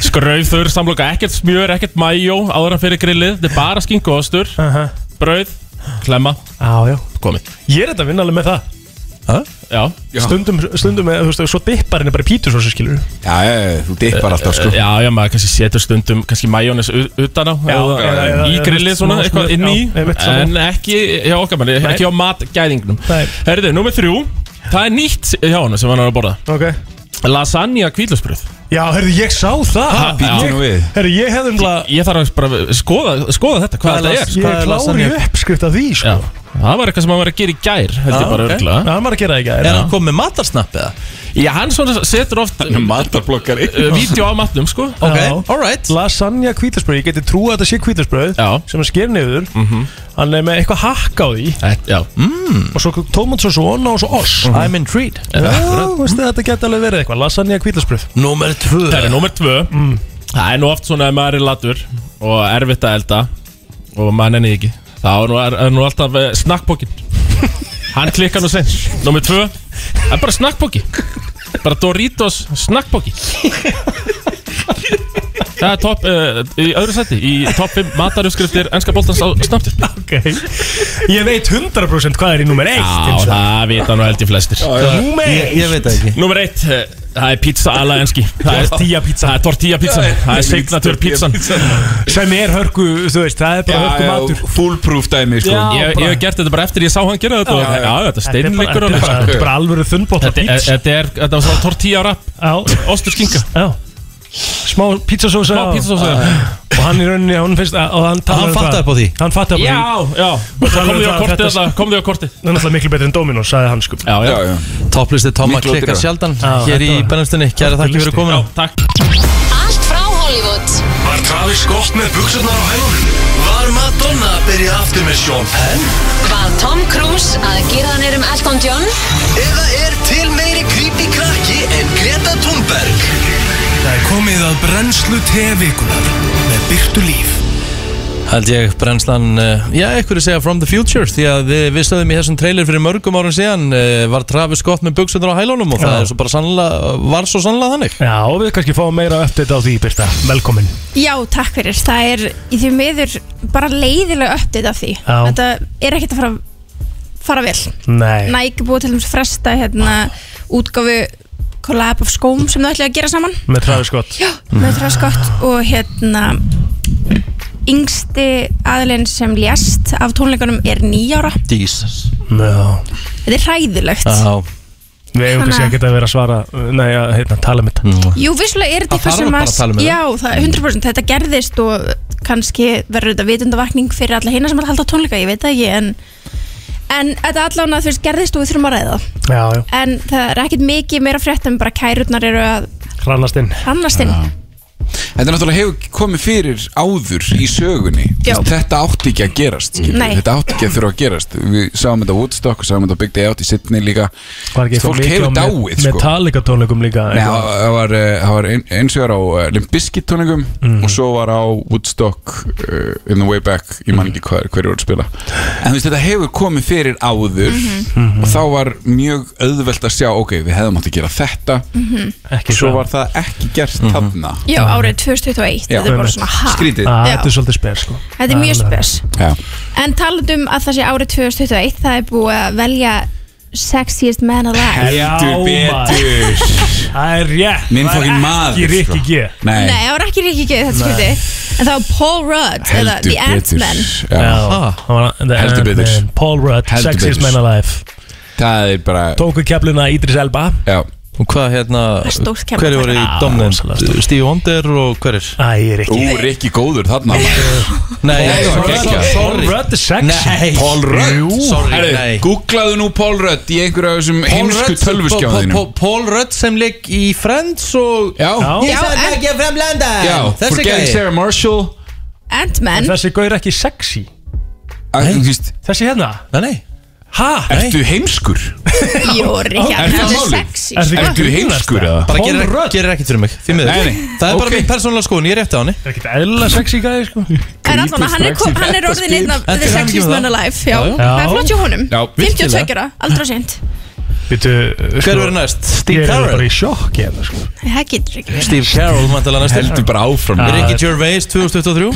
[SPEAKER 12] Skraufþur samloka, ekkert smjör, ekkert mæjó áður en fyrir grillið, þetta er bara skinku og ostur
[SPEAKER 5] Aha.
[SPEAKER 12] brauð, klemma,
[SPEAKER 5] Já, já
[SPEAKER 12] komið
[SPEAKER 5] Ég er þetta að vinna alveg með það
[SPEAKER 12] Já,
[SPEAKER 5] Stundum, stundum með, þú veist, svo dipparinn er bara pítur svo sem skilur
[SPEAKER 1] Já, já, já, þú dippar alltaf, sko
[SPEAKER 12] já, já, maður kannski setur stundum kannski majónis utan á eða
[SPEAKER 5] já, já,
[SPEAKER 12] í
[SPEAKER 5] já,
[SPEAKER 12] grillið
[SPEAKER 5] já,
[SPEAKER 12] svona,
[SPEAKER 5] smá
[SPEAKER 12] eitthvað
[SPEAKER 5] smjör,
[SPEAKER 12] inn í
[SPEAKER 5] já, einmitt, sammála.
[SPEAKER 12] en ekki hjá okkar manni, ekki á matgæðingnum
[SPEAKER 5] Nei.
[SPEAKER 12] Herðu, nummer þrjú, það er nýtt hjá hann sem hann er að borða
[SPEAKER 5] Ok
[SPEAKER 12] Lasagna kvíðlösbröð
[SPEAKER 5] Já, herru, ég sá það
[SPEAKER 12] Ha,
[SPEAKER 1] Býtum nú við
[SPEAKER 5] Herru, ég hefði umla
[SPEAKER 12] Ég þarf að bara skoða, skoða þetta, hvað
[SPEAKER 4] Hvað er
[SPEAKER 12] þetta
[SPEAKER 4] las-
[SPEAKER 12] er
[SPEAKER 5] Ég
[SPEAKER 4] Hvað er
[SPEAKER 5] er klári
[SPEAKER 4] lasagna?
[SPEAKER 5] uppskrift af því, sko
[SPEAKER 12] Já.
[SPEAKER 11] Það var eitthvað sem hann var að gera í gær held
[SPEAKER 4] Ah,
[SPEAKER 11] ég bara
[SPEAKER 4] ok.
[SPEAKER 11] örgla
[SPEAKER 4] Já, hann var að gera í gær, Er já. hann komið með matarsnapp eða?
[SPEAKER 11] Já, hann svona setur oft
[SPEAKER 1] Matarblokkari
[SPEAKER 12] uh,
[SPEAKER 11] Vídeó á matnum sko
[SPEAKER 5] Ok, alright Lasagna kvítarsbröð, ég geti trú að þetta sé kvítarsbröð Já. sem hann sker niður hann er með eitthvað hakk á því
[SPEAKER 11] Þetta, já
[SPEAKER 5] mm. og svo tómatsós og onna og svo oss
[SPEAKER 4] I'm intrigued
[SPEAKER 5] Já, veistu, þetta geti alveg verið eitthvað lasagna kvítarsbröð
[SPEAKER 4] Númer tvö
[SPEAKER 11] Það er númer tvö Það er nú oft svona að maður er latur og erfitt að elda og maður nenni því ekki þá er nú, er, er nú alltaf eh, snakkbókin Hann klikkar nú sen Númer tvö Það er bara snakkbóki Bara Doritos snakkbóki Það er topp uh, í öðru seti í topp 5 matarjöfskriftir ennska boltans á snabbt
[SPEAKER 5] Ok Ég veit 100% hvað er í númer 1
[SPEAKER 11] Já, það vita nú held ég flestir
[SPEAKER 5] Númer 1
[SPEAKER 11] Númer eitt, eh, það er pizza alla enski Það er
[SPEAKER 5] Tortilla pizza
[SPEAKER 11] Það er tortilla pizza
[SPEAKER 1] Já, ég-
[SPEAKER 11] Það er
[SPEAKER 1] ég veit
[SPEAKER 11] signatur
[SPEAKER 1] tortilla
[SPEAKER 11] pizzan
[SPEAKER 5] Sem er hörku, þú veist, það er bara hörku matur
[SPEAKER 1] Fullproof dæmi sko
[SPEAKER 5] Já.
[SPEAKER 11] Ég ég hef gert þetta bara eftir ég sá hann gera þetta og- Já, þetta steinleikur
[SPEAKER 5] Þetta er bara- þetta er bara alvöru þunnbótt
[SPEAKER 11] Þetta er- þetta er þetta var svona tortilla rap
[SPEAKER 5] Já,
[SPEAKER 11] Ostur skinka
[SPEAKER 5] já Smá pizzasósa
[SPEAKER 11] Smá pizzasósa.
[SPEAKER 5] Og hann í rauninni, hann finnst að- og hann talar
[SPEAKER 4] Hann
[SPEAKER 5] um
[SPEAKER 4] fattaði
[SPEAKER 5] það-
[SPEAKER 4] upp á því.
[SPEAKER 5] Hann fattaði upp á því
[SPEAKER 11] Já, já
[SPEAKER 5] talar um
[SPEAKER 11] Kom því á
[SPEAKER 5] það að
[SPEAKER 11] kortið
[SPEAKER 5] þetta-
[SPEAKER 11] þetta Kom því á kortið
[SPEAKER 5] Það er náttúrulega miklu betri en Dominos, sagði hann sko
[SPEAKER 11] Já, já
[SPEAKER 1] Já, já.
[SPEAKER 4] Topplisti Tóma
[SPEAKER 1] Miklu
[SPEAKER 4] klikkar
[SPEAKER 1] ódýrara.
[SPEAKER 4] sjaldan
[SPEAKER 5] Já,
[SPEAKER 4] Hér í
[SPEAKER 5] þetta var-
[SPEAKER 4] bennastinni Kæra þakki fyrir komin
[SPEAKER 11] Já, takk
[SPEAKER 3] Allt frá Hollywood
[SPEAKER 2] Var Travis Scott með buksurnar á hælunum? Var Madonna að byrja aftur með Sean Penn?
[SPEAKER 3] Var Tom Cruise að gera hann er um Elton John
[SPEAKER 2] Eða er til meiri creepy krakki en Greta Thunberg? Það er komið að brennslu tevikunar með Byrtu Líf
[SPEAKER 4] Held ég brennslan, uh, já, einhverju segja From the Future Því að við, við stöðum í þessum trailer fyrir mörgum árum síðan uh, Var Travis Scott með buksundur á hælunum Og það
[SPEAKER 5] Já.
[SPEAKER 4] er svo bara sannlega, var svo sannlega þannig
[SPEAKER 5] Já, og við kannski fáum meira update á því, Birta Velkomin
[SPEAKER 12] Já, takk fyrir. Það er í því miður bara leiðilega uppdýtt af því.
[SPEAKER 5] Já.
[SPEAKER 12] Þetta er ekkert að fara, fara vel.
[SPEAKER 5] Nei
[SPEAKER 12] Nike búið til þess að fresta hérna, útgáfu collab af skóm sem þau ætlaði að gera saman
[SPEAKER 5] Með Travis Scott
[SPEAKER 12] Já, með Travis Scott og hérna yngsti aðlinn sem lést af tónleikunum er nýjára.
[SPEAKER 4] Jesus
[SPEAKER 5] Já
[SPEAKER 12] Þetta er hræðilegt.
[SPEAKER 4] Já,
[SPEAKER 5] Við eigum kannski
[SPEAKER 12] Þannig að-
[SPEAKER 5] ekki að vera að svara Nei, að hérna, tala um þetta
[SPEAKER 1] Mm.
[SPEAKER 12] Jú, vissulega er
[SPEAKER 4] Það
[SPEAKER 12] þetta eitthvað
[SPEAKER 4] þarf
[SPEAKER 12] sem
[SPEAKER 4] bara að tala um þetta.
[SPEAKER 12] Já, það er 100% þetta gerðist og kannski verður þetta vitundavakning fyrir alla hina sem er að halda tónleika, ég veit það ekki en, en þetta allan að þú veist gerðist og við þurfum að ræða það.
[SPEAKER 5] Já, já,
[SPEAKER 12] en það er ekkit mikið meira frétt en bara kærurnar eru að
[SPEAKER 5] hrannast inn
[SPEAKER 12] hrannast inn
[SPEAKER 1] Þetta náttúrulega hefur komið fyrir áður í sögunni
[SPEAKER 12] Já.
[SPEAKER 1] Þetta átti ekki að gerast skilur.
[SPEAKER 12] Nei.
[SPEAKER 1] Þetta átti ekki að þurfa að gerast Við sáum þetta á Woodstock og sáum þetta á Big Day Out í Sydney líka
[SPEAKER 5] Var ekki
[SPEAKER 1] Fólk hefur dáið
[SPEAKER 5] sko
[SPEAKER 1] sko
[SPEAKER 5] Metallica tónleikum líka
[SPEAKER 1] Nei, það það var, eh, það var ein- eins og var á eh, Limp Bizkit tónleikum
[SPEAKER 5] Mm.
[SPEAKER 1] og svo var á Woodstock uh, in the way back, ég
[SPEAKER 5] Mm.
[SPEAKER 1] man ekki hvað hverju voru að spila en þú veist þetta hefur komið fyrir áður
[SPEAKER 12] Mhm.
[SPEAKER 5] Mhm.
[SPEAKER 1] og þá var mjög auðvelt að sjá ok, við hefðum átt að gera þetta
[SPEAKER 5] Mhm. ekki
[SPEAKER 1] svo
[SPEAKER 5] það.
[SPEAKER 1] var það ekki gert
[SPEAKER 5] Mhm.
[SPEAKER 1] mm þarna
[SPEAKER 12] Já, árið 2021,
[SPEAKER 1] Já.
[SPEAKER 12] þetta er bara svona ha,
[SPEAKER 1] skrítið
[SPEAKER 5] Ah,
[SPEAKER 12] Já.
[SPEAKER 5] Þetta er svolítið spes sko
[SPEAKER 12] þetta er mjög spes
[SPEAKER 1] Já.
[SPEAKER 12] en talandum að það sé árið 2021 það er búið að velja sexiest man alive
[SPEAKER 1] heldur
[SPEAKER 5] Já, maður.
[SPEAKER 1] betur
[SPEAKER 5] Það er rétt
[SPEAKER 1] minn
[SPEAKER 5] Það er
[SPEAKER 1] fokkin maður
[SPEAKER 5] Ekki
[SPEAKER 1] sko.
[SPEAKER 5] Rikki G
[SPEAKER 1] nei,
[SPEAKER 12] Nei, það var ekki Rikki G þetta skipti en það var Paul Rudd eða
[SPEAKER 1] heldur
[SPEAKER 12] The Ant-Man
[SPEAKER 1] betur Já.
[SPEAKER 5] Já, hann var- the
[SPEAKER 1] Heldur
[SPEAKER 5] Ant
[SPEAKER 1] betur.
[SPEAKER 5] Man, Paul Rudd,
[SPEAKER 1] Heldur
[SPEAKER 5] Sexiest
[SPEAKER 1] betur.
[SPEAKER 5] Man Alive
[SPEAKER 1] það er bara
[SPEAKER 5] Tóku kefluna Idris Elba
[SPEAKER 1] já,
[SPEAKER 4] og hvað hérna
[SPEAKER 12] stórt kemur.
[SPEAKER 4] Hverju voru í
[SPEAKER 5] Já,
[SPEAKER 4] domnin?
[SPEAKER 5] rosalega stórt.
[SPEAKER 4] Steve Wonder og hverjir?
[SPEAKER 5] Æ,
[SPEAKER 1] ú,
[SPEAKER 5] Rikki
[SPEAKER 1] Rikki góður þarna
[SPEAKER 4] Nei,
[SPEAKER 1] Rudd.
[SPEAKER 4] sorry, sorry,
[SPEAKER 5] Paul
[SPEAKER 4] sorry.
[SPEAKER 5] Rudd er sexy
[SPEAKER 4] Nei,
[SPEAKER 1] Paul Rudd
[SPEAKER 4] sorry,
[SPEAKER 1] Herru,
[SPEAKER 4] nei
[SPEAKER 1] googlaðu nú Paul Rudd í einhverju af þessum
[SPEAKER 4] Paul
[SPEAKER 1] heimsku
[SPEAKER 4] Rudd sem-
[SPEAKER 1] tölvuskjáðinu
[SPEAKER 4] Paul- Paul- Paul Rudd sem leik í Friends og
[SPEAKER 1] Já,
[SPEAKER 5] Já.
[SPEAKER 4] Ég sagði
[SPEAKER 12] en-
[SPEAKER 4] ekki að fremlenda
[SPEAKER 1] já,
[SPEAKER 4] Þessi
[SPEAKER 1] forgetting
[SPEAKER 4] gæði
[SPEAKER 1] Sarah Marshall
[SPEAKER 12] Ant-Man
[SPEAKER 5] Þessi gaur er ekki sexy
[SPEAKER 1] Æ, þú veist,
[SPEAKER 5] Þessi hérna
[SPEAKER 4] Nei, nei
[SPEAKER 5] Hæ?
[SPEAKER 1] Ertu heimskur?
[SPEAKER 12] Jó, Rikki,
[SPEAKER 1] Er
[SPEAKER 12] hann
[SPEAKER 1] það
[SPEAKER 12] er
[SPEAKER 1] málið?
[SPEAKER 12] sexy
[SPEAKER 5] Er það
[SPEAKER 1] Ertu heimskur eða?
[SPEAKER 4] Bara
[SPEAKER 5] Paul
[SPEAKER 4] gerir,
[SPEAKER 5] Rudd?
[SPEAKER 4] gerir ekkert fyrir mig, því miður
[SPEAKER 1] Nei, nei,
[SPEAKER 4] Það er bara
[SPEAKER 1] ok.
[SPEAKER 4] mín persónulega skoðun, ég er eftir á henni
[SPEAKER 5] Það er ekkert eðla sexy gæði sko
[SPEAKER 12] En allan, hann er, kom, hann er orðin einn af
[SPEAKER 4] Þetta er hann
[SPEAKER 12] The
[SPEAKER 4] ekki
[SPEAKER 12] Sexiest
[SPEAKER 4] með
[SPEAKER 12] Man
[SPEAKER 4] það.
[SPEAKER 12] Alive Já,
[SPEAKER 4] Já, já.
[SPEAKER 12] það er flott hjá honum
[SPEAKER 1] Já,
[SPEAKER 12] 52 ára, aldrei sent
[SPEAKER 5] Býtu
[SPEAKER 4] Hver verður næst?
[SPEAKER 5] sko,
[SPEAKER 4] Steve
[SPEAKER 5] Ég er bara
[SPEAKER 4] Carell?
[SPEAKER 5] í sjokk hérna sko
[SPEAKER 12] Það getur ekki verið.
[SPEAKER 4] Steve Carell, mæntalega næstur
[SPEAKER 1] Heldur bara áfram
[SPEAKER 4] Ricky Gervais 2023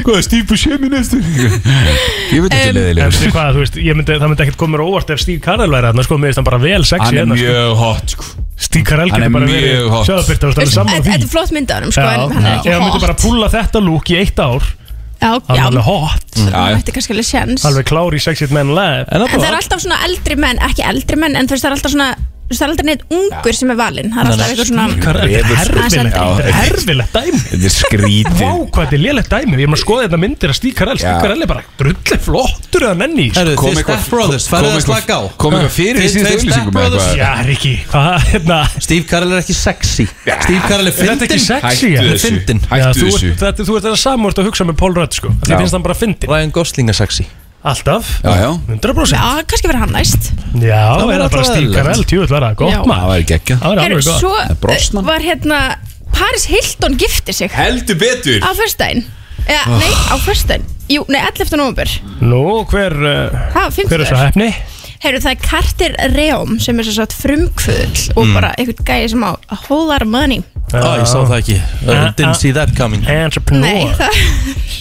[SPEAKER 1] Hvað er Steve Buscemi næstur? Ég veit þetta
[SPEAKER 12] Um,
[SPEAKER 5] En
[SPEAKER 1] leðilegur
[SPEAKER 5] veistu hvað, þú veist, ég myndi, það myndi ekkert koma mér á óvart ef Steve Carell væri þarna, sko, mér finnst hann bara vel sexy
[SPEAKER 1] Hann er
[SPEAKER 5] hérna, sko.
[SPEAKER 1] mjög hot sko.
[SPEAKER 5] Steve Carell
[SPEAKER 1] hann er
[SPEAKER 5] getur bara
[SPEAKER 1] mjög
[SPEAKER 5] verið,
[SPEAKER 1] hot.
[SPEAKER 5] sjáðu Birta, þú veist, hann er saman á
[SPEAKER 12] Þetta
[SPEAKER 5] því.
[SPEAKER 12] þetta er flott mynd af honum, sko,
[SPEAKER 5] Já,
[SPEAKER 12] en hann er
[SPEAKER 5] ef hann myndi
[SPEAKER 12] ekki
[SPEAKER 5] bara
[SPEAKER 12] hot
[SPEAKER 5] púlla þetta lúk í eitt ár,
[SPEAKER 12] Já,
[SPEAKER 5] hann
[SPEAKER 12] já,
[SPEAKER 5] er alveg hot,
[SPEAKER 1] Já,
[SPEAKER 12] hann
[SPEAKER 1] já.
[SPEAKER 12] ætti kannski alveg séns
[SPEAKER 5] alveg klár í sexy man live.
[SPEAKER 4] En
[SPEAKER 12] Mm. En það er
[SPEAKER 4] bara
[SPEAKER 12] alltaf svona eldri menn, ekki eldri menn En þú veist, það er alltaf svona þú veist, það er aldrei neitt ungur sem er valinn það er alltaf eitthvað svona
[SPEAKER 5] Herfilegt dæmi
[SPEAKER 1] Þetta er skrítið
[SPEAKER 5] Vá, hvað þetta er lélegt dæmi Við erum að skoða þetta myndir að Stík Karel Stík
[SPEAKER 1] Já.
[SPEAKER 5] Karel er bara drullið flottur eða nenni í, sko.
[SPEAKER 4] Herru, Kom þið eitthvað- Step Brothers, farið kom að eitthvað- slaka á. kom eitthvað fyrir í Þið- síðustu þið Step auglýsingum eða Brothers. eitthvað?
[SPEAKER 5] Já, Riki, hvað, hérna
[SPEAKER 4] Steve Carell er ekki sexy Steve Carell er
[SPEAKER 5] Er þetta
[SPEAKER 4] fyndin
[SPEAKER 5] ekki sexy?
[SPEAKER 4] Hann er fyndin
[SPEAKER 5] Já, þú ert- þetta- Þú ert þetta samvort að hugsa með Paul Rudd sko Því
[SPEAKER 4] Já.
[SPEAKER 5] finnst hann bara fyndin
[SPEAKER 4] Ryan Gosling er sexy
[SPEAKER 5] Alltaf
[SPEAKER 1] Já, já
[SPEAKER 5] 100%
[SPEAKER 12] já, kannski verður hann næst
[SPEAKER 5] Já,
[SPEAKER 4] Það var
[SPEAKER 5] er það bara
[SPEAKER 4] alltaf
[SPEAKER 5] Steve
[SPEAKER 4] eðlilegt.
[SPEAKER 5] Carell Tjú, það er gott
[SPEAKER 12] Já.
[SPEAKER 5] maður
[SPEAKER 1] Það væri geggjað
[SPEAKER 5] Það væri
[SPEAKER 12] Heru,
[SPEAKER 5] alveg gott
[SPEAKER 12] svo eh, var hérna Paris Hilton gifti sig
[SPEAKER 1] Heldur betur
[SPEAKER 12] á fyrstæðin eða,
[SPEAKER 5] Oh.
[SPEAKER 12] nei, á fyrstæðin jú, nei, 11. november
[SPEAKER 5] Nú, hver uh,
[SPEAKER 12] Ha, fimmtudagur.
[SPEAKER 5] Hver er svo hefni?
[SPEAKER 12] Heyrðu, það er Carter Reum sem er svo sagt frumkvöðl og
[SPEAKER 5] Mm.
[SPEAKER 12] bara einhvern gæði sem á a whole lot of money
[SPEAKER 4] Á, ég sá það ekki I
[SPEAKER 5] Ah, ah.
[SPEAKER 4] Didn't see that coming
[SPEAKER 12] Nei,
[SPEAKER 5] Entrepreneur
[SPEAKER 12] það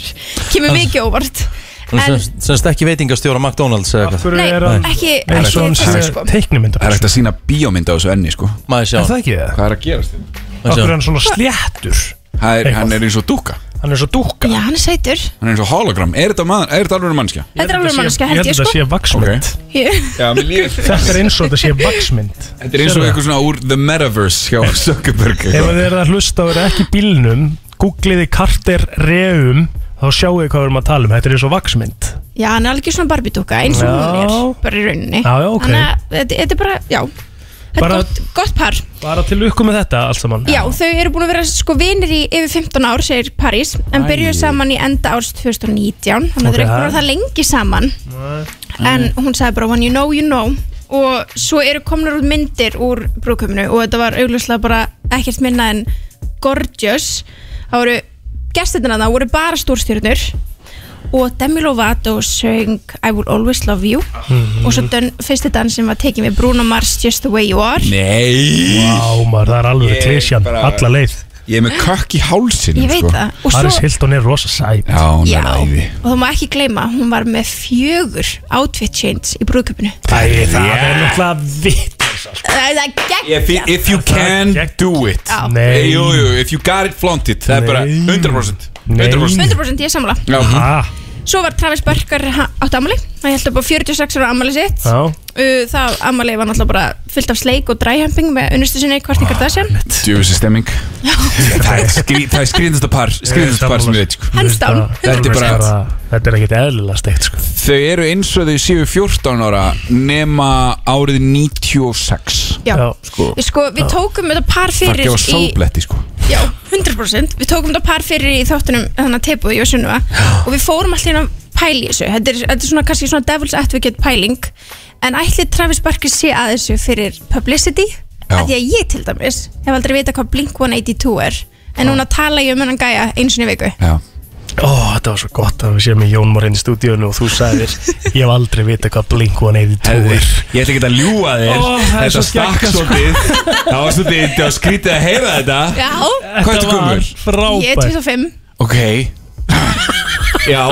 [SPEAKER 12] kemur mikið óvart
[SPEAKER 4] Hún sem- sem stekki veitingastjóra McDonalds eða eitthvað
[SPEAKER 12] Nei, ekki,
[SPEAKER 4] eins og
[SPEAKER 12] ekki
[SPEAKER 4] hún
[SPEAKER 12] þessi
[SPEAKER 4] sé
[SPEAKER 12] sko
[SPEAKER 5] teiknumynd
[SPEAKER 1] Það er ekkert að sína bíómynd á þessu enni sko
[SPEAKER 4] Maður sjá
[SPEAKER 5] Er það ekki það?
[SPEAKER 1] Hvað er að gerast þér?
[SPEAKER 5] Akkur er hann svona sléttur
[SPEAKER 1] Það er, hann er eins og dúka
[SPEAKER 5] Hann er svo dúkka
[SPEAKER 12] Já, hann er sætur
[SPEAKER 1] Hann er eins og hologram Er þetta maður, er þetta alveg mannskja?
[SPEAKER 12] Þetta er alveg mannska,
[SPEAKER 5] Ég held
[SPEAKER 12] held
[SPEAKER 5] að
[SPEAKER 12] ég
[SPEAKER 5] þetta
[SPEAKER 12] sko
[SPEAKER 5] sé vaksmynd
[SPEAKER 12] Ég-
[SPEAKER 1] Já, mér líður
[SPEAKER 5] Þetta er eins og þetta sé vaksmynd
[SPEAKER 1] Þetta er eins og eitthvað svona úr The Metaverse hjá Zuckerberg
[SPEAKER 5] Ef þið eru að hlusta og eru ekki í bílnum Googliði Carter Reum Þá sjáu þið hvað við erum að tala um Þetta er eins og vaksmynd
[SPEAKER 12] Já, hann er alveg svona barbidúka eins
[SPEAKER 5] Já.
[SPEAKER 12] og hún er, bara í rauninni
[SPEAKER 5] Já, já, ok.
[SPEAKER 12] Þannig að þetta þetta er bara, já Þetta er
[SPEAKER 5] Bara-
[SPEAKER 12] gott, gott par
[SPEAKER 5] Bara til lukku með þetta allt saman
[SPEAKER 12] Já, þau eru búin að vera sko vinir í yfir 15 ár, segir París
[SPEAKER 5] Æi.
[SPEAKER 12] En byrjuðu saman í enda árs 2019
[SPEAKER 5] Ok.
[SPEAKER 12] Þannig að þau eru ekki búin að vera það lengi saman En hún sagði bara When you know, you know Og svo eru komnar út myndir úr brúkuminu Og þetta var augljóslega bara ekkert minna en Gorgeous Það voru gestirna það voru bara stórstjörnur Og Demi Lovato söng I will always love you
[SPEAKER 5] Mhm.
[SPEAKER 12] Og svo den, fyrsti dansin var tekið með Bruno Mars Just the way you are
[SPEAKER 1] Nei
[SPEAKER 5] Vá maður, það er alveg
[SPEAKER 1] Ég
[SPEAKER 5] klísjan
[SPEAKER 1] bara-
[SPEAKER 5] Alla leið
[SPEAKER 1] Ég er með kökk í hálsinn
[SPEAKER 12] Ég veit
[SPEAKER 1] sko.
[SPEAKER 12] það. Og svo- Paris
[SPEAKER 5] Hilton er rosa sæt
[SPEAKER 1] Já, hún
[SPEAKER 12] Já.
[SPEAKER 1] er æði
[SPEAKER 12] Og þú má ekki gleyma, hún var með fjögur outfit change í brúðköpunu
[SPEAKER 5] Æ, það er náttúrulega vitt
[SPEAKER 12] Það er gegn
[SPEAKER 1] If, you- if you can do it
[SPEAKER 12] Já.
[SPEAKER 5] Nei.
[SPEAKER 1] Jú, jú, if you got it, flaunt it Það er bara 100% 100%
[SPEAKER 12] 100% ég samla
[SPEAKER 1] Já.
[SPEAKER 5] Ha.
[SPEAKER 12] Svo var Travis Barker ha- átt amali Hann held upp á 46 ára amali sitt
[SPEAKER 5] Já.
[SPEAKER 12] Uh, Það amali var náttúrulega bara fyllt af sleik og dræhemping með unnustu sinni hvort ykkur það sem
[SPEAKER 1] Djöfisir stemming Það er skrí- það er skrýndasta par Skrýndasta par sem ég veit sko.
[SPEAKER 12] Hands down.
[SPEAKER 1] Þetta er bara
[SPEAKER 5] Þetta er ekkert eðlilega steikt sko
[SPEAKER 1] Þau eru eins og þau séu 14 ára Nema árið 96
[SPEAKER 12] Já.
[SPEAKER 1] Sko
[SPEAKER 12] Við, sko, við tókum þetta par
[SPEAKER 1] Það er
[SPEAKER 12] fyrir
[SPEAKER 1] ekki á
[SPEAKER 12] í
[SPEAKER 1] sólbletti sko
[SPEAKER 12] Já, 100% Við tókum þetta par fyrir í þáttunum þannig að teipu í Jósunua og við fórum alltaf inn að pæla í þessu þetta er, þetta er svona kannski svona devil's advocate pæling en ætli Travis Barker sé að þessu fyrir publicity
[SPEAKER 1] Já.
[SPEAKER 12] af því að ég til dæmis hef aldrei vita hvað Blink-182 er en núna tala ég um hennan gæja eins og í viku
[SPEAKER 5] Ó, þetta var svo gott að við séum með Jón Már hérna í stúdíunum og þú sagðir Ég hef aldrei vita hvað Blink-182 er
[SPEAKER 1] Ég ætla ekki að ljúa þér
[SPEAKER 5] Ó, það er
[SPEAKER 1] Þetta
[SPEAKER 5] svo
[SPEAKER 1] stakk
[SPEAKER 5] geggjað, sko.
[SPEAKER 1] svolítið Það var svolítið Það var skrítið að heyra þetta
[SPEAKER 12] Já,
[SPEAKER 1] Hvað ertu gömul?
[SPEAKER 12] ég er 25
[SPEAKER 1] Ok Já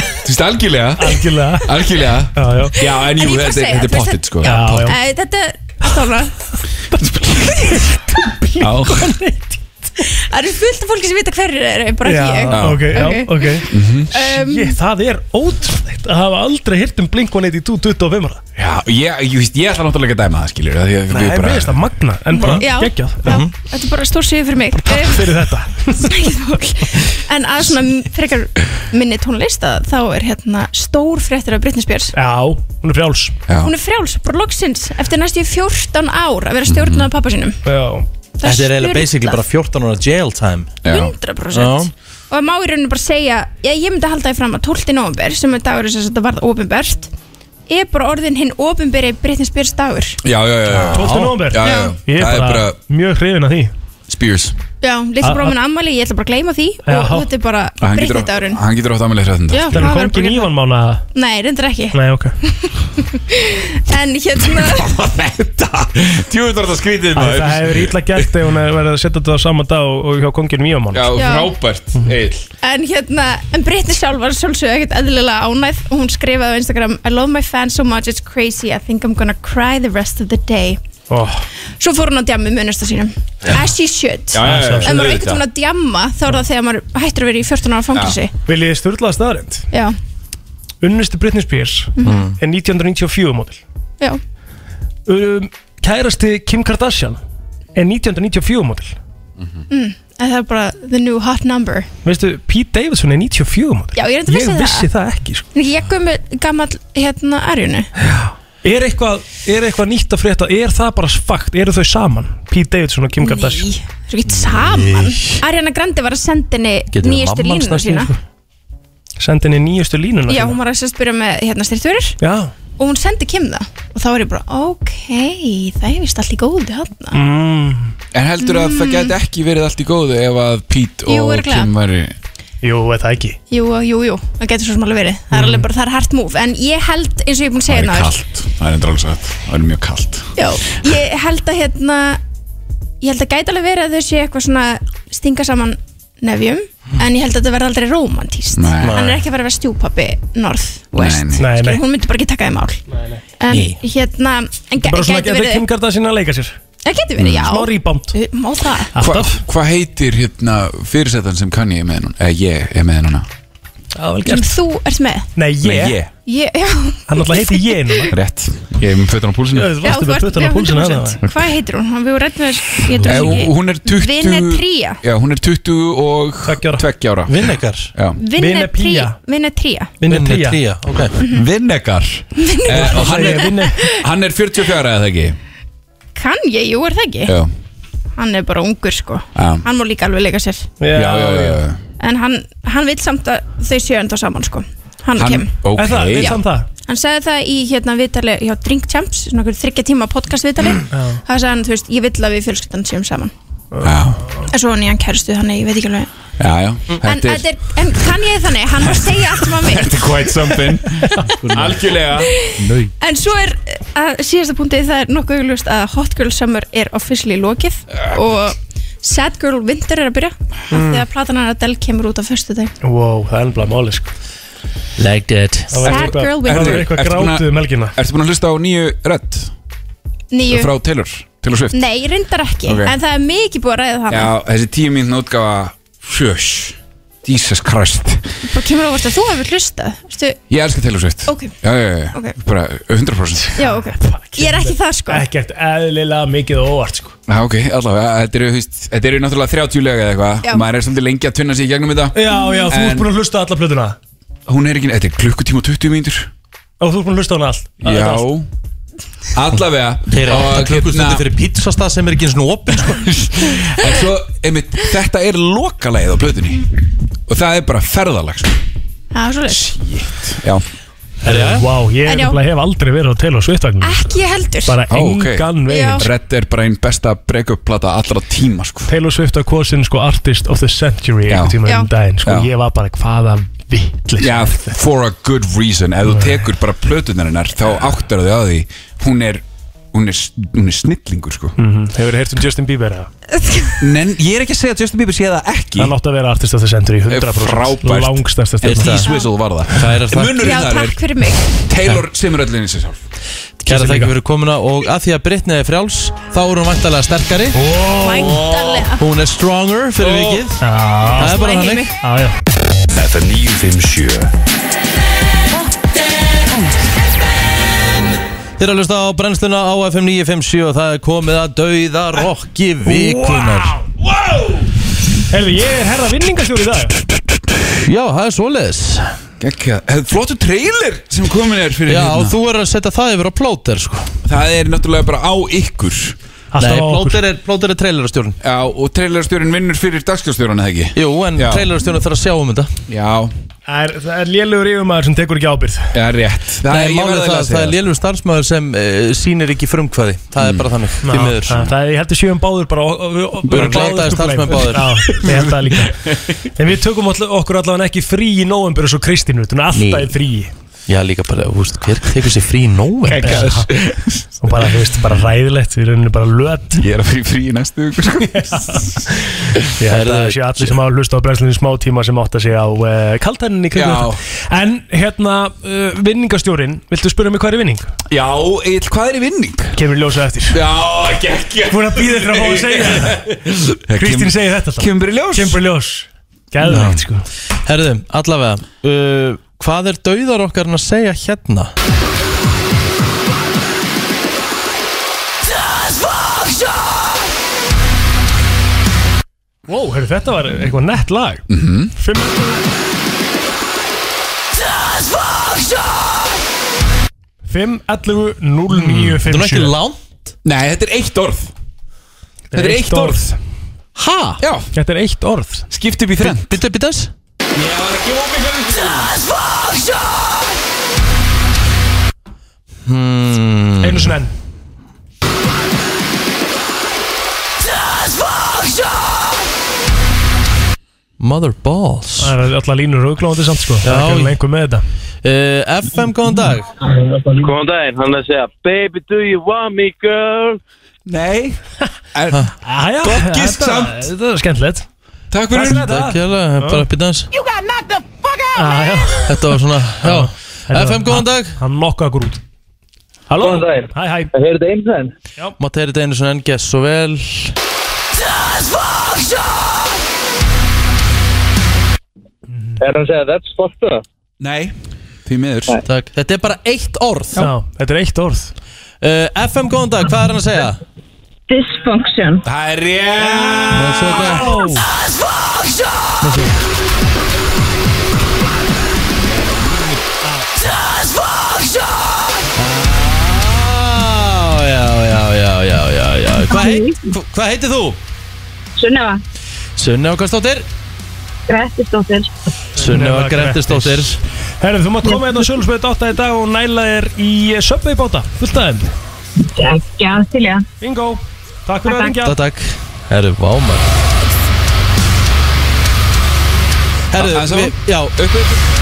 [SPEAKER 1] Þú veist algjörlega
[SPEAKER 5] Algjörlega
[SPEAKER 1] Algjörlega
[SPEAKER 5] Já, já
[SPEAKER 1] Já, en jú,
[SPEAKER 12] ég bara
[SPEAKER 1] þetta
[SPEAKER 12] segja,
[SPEAKER 1] þetta er
[SPEAKER 12] þú veist,
[SPEAKER 1] pottit sko
[SPEAKER 5] Já, já.
[SPEAKER 12] Æ,
[SPEAKER 1] Blink-182
[SPEAKER 12] Eh, Þetta er alltaf Það eru fullt af fólki sem vita hverju þeir eru, bara ekki ég
[SPEAKER 5] ok, já, ok
[SPEAKER 1] Mhm.
[SPEAKER 12] Um,
[SPEAKER 5] Shit, það er ótrúlegt að hafa aldrei hirt um Blink-182 25 ára
[SPEAKER 1] Já, ég, ég, veist, ég ætla náttúrulega ekki að dæma það skiljur Nei,
[SPEAKER 5] Nei, mér finnst það magna, en bara
[SPEAKER 12] Já.
[SPEAKER 5] geggjað Mhm.
[SPEAKER 12] Þetta er bara stór sigur fyrir mig Um, Takk
[SPEAKER 5] fyrir þetta
[SPEAKER 12] En að svona frekar minni tónlist að þá er hérna stór fréttir af Britney Spears
[SPEAKER 5] Já, hún er frjáls
[SPEAKER 1] Já.
[SPEAKER 12] Hún er frjáls, bara loksins eftir næstu í 14 ár að vera stjórnum af pappa sínum
[SPEAKER 5] Já
[SPEAKER 12] Það
[SPEAKER 4] Þetta er eiginlega
[SPEAKER 12] sturlað.
[SPEAKER 4] basically bara 14 ára jail time
[SPEAKER 12] 100% og það má í rauninu bara segja ég, ég myndi halda því fram að 12. november sem er dagur sem þetta varð ofinbært er bara orðin hinn ofinbæri Britney Spears dagur
[SPEAKER 1] Já, já, já, já
[SPEAKER 5] 12. nóvember
[SPEAKER 1] Já, já, já.
[SPEAKER 5] Ég
[SPEAKER 1] Það
[SPEAKER 5] er
[SPEAKER 1] er
[SPEAKER 5] bara mjög hrifin að því
[SPEAKER 1] Spears
[SPEAKER 12] Já, litla
[SPEAKER 5] A-
[SPEAKER 12] bróð minn ammali, ég ætla bara að gleyma því
[SPEAKER 5] Já.
[SPEAKER 12] og þetta er bara
[SPEAKER 1] Hann getur
[SPEAKER 12] Britney
[SPEAKER 1] átt-
[SPEAKER 12] dagurinn
[SPEAKER 1] Hann getur átt aðmæli hræðin
[SPEAKER 5] Það er
[SPEAKER 12] Já, það verður
[SPEAKER 5] kongin
[SPEAKER 12] bara-
[SPEAKER 5] Ívan mána
[SPEAKER 12] Nei, reyndar ekki
[SPEAKER 5] Nei, ok
[SPEAKER 12] En hérna
[SPEAKER 1] Tjóður þarf þetta skrítið
[SPEAKER 5] Æ, Það hefur ítla gert ef hún hefur verið að setja þetta á sama dag og, og hjá kongin Ívan mána
[SPEAKER 1] Já,
[SPEAKER 12] Já.
[SPEAKER 1] frábært, Egil
[SPEAKER 12] En hérna, en Britney sjálf var sjálfsög ekkert eðlilega ánæð og hún skrifaði á Instagram I love my fans so much, it's crazy I think I'm gonna cry the rest of the day
[SPEAKER 5] oh.
[SPEAKER 12] Svo fór hún að djamma með unnasta sínum As she should
[SPEAKER 5] Já, já, já,
[SPEAKER 12] En
[SPEAKER 5] auðvitað.
[SPEAKER 12] maður einhvern veginn að djamma þá er það þegar maður hættur að vera í 14 ára fangilsi
[SPEAKER 5] Viljið þið störlaða staðarind?
[SPEAKER 12] Já,
[SPEAKER 5] Unnustu Britney Spears
[SPEAKER 12] Mhm.
[SPEAKER 5] er 1994 mótil
[SPEAKER 12] já,
[SPEAKER 5] um, kærasti Kim Kardashian er 1994 mótil
[SPEAKER 12] mm, en það er bara the new hot number
[SPEAKER 5] Veistu, Pete Davidson er 94 mótil
[SPEAKER 12] já, ég er
[SPEAKER 5] Ég
[SPEAKER 12] þetta
[SPEAKER 5] vissi,
[SPEAKER 12] vissið það
[SPEAKER 5] það ekki sko.
[SPEAKER 12] Nei, ég kom með gammal hérna arjunu
[SPEAKER 5] er, eitthvað, er eitthvað nýtt að frétta? Er það bara fakt? Eru þau saman? Pete Davidson og Kim Kardashian?
[SPEAKER 12] Nei, það er ekki saman Ariana Grande var að senda henni nýjastu línuna sína
[SPEAKER 5] Sendi henni nýjustu línuna
[SPEAKER 12] já,
[SPEAKER 5] sína?
[SPEAKER 12] hún var að sérst byrja með hérna styrturir
[SPEAKER 5] Já
[SPEAKER 12] og hún sendi Kim það og þá var ég bara, ok, það er vist allt í góðu hann
[SPEAKER 1] mm. En heldur að það gæti ekki verið allt í góðu ef að Pete
[SPEAKER 12] Jú,
[SPEAKER 1] og
[SPEAKER 12] örugglega.
[SPEAKER 1] Kim væri
[SPEAKER 5] Jú, er það ekki
[SPEAKER 12] Jú, jú, jú, það getur svo sem alveg verið Það er
[SPEAKER 5] Mm.
[SPEAKER 12] alveg bara, það er hart move En ég held, eins og ég er búin að segja
[SPEAKER 1] Það er
[SPEAKER 12] hérna áður,
[SPEAKER 1] kalt, það er endur alveg satt Það er mjög kalt
[SPEAKER 12] Já, ég held að hérna Ég held að gæti alveg verið að þau sé eitthvað svona Stinga saman nefjum En ég held að þetta verði aldrei romantíst
[SPEAKER 5] Mm. Nei.
[SPEAKER 12] Hann er ekki að vera að vera stjúpappi North, West
[SPEAKER 5] Nei, nei.
[SPEAKER 12] Skilur, Hún myndi bara ekki taka þið mál En
[SPEAKER 5] Nei.
[SPEAKER 12] hérna, en
[SPEAKER 5] Bara svona
[SPEAKER 12] gæti
[SPEAKER 5] að
[SPEAKER 12] verið
[SPEAKER 5] Kim Kardashian að leika sér
[SPEAKER 12] Það gæti verið, já
[SPEAKER 5] Smá rebound
[SPEAKER 12] Má það
[SPEAKER 1] Hva- Hvað heitir hérna fyrirsetan sem kann ég er með núna? Eða ég er með núna
[SPEAKER 12] Sem þú ert með
[SPEAKER 5] Nei,
[SPEAKER 1] Nei, ég
[SPEAKER 12] Ég, já
[SPEAKER 5] Hann alltaf heiti ég núna
[SPEAKER 1] Rétt, ég er með fötun á púlsinu
[SPEAKER 5] Já, þú varst
[SPEAKER 12] þú ert- já,
[SPEAKER 5] hérna.
[SPEAKER 12] 100%. Hvað heitir hún? Við vorum rætt með þess ég
[SPEAKER 1] Eh,
[SPEAKER 12] dæs
[SPEAKER 1] hún-
[SPEAKER 12] ekki.
[SPEAKER 1] Hún er 20
[SPEAKER 12] Vinetría.
[SPEAKER 1] Já, hún er 20 og 2 ára
[SPEAKER 4] Vinnekar
[SPEAKER 12] Vinnetría Vinnetría
[SPEAKER 1] Vinnetría
[SPEAKER 4] ok.
[SPEAKER 1] Vinnekar Eh, og hann, er- hann er 44 eða ekki
[SPEAKER 12] Kann ég, jú er það ekki
[SPEAKER 1] Já.
[SPEAKER 12] Hann er bara ungur sko
[SPEAKER 1] Já.
[SPEAKER 12] Hann má líka alveg leika sér
[SPEAKER 1] Já, já, já, já.
[SPEAKER 12] En hann, hann vil samt að þau séu enda saman sko Hann, hann kem
[SPEAKER 1] ok. Er það? Vill hann
[SPEAKER 5] það?
[SPEAKER 12] Hann sagði það í hérna viðtali hjá Drink Champs Svona okkur þryggja tíma podcast viðtali Það sagði hann, þú veist, ég vil að við fjölskyldan séum saman
[SPEAKER 1] Já,
[SPEAKER 12] En svo hann í hann kæristu, þannig ég veit ekki alveg
[SPEAKER 1] já, já
[SPEAKER 12] En, þetta er, en kann ég þannig, hann var að segja allt sem hann vil
[SPEAKER 1] Þetta er quite something Algjörlega Nei
[SPEAKER 12] En svo er að síðasta punktið það er nokkuð augljóst að Hot Girl Summer er officially lokið og Sad Girl Winter er að byrja
[SPEAKER 5] Mm.
[SPEAKER 12] þegar platan hann Adele kemur út á förstu dag
[SPEAKER 5] Wow, það er ennblæð máli sko
[SPEAKER 4] Like that
[SPEAKER 5] Það var
[SPEAKER 12] Sad
[SPEAKER 5] eitthvað-
[SPEAKER 12] girl
[SPEAKER 5] það
[SPEAKER 12] winter.
[SPEAKER 5] var eitthvað
[SPEAKER 1] Ertu búin að-
[SPEAKER 5] grátið um helgina
[SPEAKER 1] Ertu búin að hlusta á nýju rödd
[SPEAKER 12] Nýju,
[SPEAKER 1] frá Taylor, Taylor Swift?
[SPEAKER 12] nei, reyndar ekki
[SPEAKER 1] Ok.
[SPEAKER 12] en það er mikið búið að ræða það
[SPEAKER 1] Já, þessi tíu mínutna útgáfa Fjöss Jesus Christ
[SPEAKER 12] og kemur á vart að þú hefur hlusta Vistu,
[SPEAKER 1] Ég elska Taylor Swift
[SPEAKER 12] Ok.
[SPEAKER 1] Já, já, já,
[SPEAKER 12] Ok.
[SPEAKER 1] bara 100%
[SPEAKER 12] Já, ok, ég er ekki það sko
[SPEAKER 5] Ekkert eðlilega mikið og óvart sko
[SPEAKER 1] Já, ok, allavega, þetta eru, þú veist, þetta eru náttúrulega 30 lög eða eitthvað
[SPEAKER 5] Já.
[SPEAKER 1] Maður er svolítið lengi að tvinna sig í gegnum þetta
[SPEAKER 5] Já, já, þú ert
[SPEAKER 1] En
[SPEAKER 5] búin að hlusta á alla plötuna
[SPEAKER 1] Hún er ekki, þetta er klukkutíma og 20 mínútur
[SPEAKER 5] Og þú ert búin að hlusta á hana allt
[SPEAKER 1] Já Allavega
[SPEAKER 4] Þeir eru
[SPEAKER 1] Og
[SPEAKER 4] átta klukkustundir
[SPEAKER 1] hérna-
[SPEAKER 4] fyrir pizzastað sem er ekki eins og opinn sko.
[SPEAKER 1] En svo, einmitt, þetta er lokalegið á plötunni Og það er bara ferðalag sko.
[SPEAKER 12] Það er svolítið
[SPEAKER 1] Já
[SPEAKER 5] Vá, ég
[SPEAKER 12] En já.
[SPEAKER 5] nefnilega hef aldrei verið á Taylor Swift vagnum
[SPEAKER 12] Ekki heldur
[SPEAKER 5] Bara engan
[SPEAKER 12] Já.
[SPEAKER 5] veginn
[SPEAKER 1] Redd er bara einn besta break-up plata allra tíma sko.
[SPEAKER 5] Taylor Swift var kosin sko Artist of the Century einhvern tíma um
[SPEAKER 1] Já.
[SPEAKER 5] daginn sko,
[SPEAKER 1] Já.
[SPEAKER 5] ég var bara hvaða vittlis
[SPEAKER 1] Já, for a good reason Ef þú tekur bara plötunar hennar Þá áttar þau á því Hún er, hún er, s- hún er snillingur sko.
[SPEAKER 4] Mhm.
[SPEAKER 5] Hefur þið heyrt um Justin Bieber eða?
[SPEAKER 1] Nen, ég er ekki að segja að Justin Bieber sé það ekki
[SPEAKER 5] Hann átti að vera Artist of the Century 100%
[SPEAKER 1] Frábært
[SPEAKER 5] Langstærsta
[SPEAKER 1] En
[SPEAKER 5] stjórn
[SPEAKER 1] því Swizzle var það
[SPEAKER 4] þakk.
[SPEAKER 1] Munurinn
[SPEAKER 12] Já,
[SPEAKER 1] þar er
[SPEAKER 12] takk fyrir mig
[SPEAKER 1] Taylor semur öllin í sig sjálf
[SPEAKER 4] Kæra þakki fyrir komuna og að því að Brittany er frjáls þá er hún vantarlega sterkari
[SPEAKER 12] Væntanlega.
[SPEAKER 4] Hún er stronger fyrir vikið Það er bara
[SPEAKER 12] Slæ
[SPEAKER 4] hannig
[SPEAKER 12] heimi.
[SPEAKER 2] FM 957
[SPEAKER 4] Þið er að hlusta á brennsluna á FM 957 og það er komið að dauða rokki vikunar
[SPEAKER 5] Herðu, ég er herra vinningasjóri í dag
[SPEAKER 4] Já, það er svoleiðis
[SPEAKER 1] Gekka, flottu trailer sem komin er fyrir
[SPEAKER 4] Já,
[SPEAKER 1] hérna.
[SPEAKER 4] og þú er að setja það yfir á plóter sko
[SPEAKER 1] Það er náttúrulega bara á ykkur
[SPEAKER 4] Alltaf Nei, á okkur. plóter er, plóter er trailerastjórn
[SPEAKER 1] Já, og trailerastjórn vinnur fyrir dagskjórstjórn eða ekki
[SPEAKER 4] Jú, en
[SPEAKER 1] Já.
[SPEAKER 4] trailerastjórn þarf að sjá um þetta
[SPEAKER 1] Já,
[SPEAKER 5] Það er, það er lélugur yfirmaður sem tekur ekki ábyrð
[SPEAKER 1] já rétt
[SPEAKER 4] Það Nei, málið það, það Mm. er lélur starfsmæður sem uh, sýnir ekki frumkvæði Það er bara þannig, því miður
[SPEAKER 5] Það er, ég held að sjöum báður bara og- og- og-
[SPEAKER 4] Við erum
[SPEAKER 5] báðir
[SPEAKER 4] glataðir
[SPEAKER 5] to blame.
[SPEAKER 4] starfsmenn báðir.
[SPEAKER 5] Já, ég held það líka En við tökum all, okkur allavega ekki frí í nóvembur eins og Kristín, hún er alltaf
[SPEAKER 4] Nei.
[SPEAKER 5] í frí
[SPEAKER 4] Já, líka bara, þú veist, hver tekur sér frí í nóvember?
[SPEAKER 5] Og bara, þú veist, bara ræðilegt, við erum bara löt
[SPEAKER 1] Ég er að frí frí í næstu viku sko.
[SPEAKER 5] Ég held að það sé allir sem hafa hlusta á brennslunni í smá tíma sem átt að sé á uh, kaltæninni
[SPEAKER 1] Já.
[SPEAKER 5] En hérna, uh, vinningastjórin, viltu spyrja mig hvað er vinning?
[SPEAKER 1] Já, Egil, hvað er í vinning?
[SPEAKER 5] Kemur ljósa eftir
[SPEAKER 1] Já, gekkja
[SPEAKER 5] Búin að býða eftir að fá að segja þetta Kristín segir þetta alltaf
[SPEAKER 1] Kemur í ljós
[SPEAKER 5] Kemur í ljós Gæðvegt sko
[SPEAKER 4] Herðu, allavega uh, Hvað er dauðar okkar að segja hérna?
[SPEAKER 5] Wow, heyrðu, þetta var eitthvað nett lag mm
[SPEAKER 1] Mhm.
[SPEAKER 5] -hmm. Fimm
[SPEAKER 3] Satisfaction
[SPEAKER 5] 5, 11, 0, 9, 5, 7
[SPEAKER 1] Mm. Þetta er ekki langt. Nei, þetta er eitt orð Þetta er eitt orð
[SPEAKER 4] Ha?
[SPEAKER 1] Já
[SPEAKER 5] Þetta er eitt orð
[SPEAKER 1] Skipt upp í þrennt
[SPEAKER 4] Bittu upp í þess
[SPEAKER 3] Satisfaction
[SPEAKER 1] Mm.
[SPEAKER 4] hmm.
[SPEAKER 5] Einu sinni enn
[SPEAKER 4] Mother balls
[SPEAKER 5] Það er alltaf línur auglóðandi samt sko Það er ekki alveg einhver með þetta
[SPEAKER 4] uh, FM, góðan dag
[SPEAKER 10] Góðan daginn, hann er að segja Baby, do you want me, girl?
[SPEAKER 1] Nei
[SPEAKER 5] Aja,
[SPEAKER 10] Gott gisk samt.
[SPEAKER 5] Þetta er skemmtilegt
[SPEAKER 1] Takk
[SPEAKER 5] fyrir
[SPEAKER 4] Takk hérlega, bara upp í dans
[SPEAKER 3] You got knocked the fuck out
[SPEAKER 5] Aja
[SPEAKER 4] Þetta var svona, já FM, góðan dag
[SPEAKER 5] Hann nokkaði okkur út Halló Góðan daginn Hæ, hæ Það heyrðu þetta einu senn
[SPEAKER 4] Matt Heyrið Einarsson, NGS, svo vel
[SPEAKER 3] Satisfaction
[SPEAKER 10] Er hann að segja that's fucked up?
[SPEAKER 1] Nei Því miður
[SPEAKER 4] Takk. Þetta er bara eitt orð
[SPEAKER 5] Já, þetta er eitt orð
[SPEAKER 4] uh, FM, góðan dag, hvað er hann að segja?
[SPEAKER 13] Dysfunction
[SPEAKER 1] Það er rétt
[SPEAKER 4] Já, já, já, já, já, já, já Hvað heit, hva- hvað heitir þú?
[SPEAKER 13] Sunneva
[SPEAKER 4] Sunna og Kostóttir
[SPEAKER 13] Grettisdóttir
[SPEAKER 4] Sunneva Grettisdóttir
[SPEAKER 5] Herðu, þú mátt koma hérna á Sjölusbeit 8 í dag og næla þér í Subway báta Fullt aðeim
[SPEAKER 13] Já, til ég
[SPEAKER 5] Bingo Takk fyrir að ringja
[SPEAKER 4] Takk, takk Herru, vámar
[SPEAKER 1] Aðeins
[SPEAKER 4] Herru,
[SPEAKER 1] saman?
[SPEAKER 4] við, já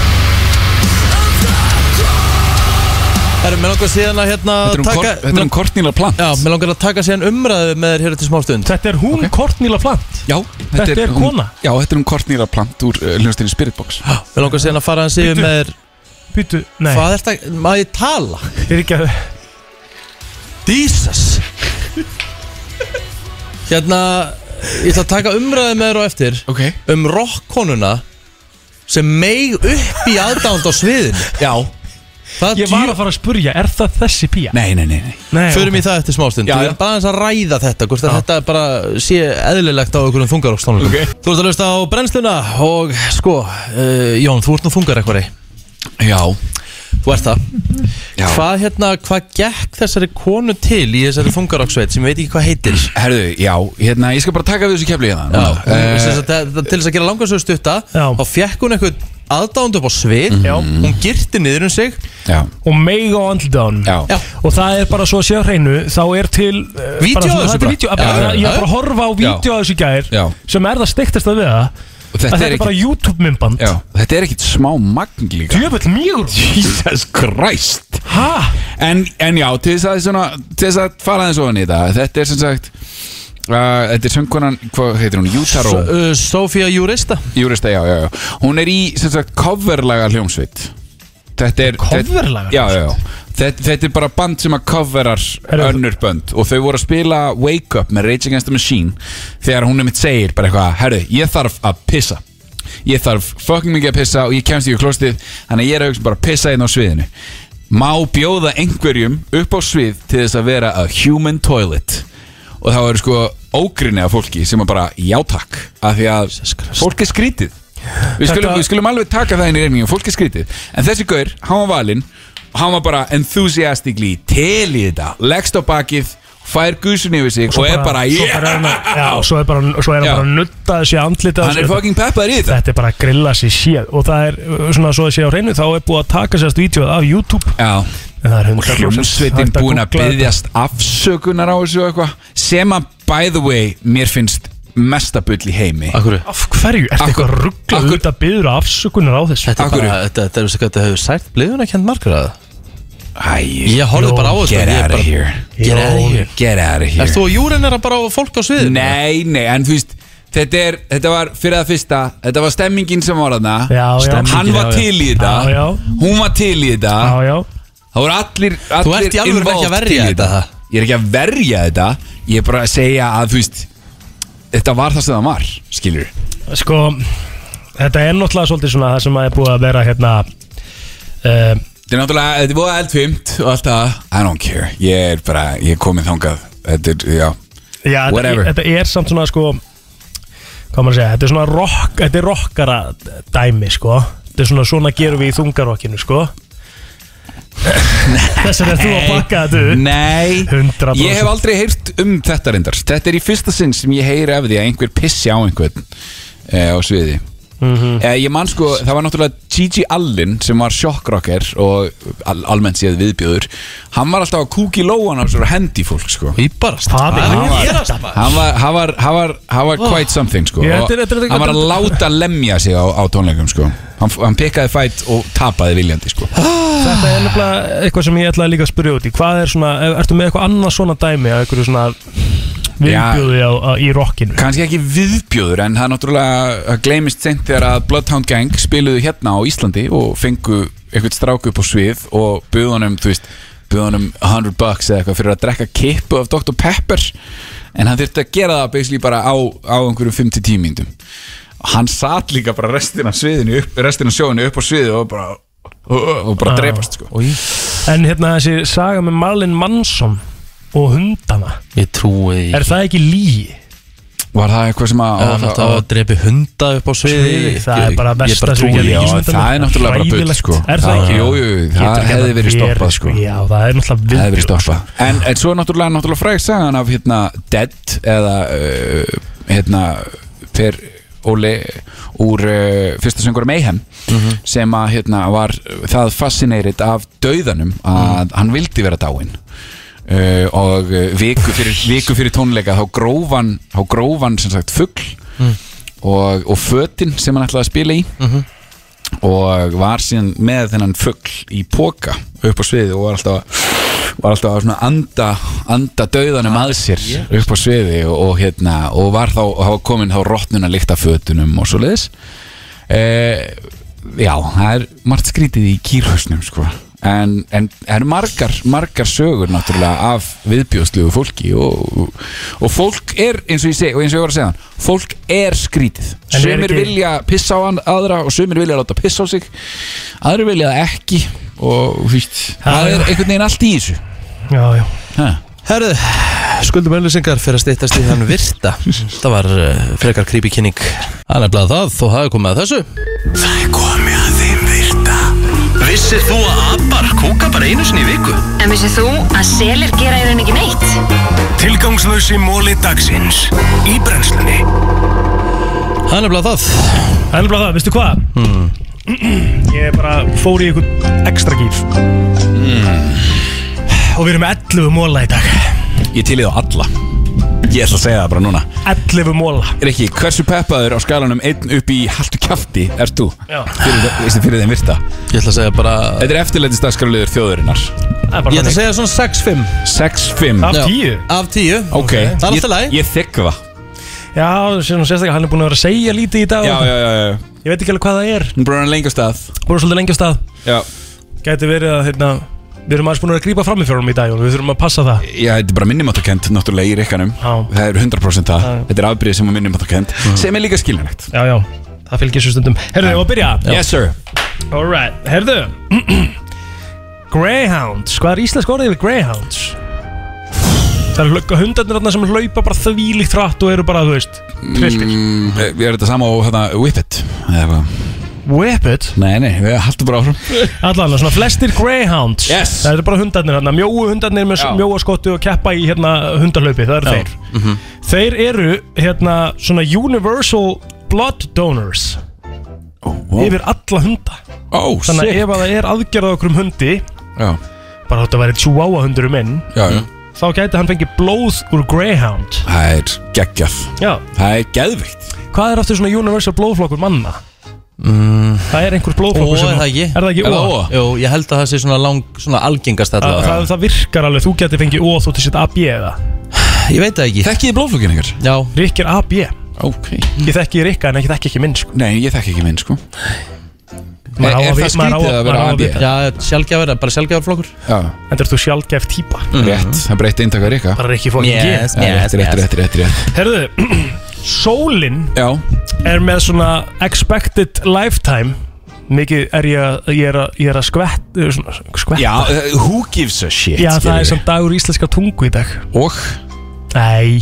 [SPEAKER 4] Herru, mér langar síðan að hérna
[SPEAKER 1] Þetta er um
[SPEAKER 4] taka,
[SPEAKER 1] Cor- þetta er um Kortnýla Plant
[SPEAKER 4] Já, mér langar að taka síðan umræðu með þér hér til smástund
[SPEAKER 5] Þetta er hún okay. Kortnýla Plant
[SPEAKER 1] Já,
[SPEAKER 5] Þetta er
[SPEAKER 1] hún-
[SPEAKER 5] kona.
[SPEAKER 1] Já, þetta er um Kortnýla Plant úr uh, hljóðstinni Spiritbox
[SPEAKER 4] Mér langar síðan að fara hans yfir
[SPEAKER 1] Bíddu.
[SPEAKER 4] með þér
[SPEAKER 5] Býtu, nei
[SPEAKER 4] Hvað er þetta, maður ég tala?
[SPEAKER 5] Þetta er ekki að
[SPEAKER 4] Jesus Hérna, ég ætla að taka umræðu með þér á eftir
[SPEAKER 1] okay.
[SPEAKER 4] Um rockkonuna sem meig upp í aðdánd á sviðinu Já Það
[SPEAKER 5] Ég var að fara að spurja, er það þessi pía?
[SPEAKER 1] Nei, nei, nei, nei.
[SPEAKER 5] Nei,
[SPEAKER 4] Förum í það eftir smástund
[SPEAKER 5] Já,
[SPEAKER 4] Við
[SPEAKER 5] já.
[SPEAKER 4] erum bara aðeins að ræða þetta Hvort að þetta bara sé eðlilegt á einhverjum þungarókstónleikum
[SPEAKER 1] Ok.
[SPEAKER 4] Þú ert að lösta á brennsluna Og sko, uh, Jón, þú ert nú þungar eitthvað
[SPEAKER 1] Já
[SPEAKER 4] Þú ert það Hvað hérna, hvað gekk þessari konu til í þessari þungaróksveit sem ég veit ekki hvað heitir
[SPEAKER 1] Herðu, já, hérna, ég skal bara taka við þessu kefli hérna
[SPEAKER 4] Já, eh, sem sagt, það- það- Til þess að gera langarsöðu stutta Þá fekk hún eitthvað aðdánd upp á svið
[SPEAKER 5] Mhm. Já.
[SPEAKER 4] Hún girti niður um sig
[SPEAKER 1] Já
[SPEAKER 5] og mega á andlitaðan
[SPEAKER 1] Já.
[SPEAKER 5] og það er bara svo að séu á hreinu þá er til uh,
[SPEAKER 1] Vídeó
[SPEAKER 5] bara
[SPEAKER 1] af
[SPEAKER 5] svona-
[SPEAKER 1] þessu
[SPEAKER 5] þetta er
[SPEAKER 1] bara.
[SPEAKER 5] vídeó,
[SPEAKER 1] Já,
[SPEAKER 5] bara,
[SPEAKER 1] já,
[SPEAKER 5] ég
[SPEAKER 1] já.
[SPEAKER 5] var bara að horfa á vídeo af þessu í gær
[SPEAKER 1] Já.
[SPEAKER 5] sem er það steiktast að við það
[SPEAKER 1] Og þetta
[SPEAKER 5] að
[SPEAKER 1] er
[SPEAKER 5] þetta er
[SPEAKER 1] ekkit-
[SPEAKER 5] bara YouTube mymband
[SPEAKER 1] Já, þetta er ekkit smá magn líka
[SPEAKER 5] Djöfull mjögur
[SPEAKER 1] Jesus Christ
[SPEAKER 5] Hæ?
[SPEAKER 1] En, en já, til þess að, svona, til þess að fara aðeins ofan í þetta Þetta er sem sagt uh, Þetta er söngkonan, hvað heitir hún? Jútaró
[SPEAKER 4] S- uh, Sofía Jurista
[SPEAKER 1] Júrista, já, já, já Hún er í, sem sagt, coverlaga hljómsveit Þetta er
[SPEAKER 5] Coverlaga
[SPEAKER 1] þetta- Já, já, já Þetta, þetta er bara band sem að coverar önnur bönd og þau voru að spila Wake Up með Rage Against the Machine þegar hún er mitt segir bara eitthvað herru, ég þarf að pissa ég þarf fucking mikið að pissa og ég kemst ekki í klostið þannig að ég er að hugsa bara að pissa einn á sviðinu má bjóða einhverjum upp á svið til þess að vera a human toilet og þá eru sko ógrinni af fólki sem að bara játak af því að fólk er skrítið Við skulum, við skulum alveg taka það inn í reyningum, fólk er skrítið En þessi gaur, hann var valinn og Hann var bara enthusiastically til í þetta Leggst á bakið, fær gusun yfir sig Og, er bara,
[SPEAKER 5] svo
[SPEAKER 1] yeah!
[SPEAKER 5] bara er hann- já, svo er bara, svo er hann
[SPEAKER 1] Já.
[SPEAKER 5] bara að nutta þessi andlita
[SPEAKER 1] Hann er fucking peppaður í þetta
[SPEAKER 5] Þetta er bara að grilla sér sér og það er uh, svona svo að sé á hreinu þá er búið að taka sérst vídeo af YouTube
[SPEAKER 1] Já
[SPEAKER 5] en það er
[SPEAKER 1] Og
[SPEAKER 5] 100%
[SPEAKER 1] hljómsveitin
[SPEAKER 5] hægt að
[SPEAKER 1] búin að
[SPEAKER 5] googla þetta.
[SPEAKER 1] byggjast afsökunar á þessu og eitthvað Sem að, by the way, mér finnst mestabull í heimi
[SPEAKER 4] Akkur
[SPEAKER 5] Af hverju? Er þetta eitthvað ruggla út að byggja afsökunar á þessu?
[SPEAKER 4] Þetta er bara, þetta, þetta er þess að þetta hefur sært blíðuna kent margur að
[SPEAKER 1] Æ,
[SPEAKER 4] Ég horfði bara á þetta
[SPEAKER 1] Get
[SPEAKER 4] ég
[SPEAKER 1] out
[SPEAKER 4] bara-
[SPEAKER 1] of here
[SPEAKER 4] Get out of here
[SPEAKER 1] Get out of here
[SPEAKER 4] Erst þú og Júrin er bara á fólk á sviðinu?
[SPEAKER 1] Nei, nei, en þú veist Þetta, er, þetta var fyrir það fyrsta Þetta var stemmingin sem var þarna
[SPEAKER 5] Já, já. Stemmingin,
[SPEAKER 1] Hann var
[SPEAKER 5] já, já.
[SPEAKER 1] til í þetta
[SPEAKER 5] Já, já.
[SPEAKER 1] Hún var til í þetta
[SPEAKER 5] Já, já
[SPEAKER 1] Það voru allir, allir
[SPEAKER 4] Þú ert í alvöru
[SPEAKER 1] involved
[SPEAKER 4] ekki að verja
[SPEAKER 1] til í Ég er ekki að verja þetta Ég er bara að segja að þú veist Þetta var það sem það var, skilur
[SPEAKER 5] Sko, þetta er náttúrulega svolítið svona það sem að er búið að vera hérna uh,
[SPEAKER 1] Þetta er náttúrulega, þetta er búið eldfimt og allt það I don't care, ég er bara, ég er komið þangað Þetta er, já
[SPEAKER 5] Já, þetta,
[SPEAKER 1] Whatever.
[SPEAKER 5] þetta er samt svona sko Hvað á maður að segja, þetta er svona rock, þetta er rockara dæmi sko Þetta er svona svona gerum við í þungarokkinu sko Þess vegna er þú að bakka þetta upp
[SPEAKER 1] Nei
[SPEAKER 5] 100%
[SPEAKER 1] Ég hef aldrei heyrt um þetta reyndar Þetta er í fyrsta sinn sem ég heyri af því að einhver pissi á einhvern eh, á sviði
[SPEAKER 5] Mhm.
[SPEAKER 1] eh, Ég man sko, það var náttúrulega Gigi Allin sem var sjokkrokker og al almennt séð viðbjöður Hann var alltaf að kúki lóan á svo hendi fólk sko Íbarast
[SPEAKER 5] Hvað er
[SPEAKER 1] Hann
[SPEAKER 5] að
[SPEAKER 1] var,
[SPEAKER 5] gerast,
[SPEAKER 1] hann var, hann var, hann var, hann var
[SPEAKER 5] Oh.
[SPEAKER 1] quite something sko
[SPEAKER 5] Ég-
[SPEAKER 1] Og
[SPEAKER 5] þetta er- þetta er-
[SPEAKER 1] Hann var að láta lemja sig á, á tónleikum sko Hann, hann pekkaði fætt og tapaði viljandi sko
[SPEAKER 5] Þetta er nefnilega eitthvað sem ég ætlaði líka að spyrja út í Hvað er svona, er- ertu með eitthvað annað svona dæmi að eitthvað svona viðbjóði á, á, í rockinu?
[SPEAKER 1] kannski ekki viðbjóður en það er náttúrulega það gleymist sent þegar að Bloodhound Gang spiluðu hérna á Íslandi og fengu einhvern strák upp á svið og buðunum, þú veist, buðunum 100 bucks eða eitthvað fyrir að drekka kippu af Dr. Pepper en hann þurfti að gera það basically bara á, á einhverjum 5-10 mínutum hann satt líka bara restina af sviðinu upp, restina af sjóinu upp á sviði og bara og bara
[SPEAKER 5] Ah.
[SPEAKER 1] drepast sko
[SPEAKER 5] En hérna þessi saga með Marlon Manson og hundana
[SPEAKER 4] Ég trúi því
[SPEAKER 5] Er það ekki lígi?
[SPEAKER 1] Var það eitthvað sem að
[SPEAKER 4] Eða þetta að drepi hunda upp á sviði
[SPEAKER 5] Sviði, það er
[SPEAKER 4] Ég-
[SPEAKER 5] bara
[SPEAKER 4] ég
[SPEAKER 5] besta sem
[SPEAKER 4] trúi
[SPEAKER 5] gerði
[SPEAKER 4] því.
[SPEAKER 5] í vísindunum.
[SPEAKER 1] það er náttúrulega bara bull,
[SPEAKER 5] Hræðilegt.
[SPEAKER 1] sko.
[SPEAKER 5] Er það
[SPEAKER 1] Það-
[SPEAKER 5] ekki? hérna
[SPEAKER 1] jú, jú, jú, það
[SPEAKER 5] Getur ekki
[SPEAKER 1] hefði
[SPEAKER 5] annað
[SPEAKER 1] verið stoppað,
[SPEAKER 5] verið,
[SPEAKER 1] sko.
[SPEAKER 5] Já, það er náttúrulega
[SPEAKER 1] Það
[SPEAKER 5] viðbjóð
[SPEAKER 1] hefði verið stoppað en, en svo er náttúrulega, náttúrulega fræg sagan af hérna Dead eða uh, hérna Per Óli úr uh, fyrsta söngur Mayhem sem að hérna var það fascinerit af dauðanum að hann vildi vera dáinn uh, og uh, viku fyrir, viku fyrir tónleika þá grófan, þá grófan sem sagt fugl
[SPEAKER 4] Mm.
[SPEAKER 1] og, og fötin sem hann ætlaði að spila í
[SPEAKER 4] Mhm.
[SPEAKER 1] og var síðan með þennan fuggl í póka upp á sviði og var alltaf var alltaf að svona anda anda dauðanum að sér upp á sviði og, og hérna og var þá, þá komin þá rottnuna líkt af fötunum og svo leiðis Eh, já, það er margt skrítið í kýrhausnum sko en, en það eru margar, margar sögur náttúrulega af viðbjóðsluðu fólki og, og fólk er eins og ég segi, og eins og ég var að segja hann fólk er skrítið,
[SPEAKER 5] En er
[SPEAKER 1] sumir
[SPEAKER 5] ekki-
[SPEAKER 1] vilja pissa á hann- aðra og sumir vilja láta pissa á sig aðri vilja það ekki og hvít, það er einhvern veginn allt í þessu
[SPEAKER 5] Já, já
[SPEAKER 4] Herðu, skuldum öllusingar fyrir að stýttast í þann virta Það var uh, frekar creepy kynning Það er nefnilega það, þú hafði komið að þessu
[SPEAKER 2] Það er komið að þeim virta Vissir þú að abar kúka bara einu sinni í viku?
[SPEAKER 14] En vissið þú að selir gera í raun ekki neitt?
[SPEAKER 2] Tilgangslösi móli dagsins Í brennslunni
[SPEAKER 4] Það er nefnilega það
[SPEAKER 5] Það er nefnilega það, veistu hvað?
[SPEAKER 4] hmm.
[SPEAKER 5] Ég bara fór í einhvern ekstra gíf
[SPEAKER 1] Hmm.
[SPEAKER 5] Og við erum með 11 móla í dag
[SPEAKER 1] Ég til í þá alla Ég ætla að segja það bara núna
[SPEAKER 5] 11 móla
[SPEAKER 1] Rikki, hversu peppaður á skalanum einn upp í haltu kjafti ert þú?
[SPEAKER 5] Já.
[SPEAKER 1] Fyrir, veistu, fyrir þeim virta
[SPEAKER 4] Ég ætla að segja bara
[SPEAKER 1] Þetta er eftirlætist dagskraliður þjóðurinnar
[SPEAKER 5] Ég
[SPEAKER 4] Ég ætla að segja svona 6-5
[SPEAKER 1] 6-5
[SPEAKER 5] Af 10?
[SPEAKER 4] Af 10
[SPEAKER 1] Ok,
[SPEAKER 5] um Það er alltaf
[SPEAKER 1] Ég, ég þykka það
[SPEAKER 5] Já, sem sérstaklega hann er búin að vera að segja lítið í dag
[SPEAKER 1] Já, já, já, já
[SPEAKER 5] Ég veit ekki alveg hvað það er
[SPEAKER 1] Hún brúnar lengi á stað
[SPEAKER 5] Búin svolítið lengi á stað
[SPEAKER 1] Já
[SPEAKER 5] Gæti verið að, hérna, við erum aðeins búin að grípa fram í fjórum í dag og við þurfum að passa það
[SPEAKER 1] Já, þetta er bara minnumáttakent náttúrulega í rikkanum Það er 100% það Þetta er afbríð sem er minnumáttakent Sem er líka skiljanlegt
[SPEAKER 5] Já, já, það fylgir svo stundum Herðu, og byrja
[SPEAKER 1] Yes, sir
[SPEAKER 5] Alright, herðu Greyhounds, hvað er íslensk orðið við Greyhounds? Það eru hlögga hundarnir þarna sem hlaupa bara þvílíkt hratt og eru bara, þú veist Trilltir
[SPEAKER 1] mm, Er þetta sama á hérna, Whippet? Eða hvað?
[SPEAKER 5] Whippet?
[SPEAKER 1] Nei, nei, við haldum bara áfram
[SPEAKER 5] Allan, svona flestir Greyhounds yes. Það eru bara hundarnir hérna, mjóu hundarnir með
[SPEAKER 1] Já.
[SPEAKER 5] mjóa skottu og keppa í hérna hundarlaupi, það eru
[SPEAKER 1] Já. Mhm.
[SPEAKER 5] þeir Þeir eru hérna svona universal blood donors Yfir alla hunda
[SPEAKER 1] oh,
[SPEAKER 5] Þannig
[SPEAKER 1] shit.
[SPEAKER 5] að ef að það er aðgerð á okkur um hundi
[SPEAKER 1] Já
[SPEAKER 5] Bara þótt að væri chihuahua hundur um minn
[SPEAKER 1] Já, já
[SPEAKER 5] Þá gæti hann fengið blóð úr greyhound
[SPEAKER 1] Það er geggjaf
[SPEAKER 5] Já
[SPEAKER 1] Það er geðvikt
[SPEAKER 5] Hvað er aftur svona universal blóðflokkur manna?
[SPEAKER 4] mm.
[SPEAKER 5] Það er einhver blóðflokkur
[SPEAKER 4] Ó,
[SPEAKER 5] sem
[SPEAKER 4] er það ekki?
[SPEAKER 5] Er það ekki ó?
[SPEAKER 4] Jú, ég held að það sé svona, lang, svona algengast
[SPEAKER 5] Það,
[SPEAKER 4] allavega.
[SPEAKER 5] það, það virkar alveg, þú getur fengið ó þú til sitt AB eða
[SPEAKER 4] ah. Ég veit það ekki
[SPEAKER 1] Þekkið þið blóðflokkin ykkur?
[SPEAKER 4] Já
[SPEAKER 5] Rikk er AB
[SPEAKER 1] Ok
[SPEAKER 5] Ég þekki Rikka en ég þekki ekki minn sko
[SPEAKER 1] Nei, ég þekki ekki minn sko
[SPEAKER 5] Maður á að
[SPEAKER 1] Er
[SPEAKER 5] vi-
[SPEAKER 1] það
[SPEAKER 5] maður á-
[SPEAKER 1] skrítið að
[SPEAKER 5] maður á
[SPEAKER 1] vera
[SPEAKER 5] að
[SPEAKER 1] AB?
[SPEAKER 5] vita.
[SPEAKER 4] Já, sjálfgjafur, bara sjálfgjafur flokkur
[SPEAKER 1] Já
[SPEAKER 5] En er þú sjálfgef típa
[SPEAKER 1] Rétt, það breytti eintakar ykkar
[SPEAKER 5] Mhm. Bara Rikki fucking G. Yes, yes,
[SPEAKER 1] Rétt, rétt,
[SPEAKER 5] yes.
[SPEAKER 1] rétt, rétt, rétt
[SPEAKER 5] Herðu, sólin
[SPEAKER 1] Já.
[SPEAKER 5] er með svona expected lifetime Mikið er ég, að- ég, er, að- ég er að skvett, eh, svona, skvetta
[SPEAKER 1] Já, uh, who gives a shit
[SPEAKER 5] Já, það
[SPEAKER 1] skilurðu?
[SPEAKER 5] er samt dagur íslenska tungu í dag
[SPEAKER 1] Og?
[SPEAKER 5] Nei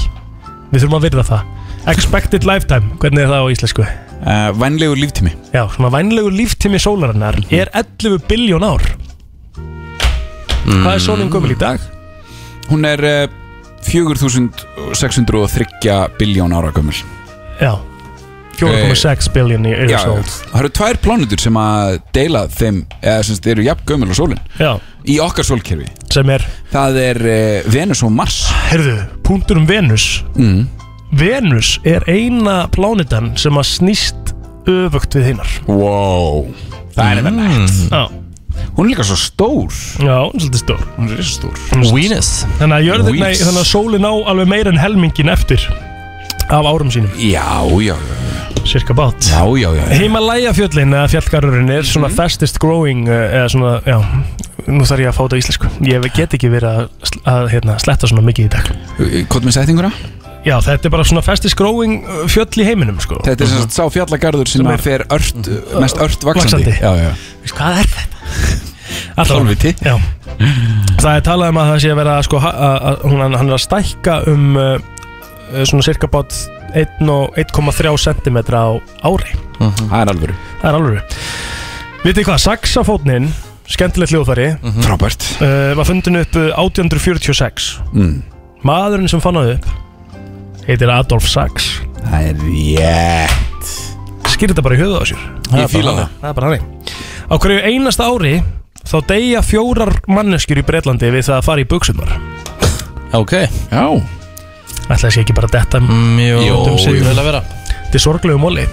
[SPEAKER 5] Við þurfum að virða það Expected lifetime, hvernig er það á íslensku?
[SPEAKER 1] Uh, vænlegur líftími
[SPEAKER 5] Já, svona vænlegur líftími sólarinnar
[SPEAKER 1] Mhm.
[SPEAKER 5] er 11 biljón ár
[SPEAKER 1] Mm.
[SPEAKER 5] Hvað er sólinn gömul í dag?
[SPEAKER 1] Hún er uh, 4603 biljón ára gömul
[SPEAKER 5] Já 4,6 billion years
[SPEAKER 1] Eh, Já,
[SPEAKER 5] old
[SPEAKER 1] það eru tvær plánutur sem að deila þeim, eða sem sagt, eru jafn gömul og sólin
[SPEAKER 5] Já.
[SPEAKER 1] í okkar sólkerfi
[SPEAKER 5] sem er?
[SPEAKER 1] Það er uh, Venus og Mars
[SPEAKER 5] Herðu, punktur um Venus
[SPEAKER 1] mm.
[SPEAKER 5] Venus er eina plánitan sem að snýst öfugt við hinnar
[SPEAKER 1] Wow, það er vel nægt
[SPEAKER 5] Já
[SPEAKER 1] Mm. Hún er líka svo stór
[SPEAKER 5] Já, hún er svolítið stór
[SPEAKER 1] Hún er svo stór
[SPEAKER 4] Venus
[SPEAKER 5] Þannig að, jörðin, nei,
[SPEAKER 1] Venus.
[SPEAKER 5] þannig að sólin á alveg meira en helmingin eftir af árum sínum
[SPEAKER 1] Já, já,
[SPEAKER 5] Cirka bát Mhm.
[SPEAKER 1] já, já, já, já.
[SPEAKER 5] Himalæjafjöllin eða fjallgarðurinn er svona fastest growing eh, eða svona, já Nú þarf ég að fá þetta á íslensku Ég get ekki verið að, sl- að hérna, sletta svona mikið í dag
[SPEAKER 1] Hvað með settingura?
[SPEAKER 5] Já, þetta er bara svona fastest growing eh, fjöll í heiminum sko.
[SPEAKER 1] Þetta er sem sagt sá fjallagarður sem
[SPEAKER 5] Sem
[SPEAKER 1] að
[SPEAKER 5] er-
[SPEAKER 1] fer ört, uh, mest ört vaksandi
[SPEAKER 5] Vaxandi.
[SPEAKER 1] Já, já
[SPEAKER 5] Veist, Hvað er þetta? Alltaf
[SPEAKER 1] Hálfviti
[SPEAKER 5] Já Það er talað um að það sé að vera sko, ha- að, að, hún, hann er að stækka um uh, uh, svona cirka bát 1 og 1,3 cm á ári
[SPEAKER 1] Það er alvöru
[SPEAKER 5] Það er alveg Vitið þið hvað, saxafótnin skemmtilegt hljóðfæri
[SPEAKER 1] Mhm. Frábært
[SPEAKER 5] uh, var fundin upp uh, 1846
[SPEAKER 1] mm.
[SPEAKER 5] Maðurinn sem fann það upp heitir Adolf Sax
[SPEAKER 1] Það er rétt
[SPEAKER 5] Skýr þetta bara í höfuð á sér
[SPEAKER 1] Ég
[SPEAKER 5] er bara
[SPEAKER 1] fíla
[SPEAKER 5] þannig. Það er bara hannig Á hverju einasta ári þá deyja fjórar manneskjur í Breitlandi við það að fara í buksunar
[SPEAKER 4] Ok
[SPEAKER 1] Já
[SPEAKER 5] Ætla þessi ekki bara að detta
[SPEAKER 4] Mm. Jó,
[SPEAKER 5] Jó,
[SPEAKER 4] jú. vel að vera
[SPEAKER 5] Þetta er sorglegu móli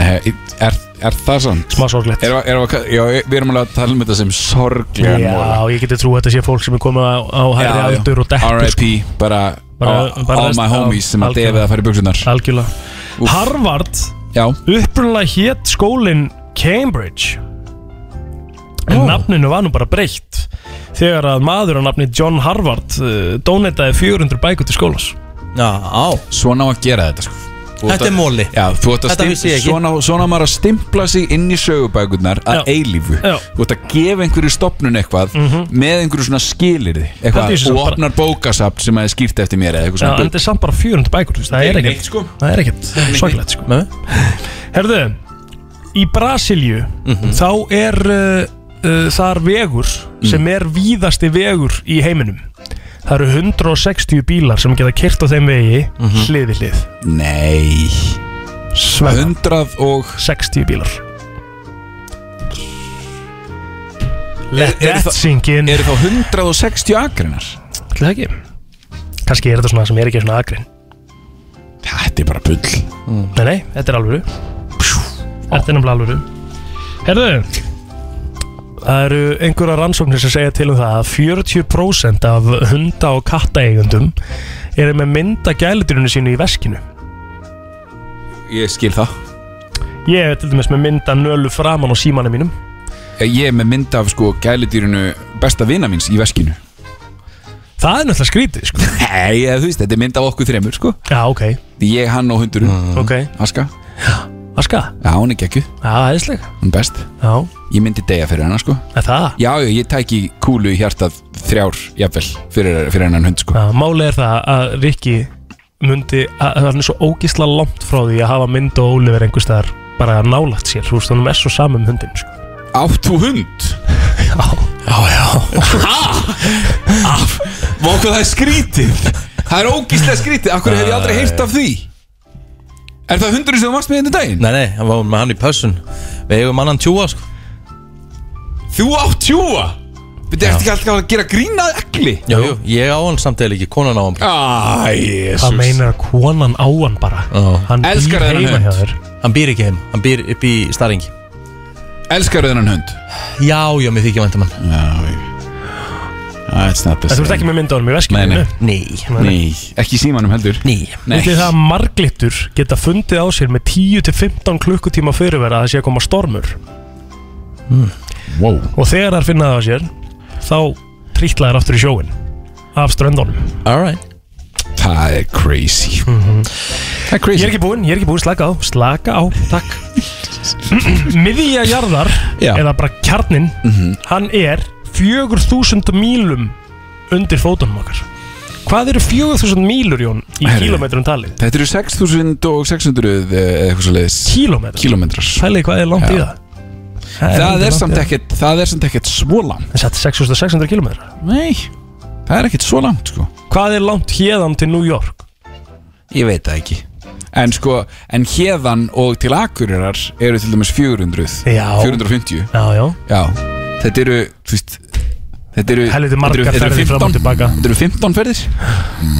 [SPEAKER 1] Eh, Er, er það sant?
[SPEAKER 5] Smá sorglegt
[SPEAKER 1] er, er, er, Já, við erum alveg að tala um þetta sem
[SPEAKER 5] Já,
[SPEAKER 1] sorglegan móla
[SPEAKER 5] ég geti trú að þetta sé fólk sem er komið á, á hægri aldur og dettur sko.
[SPEAKER 1] R.I.P. bara,
[SPEAKER 5] Bara-
[SPEAKER 1] all-
[SPEAKER 5] bara
[SPEAKER 1] all
[SPEAKER 5] rest-
[SPEAKER 1] my homies sem að
[SPEAKER 5] algjörlega.
[SPEAKER 1] defið að fara í buksunar
[SPEAKER 5] Algjörlega Harvard
[SPEAKER 1] Já
[SPEAKER 5] Upprunalega hétt skólinn Cambridge
[SPEAKER 1] Oh.
[SPEAKER 5] En nafninu var nú bara breytt Þegar að maður á nafni John Harvard uh, Dónetaði 400 bækur til skólans
[SPEAKER 4] Já, á
[SPEAKER 1] Svona á að gera þetta sko Þú
[SPEAKER 4] Þetta
[SPEAKER 1] átt að-
[SPEAKER 4] er móli.
[SPEAKER 1] Já, þú átt að
[SPEAKER 4] Þetta vissi ég ekki.
[SPEAKER 1] stimpla Svona, svona á maður að stimpla sig inn í sögubækurnar að eilífu
[SPEAKER 5] Já.
[SPEAKER 1] Þú átt að gefa einhverju stopnun eitthvað
[SPEAKER 4] Mhm.
[SPEAKER 1] Með einhverju svona skilirði
[SPEAKER 5] Þetta
[SPEAKER 1] Eitthvað
[SPEAKER 5] er sem
[SPEAKER 1] Og
[SPEAKER 5] bara-
[SPEAKER 1] opnar bókasapt sem að er skýrt eftir mér Eða eitthvað
[SPEAKER 5] Já, en
[SPEAKER 1] svona
[SPEAKER 5] þetta er samt bara 400 bækur þú veist, Það
[SPEAKER 1] Þetta
[SPEAKER 5] er
[SPEAKER 1] er
[SPEAKER 5] ekkert
[SPEAKER 1] neitt, sko.
[SPEAKER 5] Það er ekkert
[SPEAKER 1] Þetta er neitt.
[SPEAKER 5] sorglegt sko. Herðu, í Brasilju
[SPEAKER 1] Mhm.
[SPEAKER 5] Þá er uh, uh, þar vegur Sem
[SPEAKER 1] Mm.
[SPEAKER 5] er víðasti vegur í heiminum Það eru 160 bílar sem geta kyrt á þeim vegi
[SPEAKER 1] Mhm.
[SPEAKER 5] hlið við hlið
[SPEAKER 1] Nei
[SPEAKER 5] Svega.
[SPEAKER 1] 100 og
[SPEAKER 5] 60 bílar
[SPEAKER 1] Let
[SPEAKER 5] that sink in
[SPEAKER 1] Eru þá 160 akrinar?
[SPEAKER 5] Ætli það ekki Kanski er þetta svona sem er ekki svona agrin
[SPEAKER 1] Þetta er bara bull
[SPEAKER 5] Nei, nei, þetta er alvöru Þetta er nefnilega alvöru Herðu Það eru einhverja rannsóknir sem segja til um það að 40% af hunda og kattaeigundum eru með mynda gæludurinu sínu í veskinu
[SPEAKER 1] Ég skil það
[SPEAKER 5] Ég er til dæmis með mynda nölu framan á símanum mínum
[SPEAKER 1] Eh, Ég er með mynd af sko gæludýrinu besta vina míns í veskinu
[SPEAKER 5] Það er náttúrulega skrítið sko
[SPEAKER 1] Nei, eða þú veist, þetta er mynd af okkur þremur sko
[SPEAKER 5] Já, ok,
[SPEAKER 1] Ég, hann og hundurinn
[SPEAKER 4] Mm.
[SPEAKER 5] ok
[SPEAKER 1] Aska
[SPEAKER 5] Aska,
[SPEAKER 1] Já, hún er geggju,
[SPEAKER 5] já, æðisleg
[SPEAKER 1] hún er best
[SPEAKER 5] Já,
[SPEAKER 1] Ég myndi deyja fyrir hennar sko
[SPEAKER 5] er það
[SPEAKER 1] Já, já, ég tæki kúlu í hjartað þrjár, jafnvel, fyrir, fyrir hennan hund sko
[SPEAKER 5] Já, Málið er það að Rikki myndi, að, að hann er svo ógisla langt frá því að hafa mynd og Oliver einhvers staðar bara nálægt sér, þú veist, hann er svo saman um hundin sko.
[SPEAKER 1] Átt þú hund?
[SPEAKER 5] Já, já, já
[SPEAKER 1] Af, vá hvað það er skrítið Það er ógíslega skrítið, akkur hef ég aldrei heyrt af því Er það hundurinn sem þú varst með henni daginn?
[SPEAKER 4] Nei, nei, hann var með hann í pössun Við eigum annan tjúa sko
[SPEAKER 1] Þú átt tjúa? Þetta er ekki alltaf að gera grínað ekli
[SPEAKER 4] Jú, jú, ég á hann samt eða ekki, konan á hann bara.
[SPEAKER 1] Æ,
[SPEAKER 5] Það
[SPEAKER 1] jésus
[SPEAKER 5] meinar að konan á hann bara
[SPEAKER 4] Já.
[SPEAKER 5] Hann
[SPEAKER 1] Elskar
[SPEAKER 5] býr
[SPEAKER 1] þennan
[SPEAKER 5] heima hjá
[SPEAKER 1] hund.
[SPEAKER 5] þér
[SPEAKER 4] Hann býr ekki heim, hann býr upp í staringi
[SPEAKER 1] Elskar þennan hund?
[SPEAKER 4] Já, já, mér þykja væntum hann
[SPEAKER 1] Já, ég That's not the
[SPEAKER 5] En Þú ert ekki með mynd á hann í
[SPEAKER 1] Nei,
[SPEAKER 5] veskinu
[SPEAKER 1] nei,
[SPEAKER 4] Ný,
[SPEAKER 1] nei, ekki í símanum heldur
[SPEAKER 4] ný
[SPEAKER 1] Nei,
[SPEAKER 5] Þetta er það að marglittur geta fundið á sér með 10-15 klukkutíma fyrirvera að það sé að koma stormur
[SPEAKER 1] wow
[SPEAKER 5] og þegar þær finna það á sér þá trítla þær aftur í sjóin af ströndunum
[SPEAKER 4] Alright
[SPEAKER 1] Það er crazy Það er
[SPEAKER 5] Ég
[SPEAKER 1] crazy
[SPEAKER 5] Mhm. er ekki búinn, ég er ekki búinn, slaka á, slaka á, takk Miðja jarðar,
[SPEAKER 1] Já. Mhm.
[SPEAKER 5] eða bara kjarnin, hann er 4000 mílum undir fótunum okkar Hvað eru 4000 mílur, Jón, í
[SPEAKER 1] Herri.
[SPEAKER 5] kílómetrum talið?
[SPEAKER 1] Þetta eru 6600 eh, eða eitthvað svo leiðis
[SPEAKER 5] Kílómetrar?
[SPEAKER 1] Kílómetrar
[SPEAKER 5] Pælið hvað er langt í
[SPEAKER 1] Já.
[SPEAKER 5] það?
[SPEAKER 1] Það er samt
[SPEAKER 5] ekki
[SPEAKER 1] ekkert Það er samt ekkert svo langt
[SPEAKER 5] Það er 6600 kílómetrar
[SPEAKER 1] Nei Það er ekkert svo langt sko
[SPEAKER 5] Hvað er langt hérðan til New York?
[SPEAKER 1] Ég veit það ekki En sko, en hérðan og til Akureyrar eru til dæmis 400
[SPEAKER 5] Já.
[SPEAKER 1] 450
[SPEAKER 5] Já, já
[SPEAKER 1] Þetta eru, þú veist Þetta eru
[SPEAKER 5] Helviti
[SPEAKER 1] þetta
[SPEAKER 5] margar
[SPEAKER 1] eru- þetta eru
[SPEAKER 5] ferðir fram og
[SPEAKER 1] 15
[SPEAKER 5] tilbaka.
[SPEAKER 1] Þetta eru 15 ferðir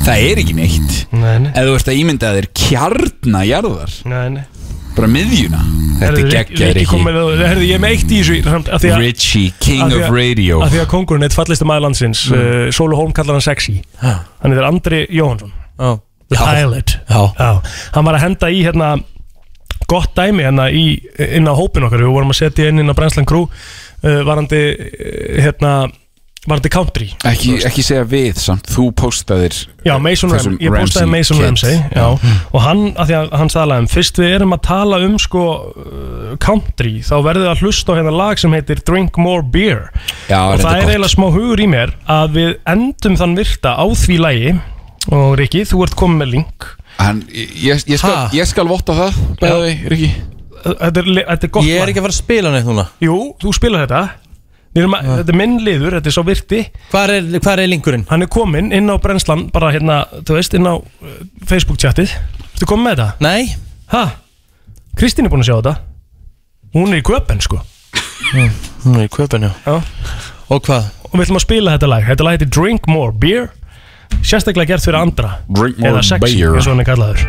[SPEAKER 1] Það er ekki neitt
[SPEAKER 5] Nei, nei.
[SPEAKER 1] Ef þú ert að ímynda þér kjarnajarðar
[SPEAKER 5] Nei, nei
[SPEAKER 1] Bara miðjuna Þetta er geggjaður
[SPEAKER 5] ekki
[SPEAKER 1] ekki
[SPEAKER 5] Herðu, ég er með eitt í þessu samt, af því að-
[SPEAKER 1] Richie, king
[SPEAKER 5] af því
[SPEAKER 1] of
[SPEAKER 5] að-
[SPEAKER 1] radio.
[SPEAKER 5] Af því að kongurinn eitt fallistu maður landsins
[SPEAKER 1] Mm.
[SPEAKER 5] mm. uh, Sólu Holm kallar hann sexy
[SPEAKER 4] Ha.
[SPEAKER 5] Þannig þetta er Andri Jóhansson
[SPEAKER 4] Já.
[SPEAKER 5] The
[SPEAKER 4] Já.
[SPEAKER 5] Pilot
[SPEAKER 4] Já.
[SPEAKER 5] Hann var að henda í hérna gott dæmi hérna í, inn á hópin okkar Við vorum að setja inn inn á Brensland Crew uh, Varandi uh, hérna Varandi country
[SPEAKER 1] Ekki, ekki segja við samt, þú postaðir
[SPEAKER 5] Já, Mason
[SPEAKER 1] þessum
[SPEAKER 5] Ramsey, ég postaði
[SPEAKER 1] Ramsey Hmm.
[SPEAKER 5] Mason
[SPEAKER 1] kid.
[SPEAKER 5] Ramsey já. og hann, af því að hann talaði um fyrst við erum að tala um sko uh, country, þá verðið að hlusta á hérna lag sem heitir Drink More Beer
[SPEAKER 1] Já,
[SPEAKER 5] og
[SPEAKER 1] þetta
[SPEAKER 5] það
[SPEAKER 1] er
[SPEAKER 5] er
[SPEAKER 1] gott.
[SPEAKER 5] eiginlega smá hugur í mér að við endum þann virta á því lagi og Riki, þú ert komið með link
[SPEAKER 1] Hann, ég, ég, skal,
[SPEAKER 5] Ha?
[SPEAKER 1] ég skal votta það Bæði, Riki
[SPEAKER 5] Þetta er, le- þetta er gott
[SPEAKER 1] Ég er ekki
[SPEAKER 4] að fara að spila neitt núna
[SPEAKER 5] Jú, þú spilar þetta Við erum að, Þetta er minn liður, þetta er svo virti
[SPEAKER 4] Hvar er, hvar er linkurinn?
[SPEAKER 5] Hann er kominn inn á brennslan, bara hérna, þú veist, inn á uh, Facebook-tjattið Ertu komið með þetta?
[SPEAKER 4] Nei
[SPEAKER 5] Ha? Kristín er búin að sjá þetta Hún er í köpen, sko
[SPEAKER 4] Hún er í köpen, já
[SPEAKER 5] Já
[SPEAKER 4] Og hvað?
[SPEAKER 5] Og við ætlum að spila þetta lag Þetta lag heitir Drink More Beer Sérstaklega gert fyrir andra
[SPEAKER 1] Drink more
[SPEAKER 5] Eða sexy,
[SPEAKER 1] beer.
[SPEAKER 5] eins og hann er kallaður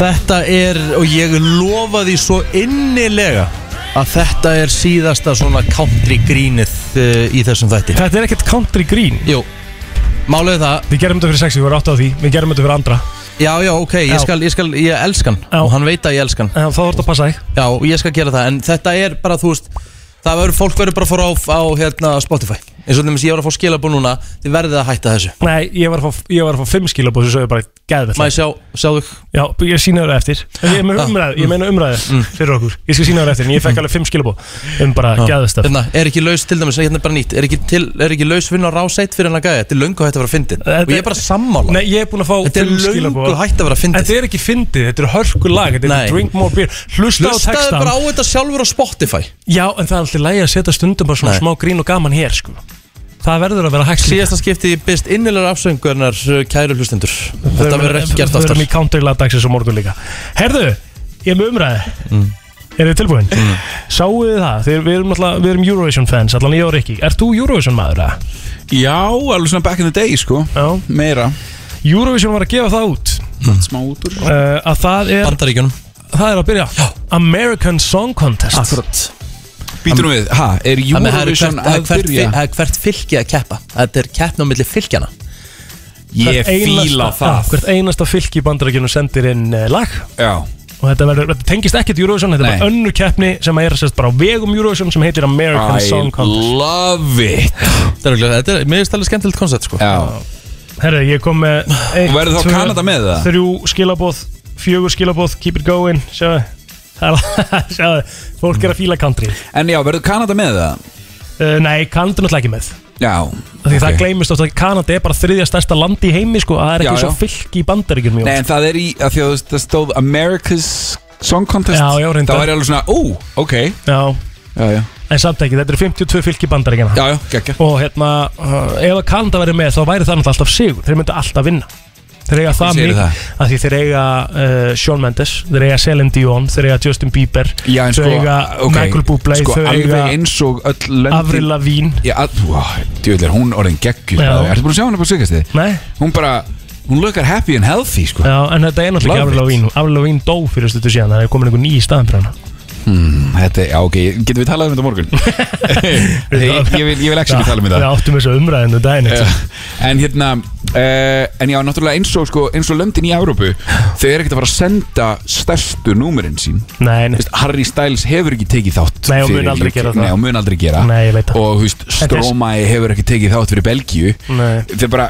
[SPEAKER 4] Þetta er, og ég lofa því svo innilega að þetta er síðasta svona country grínið uh, í þessum þætti
[SPEAKER 5] Þetta er ekkert country grín
[SPEAKER 4] Jú, málið er það
[SPEAKER 5] Við gerum þetta fyrir sexy, við erum átt á því Við gerum þetta fyrir andra
[SPEAKER 4] Já, já, ok, ég,
[SPEAKER 5] Já.
[SPEAKER 4] Skal, ég, skal, ég elskan já. og hann veit að ég elskan
[SPEAKER 5] Já, þá voru að passa þig
[SPEAKER 4] Já, og ég skal gera það, en þetta er bara, þú veist það verður, fólk verður bara að fóra á, á hérna, Spotify eins og þeim sem ég var að fá skilabú núna þið verðið að hætta þessu
[SPEAKER 5] Nei, ég var að fá, ég var að fá fimm skilabóð sem sögðu bara geðvett
[SPEAKER 4] Má ég sjá, sjáðu
[SPEAKER 5] Já, ég sína þér eftir Ég, er með umræðu, ég meina umræðu
[SPEAKER 4] Mm.
[SPEAKER 5] fyrir okkur Ég skal sína þér eftir, en ég fekk alveg fimm skilabóð um bara geðvett
[SPEAKER 4] hérna, Mm. er ekki laus til dæmis, hérna er bara nýtt er ekki, til, er ekki laus vinn á rásætt fyrir hennar gæði þetta er löngu hægt að vera fyndin og ég er bara sammála
[SPEAKER 5] Nei, ég er búin að fá
[SPEAKER 4] Þetta er
[SPEAKER 5] fimm
[SPEAKER 4] löngu
[SPEAKER 5] skilaboð.
[SPEAKER 4] hætt að vera fyndið.
[SPEAKER 5] Þetta er ekki fyndið, þetta er hörku lag Þetta
[SPEAKER 4] Nei.
[SPEAKER 5] er drink more beer Hlusta á
[SPEAKER 4] Hlustaðu
[SPEAKER 5] textan
[SPEAKER 4] bara á þetta sjálfur á Spotify
[SPEAKER 5] Já, en það er alltaf lægi að setja stundum bara svona
[SPEAKER 4] Nei.
[SPEAKER 5] smá grín og gaman hér sko. Það verður að vera hægt
[SPEAKER 4] Síðasta skipti ég byrst innilegar afsöngunar kæru hlustendur Þetta verður ekki gert
[SPEAKER 5] Við
[SPEAKER 4] aftur
[SPEAKER 5] erum í counterlagdagsins og morgun líka Herðu, ég er með umræði
[SPEAKER 4] Mm.
[SPEAKER 5] Eru þið tilbúin? Mm. Sáu þið það? Þeir, við, erum alltaf, við erum Eurovision fans, allan ég og Rikki Ert þú Eurovision maður það?
[SPEAKER 1] Já, alveg svona back in the day sko
[SPEAKER 5] Já.
[SPEAKER 1] Meira
[SPEAKER 5] Eurovision var að gefa það út
[SPEAKER 1] Smá út úr
[SPEAKER 5] uh, Að það er
[SPEAKER 4] Bandaríkjunum
[SPEAKER 5] Það er að byrja Já. American Song Contest
[SPEAKER 4] Akkurat
[SPEAKER 1] Býtum við, ha, er
[SPEAKER 4] Þannig það er
[SPEAKER 1] Eurovision
[SPEAKER 4] hvert- það er
[SPEAKER 1] að
[SPEAKER 4] hvert
[SPEAKER 1] byrja?
[SPEAKER 4] fi- það er hvert fylki að keppa Þetta er keppna á milli fylkjana
[SPEAKER 1] Ég fíla
[SPEAKER 5] Já,
[SPEAKER 1] það
[SPEAKER 5] Hvert einasta fylki í bandarækjunum sendir inn eh, lag
[SPEAKER 1] Já,
[SPEAKER 5] og þetta, verður, þetta tengist ekkert Eurovision þetta er bara önnu keppni sem er sérst bara á vegum Eurovision sem heitir American
[SPEAKER 1] I
[SPEAKER 5] Song Contest
[SPEAKER 1] love it
[SPEAKER 4] Þetta er, örugglega- þetta er mér finnst alveg skemmtilegt koncept sko
[SPEAKER 1] Já
[SPEAKER 5] Herra, ég kom með eitt,
[SPEAKER 1] Og verður þá
[SPEAKER 5] tvö,
[SPEAKER 1] Kanada með það?
[SPEAKER 5] Þrjú skilabóð, fjögur skilabóð, keep it going Sjáðu, Það er- sjáðu Fólk er að fíla country uh,
[SPEAKER 1] En já, verður Kanada með það?
[SPEAKER 5] Nei, Kanada er náttúrulega ekki með
[SPEAKER 1] Já
[SPEAKER 5] Því það
[SPEAKER 1] ok.
[SPEAKER 5] gleymist oft að Kanada er bara þriðja stærsta land í heimi sko, það er ekki
[SPEAKER 1] Já,
[SPEAKER 5] svo
[SPEAKER 1] já.
[SPEAKER 5] fylki í bandaríkjum
[SPEAKER 1] Nei, en það er í, að því að þú- það stóð America's Song Contest
[SPEAKER 5] Já, já, reyndar.
[SPEAKER 1] Það væri alveg svona, ó, ok
[SPEAKER 5] Já,
[SPEAKER 1] Já, já,
[SPEAKER 5] en samt ekki, þetta eru 52 fylki í bandaríkjana
[SPEAKER 1] já, já, geggja
[SPEAKER 5] og hérna, uh, ef að Kanada væri með þá væri það náttúrulega alltaf sigur, þeir myndu alltaf vinna þeir eiga það
[SPEAKER 1] segirðu
[SPEAKER 5] mikið
[SPEAKER 1] það?
[SPEAKER 5] að því þeir eiga uh, Shawn Mendes, þeir eiga Celine Dion þeir eiga Justin Bieber
[SPEAKER 1] Já, en
[SPEAKER 5] þau
[SPEAKER 1] sko,
[SPEAKER 5] eiga
[SPEAKER 1] ok,
[SPEAKER 5] Michael Bublé
[SPEAKER 1] sko,
[SPEAKER 5] þau
[SPEAKER 1] alveg
[SPEAKER 5] eiga
[SPEAKER 1] eins og öll löndin
[SPEAKER 5] Avril Lavigne
[SPEAKER 1] Já, djúvel er hún orðin geggjur
[SPEAKER 5] Já.
[SPEAKER 1] Ertu búin að sjá hana bara sigast þið?
[SPEAKER 5] Nei
[SPEAKER 1] Hún bara, hún lökar happy and healthy, sko
[SPEAKER 5] Já, en þetta er náttúrulega ekki
[SPEAKER 1] Love
[SPEAKER 5] Avril Lavigne Avril Lavigne dó fyrir stuttu síðan, það er komin einhver ný í staðan fyrir hana
[SPEAKER 1] hmm, Þetta, já, ok, getum við talað um þetta á morgun? ég, ég, vil, ég vil ekki tala um
[SPEAKER 5] Við
[SPEAKER 1] þetta
[SPEAKER 5] áttum þessu umræðinu daginn
[SPEAKER 1] Já. En hérna, uh, en já, náttúrulega eins og, sko, eins og löndin í Európu Þau eru ekkert að fara að senda stærstu númerinn sín
[SPEAKER 5] Nei, nei.
[SPEAKER 1] Vist, Harry Styles hefur ekki tekið þátt
[SPEAKER 5] Nei, og
[SPEAKER 1] fyrir
[SPEAKER 5] mun aldrei
[SPEAKER 1] UK.
[SPEAKER 5] gera það.
[SPEAKER 1] Nei, og mun aldrei gera
[SPEAKER 5] Nei, ég veit það.
[SPEAKER 1] Og, þú veist,
[SPEAKER 5] En þess-
[SPEAKER 1] Stromae hefur ekki tekið þátt fyrir Belgíu
[SPEAKER 5] Nei.
[SPEAKER 1] Þeir bara,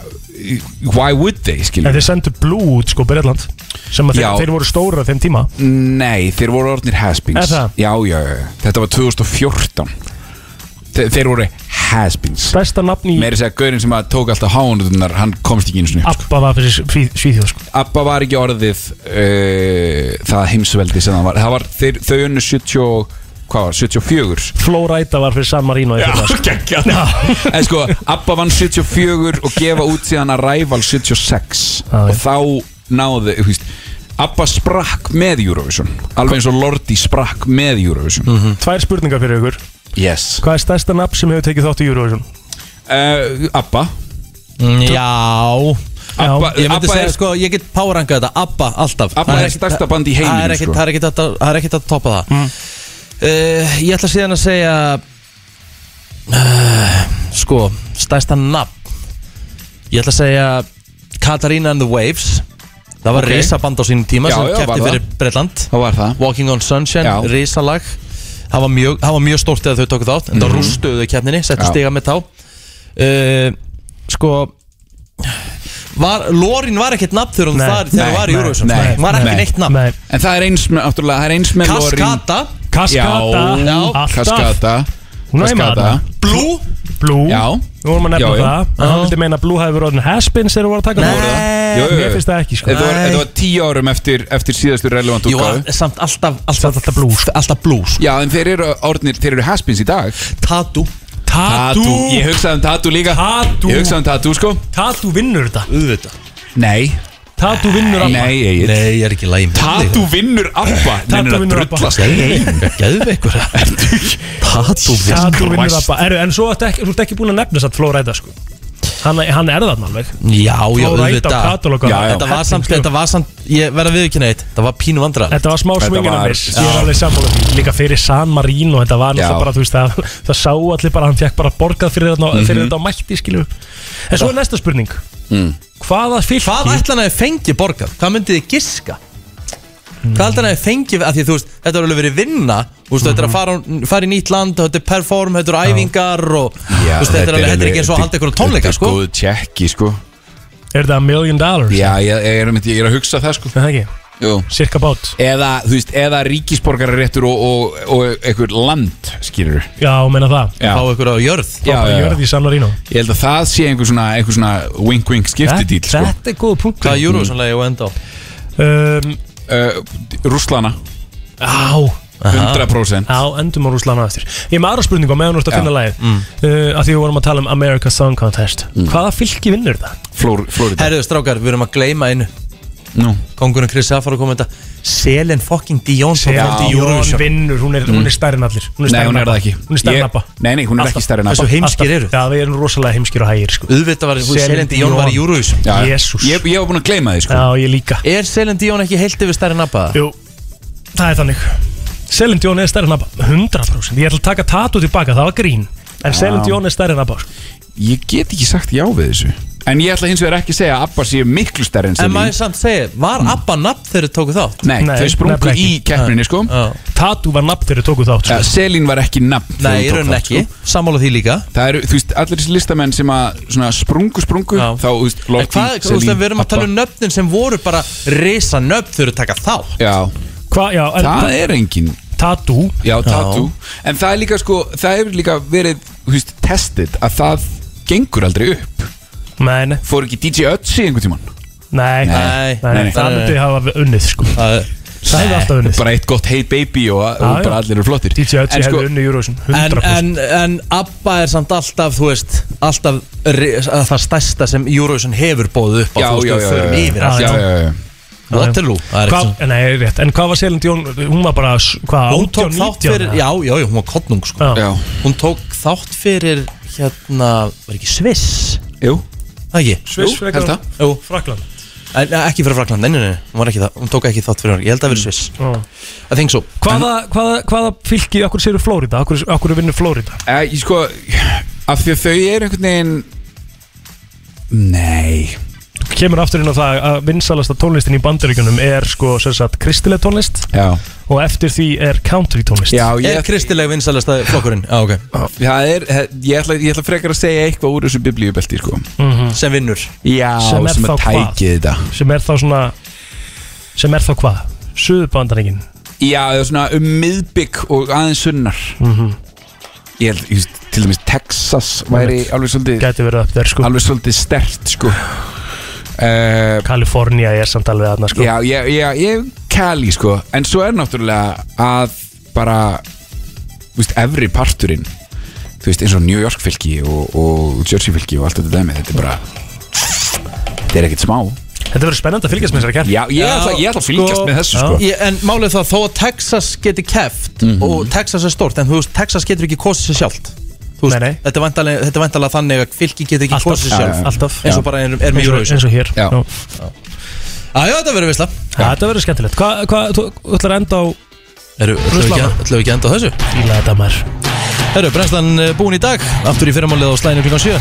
[SPEAKER 1] why would they,
[SPEAKER 5] En
[SPEAKER 1] skiljum
[SPEAKER 5] þeir sendu Blue út sko, Bretland sem að þeir,
[SPEAKER 1] Já.
[SPEAKER 5] þeir voru stóra á þeim tíma
[SPEAKER 1] Nei, þeir voru orðnir
[SPEAKER 5] Er
[SPEAKER 1] haspings
[SPEAKER 5] það?
[SPEAKER 1] Já, já, já, þetta var 2014 Þe þeir voru has-beens
[SPEAKER 5] Stærsta nafn í
[SPEAKER 1] Meiri segja, gaurinn sem að tók alltaf háunutunar Hann komst ekki einu sinni upp, sko.
[SPEAKER 5] Abba var fyrir Sví- Svíþjóð sko.
[SPEAKER 1] Abba var ekki orðið uh, Það heimsveldi sem það var, það var þeir, Þau unnu 70 og- Hvað var, 74
[SPEAKER 5] Flóræta var fyrir San Marino í fyrra, sko.
[SPEAKER 1] En sko, Abba vann 74 og gefa út síðan að Rival 76 og þá náði, þú veist Abba sprakk með Eurovision alveg eins og Lordi sprakk með Eurovision
[SPEAKER 4] Mhm.
[SPEAKER 5] Tvær spurningar fyrir ykkur
[SPEAKER 1] Yes
[SPEAKER 5] Hvað er stærsta nafn sem hefur tekið þátt í Eurovision?
[SPEAKER 1] uh, Abba
[SPEAKER 4] Mm, Já
[SPEAKER 1] Abba-
[SPEAKER 4] Ég myndi
[SPEAKER 1] Abba
[SPEAKER 4] segja
[SPEAKER 1] er-
[SPEAKER 4] sko, ég get poweranga þetta Abba, alltaf
[SPEAKER 1] Abba
[SPEAKER 4] Það
[SPEAKER 1] er stærsta band í heiminum,
[SPEAKER 4] Það er ekkert-
[SPEAKER 1] sko. Mm.
[SPEAKER 4] það er ekkert hægt að- það er ekkert að toppa það uh, Ég ætla síðan að segja uh, Sko, stærsta nafn Ég ætla að segja Katarina and the Waves Það var
[SPEAKER 1] Ok.
[SPEAKER 4] okay. risaband á sínum tíma
[SPEAKER 1] Já,
[SPEAKER 4] sem
[SPEAKER 1] já, var
[SPEAKER 4] kefti
[SPEAKER 1] það.
[SPEAKER 4] fyrir Bretland
[SPEAKER 1] Það var það
[SPEAKER 4] Walking on Sunshine,
[SPEAKER 1] Já.
[SPEAKER 4] risalag Það var mjög, það var mjög stórt þegar þau tóku þátt En það rústuðu þau keppninni, settu
[SPEAKER 1] Mhm. Já.
[SPEAKER 4] stiga með þá uh, Sko var, Lorin var ekkert nafn þegar hún þar þegar hún var í Eurovision
[SPEAKER 1] nei,
[SPEAKER 4] Hún var ekki
[SPEAKER 1] nei.
[SPEAKER 4] neitt nafn
[SPEAKER 1] En það er eins með, náttúrulega, það er eins með Lorin
[SPEAKER 4] Kaskata
[SPEAKER 1] Já,
[SPEAKER 4] Já.
[SPEAKER 1] Kaskata
[SPEAKER 5] Hún er með
[SPEAKER 1] Kaskata.
[SPEAKER 5] það
[SPEAKER 4] Blue
[SPEAKER 5] Blue
[SPEAKER 1] Já
[SPEAKER 5] Nú vorum að nefna
[SPEAKER 1] Já, já.
[SPEAKER 5] það En hann vildi meina að Blue hafi verið orðin has-beens þegar hún var að taka
[SPEAKER 4] Eh,
[SPEAKER 5] það
[SPEAKER 1] Jú, jú.
[SPEAKER 5] Mér finnst það ekki sko
[SPEAKER 1] Ef Þetta var tíu árum eftir, eftir síðastu relevant
[SPEAKER 4] Jú,
[SPEAKER 1] útgáðu
[SPEAKER 4] samt alltaf, alltaf,
[SPEAKER 5] samt alltaf blues
[SPEAKER 1] sko.
[SPEAKER 4] Alltaf blues
[SPEAKER 1] Já, en þeir eru orðnir, þeir eru haspins í dag
[SPEAKER 4] Tatu
[SPEAKER 1] Tatu Ég hugsaði um tatu líka
[SPEAKER 5] Tatu
[SPEAKER 1] Ég hugsaði um tatu sko
[SPEAKER 5] Tatu vinnur þetta
[SPEAKER 4] Uðvita
[SPEAKER 1] Nei
[SPEAKER 5] Tatu vinnur
[SPEAKER 1] Abba Nei, Egil.
[SPEAKER 4] Nei, ég er ekki læg
[SPEAKER 1] Tatu vinnur Abba
[SPEAKER 5] Tatu vinnur Abba.
[SPEAKER 4] Gæðum ykkur Tatu
[SPEAKER 5] Tatu vinnur Abba Erðu, En svo ertu ekki, þú ert ekki búin að nefna satt Flóræta sko Hann, hann er þarna alveg
[SPEAKER 4] Já, já,
[SPEAKER 5] Flóra eitt á
[SPEAKER 4] auðvitað
[SPEAKER 5] katalóg, já, já.
[SPEAKER 4] Þetta var samt, þetta var samt Ég verð að viðkynna eitt Þetta var pínu vandra
[SPEAKER 5] Þetta var smá svingina miss Ég er alveg
[SPEAKER 4] samt
[SPEAKER 5] sammála því Líka fyrir San Marino Þetta var náttúrulega
[SPEAKER 4] Já.
[SPEAKER 5] bara, þú veist það Það sá allir bara, hann fekk bara borgað fyrir, þarna,
[SPEAKER 4] Mhm.
[SPEAKER 5] fyrir þetta á mætti, skiljum En svo er næsta spurning
[SPEAKER 4] mm.
[SPEAKER 5] Hvaða fylki
[SPEAKER 4] Hvað ætlan að þið fengi borgað? Hvað myndið þið giska? Hvað ætlan að þið fengi af því þú veist Þetta er alveg verið vinna Þú veist þetta er að fara, fara í nýtt land Þetta er perform, þetta eru æfingar og,
[SPEAKER 1] Já,
[SPEAKER 4] þú veist, þetta, er alveg, þetta er ekki eins og að halda ykkur á tónleika sko.
[SPEAKER 1] Þetta er góð tjekki sko
[SPEAKER 5] Er það a million dollars?
[SPEAKER 1] Já, ég, ég, er, ég er að hugsa það sko
[SPEAKER 5] Það ekki
[SPEAKER 1] Jú
[SPEAKER 5] Cirka bát
[SPEAKER 1] Eða, þú veist, eða ríkisborgararéttur og, og, og einhver land, skilur
[SPEAKER 5] Já, meina það
[SPEAKER 1] Já.
[SPEAKER 4] Fá ykkur á jörð
[SPEAKER 5] Fá bara jörð í San Marino
[SPEAKER 1] Ég held að það sé einhver svona, einhver svona wink-wink skiptidíl sko.
[SPEAKER 5] Þetta er góð punkt
[SPEAKER 4] Hvaða Eurovision-lagi og enda á?
[SPEAKER 5] um,
[SPEAKER 1] uh, Rúslana
[SPEAKER 5] Á
[SPEAKER 1] 100%
[SPEAKER 5] Á, endum á Rúslana eftir Ég er með aðra spurningu á meðan þú ert að finna lagið mm. uh, Að því við vorum að tala um America Song Contest Hvaða fylki vinnur það?
[SPEAKER 1] Flór, Flórida
[SPEAKER 4] Herðu strákar, við erum að gleyma einu
[SPEAKER 1] Nú
[SPEAKER 4] Kongurinn Chris Safar að koma þetta Selen fucking Dion tók þátt í
[SPEAKER 5] Jón
[SPEAKER 4] Eurovision.
[SPEAKER 5] vinnur, hún er, mm. er stærri en allir er
[SPEAKER 1] Nei,
[SPEAKER 5] stærri
[SPEAKER 1] hún
[SPEAKER 5] en Abba.
[SPEAKER 1] er það ekki
[SPEAKER 5] Hún er stærri
[SPEAKER 1] Ég-
[SPEAKER 5] nabba
[SPEAKER 1] Nei, nei, hún er ekki stærri en Abba
[SPEAKER 5] Þessu Já, við erum rosalega heimskir og hægir sko.
[SPEAKER 4] Auðvitað var Selen Dion var í Eurovision.
[SPEAKER 1] Já, já.
[SPEAKER 5] Jesús
[SPEAKER 1] Ég, ég var búin að gleyma því sko
[SPEAKER 5] Já, ég líka
[SPEAKER 4] Er Selen Dion ekki heilt yfir stærri nabbaða?
[SPEAKER 5] Jú, það er þannig Selin Dion er stærri en Abba 100% Ég ætla að taka tatu tilbaka, það var grín En Selin
[SPEAKER 1] Já.
[SPEAKER 5] Dion er stærri en Abba sko.
[SPEAKER 1] Ég get ekki sagt já við þessu En ég ætla hins vegar ekki að segja að Abba sé miklu stærri en
[SPEAKER 4] En
[SPEAKER 1] Selín
[SPEAKER 4] maður samt segir, var Abba nafn þegar þau tóku þátt?
[SPEAKER 1] Mm. Nei, þau sprungu í keppninni sko
[SPEAKER 5] Tatu var nafn þegar þau tóku þátt
[SPEAKER 1] sko. Selín var ekki nafn þegar
[SPEAKER 4] Nei,
[SPEAKER 1] hún
[SPEAKER 4] í
[SPEAKER 1] tók
[SPEAKER 4] rauninni
[SPEAKER 1] þátt, sko.
[SPEAKER 4] ekki. Sammála því líka
[SPEAKER 1] Það eru, þú veist, allir þessi listamenn sem að svona sprungu, sprungu Þá, þú veist,
[SPEAKER 4] En
[SPEAKER 1] Lofti,
[SPEAKER 4] hvað, þú veist að við erum að tala um nöfnin sem voru bara risa nöfn þegar þau taka þátt
[SPEAKER 1] Já,
[SPEAKER 5] Hva, já en-
[SPEAKER 1] það er engin
[SPEAKER 5] Tatu
[SPEAKER 1] Já, tatu En það er líka, sko, það hefur líka verið, þú veist, tested Að það gengur aldrei upp
[SPEAKER 5] Nei, nei
[SPEAKER 1] Fór ekki DJ Ötzi einhvern tímann
[SPEAKER 5] Nei,
[SPEAKER 1] Nei, nei.
[SPEAKER 5] það myndi hafa unnið sko.
[SPEAKER 4] Það
[SPEAKER 5] Það hefði alltaf unnið
[SPEAKER 1] Bara eitt gott Hey Baby og,
[SPEAKER 5] Já,
[SPEAKER 1] og bara
[SPEAKER 5] já.
[SPEAKER 1] allir eru flottir
[SPEAKER 5] DJ
[SPEAKER 1] En
[SPEAKER 5] Ötzi
[SPEAKER 1] sko- eh,
[SPEAKER 5] hefði unnið Eurovision
[SPEAKER 4] en,
[SPEAKER 5] 100%
[SPEAKER 4] en, en Abba er samt alltaf, þú veist Alltaf ri- að það stærsta sem Eurovision hefur bóðið upp á
[SPEAKER 1] Já,
[SPEAKER 4] þú veist,
[SPEAKER 1] já,
[SPEAKER 4] við
[SPEAKER 1] já,
[SPEAKER 4] förum
[SPEAKER 1] já, já.
[SPEAKER 4] yfir
[SPEAKER 1] Já,
[SPEAKER 4] allt.
[SPEAKER 1] já, já, já.
[SPEAKER 4] Waterloo, það er
[SPEAKER 5] Hvað-
[SPEAKER 4] ekki
[SPEAKER 5] Nei, rétt, en hvað var Selin Dion Hún var bara, s- hvað,
[SPEAKER 4] Hún tók
[SPEAKER 5] 18,
[SPEAKER 4] þátt
[SPEAKER 5] 19
[SPEAKER 4] fyrir, já, já, já, hún var kottnung sko.
[SPEAKER 5] Já. Já.
[SPEAKER 4] Hún tók þátt fyrir, hérna, var ekki Sviss?
[SPEAKER 1] Jú
[SPEAKER 4] Það ekki?
[SPEAKER 5] Sviss
[SPEAKER 4] Jú, held
[SPEAKER 5] frekar en
[SPEAKER 4] það. Jú.
[SPEAKER 5] Frakkland.
[SPEAKER 4] En, eh, Ekki fyrir Frakland, nei, nei, nei, hún var ekki það, hún tók ekki þátt fyrir, ég held að vera Sviss
[SPEAKER 5] Já.
[SPEAKER 4] I think so
[SPEAKER 5] Hvaða, hvaða, hvaða fylki, okkur séu Flórida Okkur, okkur vinnur Flórida
[SPEAKER 1] Eh, Ég sko, af því að þau eru einhvern veginn Nei
[SPEAKER 5] Þú kemur aftur inn á það að vinsalasta tónlistin í bandaríkunum er sko sem sagt kristileg tónlist
[SPEAKER 1] Já.
[SPEAKER 5] og eftir því er country tónlist
[SPEAKER 1] Já, ég-
[SPEAKER 4] Er kristileg vinsalasta flokkurinn? Já, ok
[SPEAKER 1] Það er, ég ætla, ég ætla frekar að segja eitthvað úr þessu biblíubelti sko.
[SPEAKER 5] Mhm.
[SPEAKER 4] Sem vinnur
[SPEAKER 1] Já,
[SPEAKER 5] Sem
[SPEAKER 1] sem,
[SPEAKER 5] er þá
[SPEAKER 1] að
[SPEAKER 5] hvað?
[SPEAKER 1] tæki þetta
[SPEAKER 5] sem er þá svona sem er þá hvað? Suður bandaríkin
[SPEAKER 1] Já, það er svona um miðbygg og aðeins sunnar
[SPEAKER 5] Mhm.
[SPEAKER 1] Ég held, ég veist til dæmis Texas væri
[SPEAKER 5] Einmitt.
[SPEAKER 1] alveg svolítið
[SPEAKER 5] Gæti verið upp þér sko
[SPEAKER 1] alveg svolítið stert sko uh,
[SPEAKER 5] Kalifornía er samt alveg aðna sko
[SPEAKER 1] Já, já, já, ég kæli sko En svo er náttúrulega að bara Þú veist, efri parturinn Þú veist, eins og New York fylki og, og Jersey fylki og allt þetta dæmi Þetta er bara Þetta er ekkert smá
[SPEAKER 5] Þetta verður spennandi að fylgjast með þessari kært
[SPEAKER 1] Já, ég ætla- ég ætla að fylgjast með þessu, sko.
[SPEAKER 4] ég, En málið er það, þó að Texas geti keft
[SPEAKER 1] Mhm.
[SPEAKER 4] Og Texas er stórt En þú veist, Texas getur ekki kosið sér sjálft Þú veist,
[SPEAKER 5] Nei, nei.
[SPEAKER 4] Þetta er væntanlega- þetta er vantalega þannig að fylki getur ekki
[SPEAKER 5] Alltaf.
[SPEAKER 4] kosið
[SPEAKER 5] Já,
[SPEAKER 4] sér sjálft
[SPEAKER 5] já, alltaf.
[SPEAKER 4] Eins og bara er, er
[SPEAKER 5] Eins
[SPEAKER 4] með
[SPEAKER 5] og-
[SPEAKER 4] Eurovision
[SPEAKER 5] eins og hér. Já.
[SPEAKER 4] Æja, þetta verður veistla
[SPEAKER 5] Þetta verður skemmtilegt Hvað, hva, þú þú ætlar að enda á
[SPEAKER 4] Eru, ætlum við
[SPEAKER 5] Ruslana.
[SPEAKER 4] ekki- ætlum við ekki að enda á þessu?
[SPEAKER 5] Fíla þetta maður
[SPEAKER 4] Herru, brennslan eh, búin í dag Aftur í fyrramálið á slæðinu klukkan 7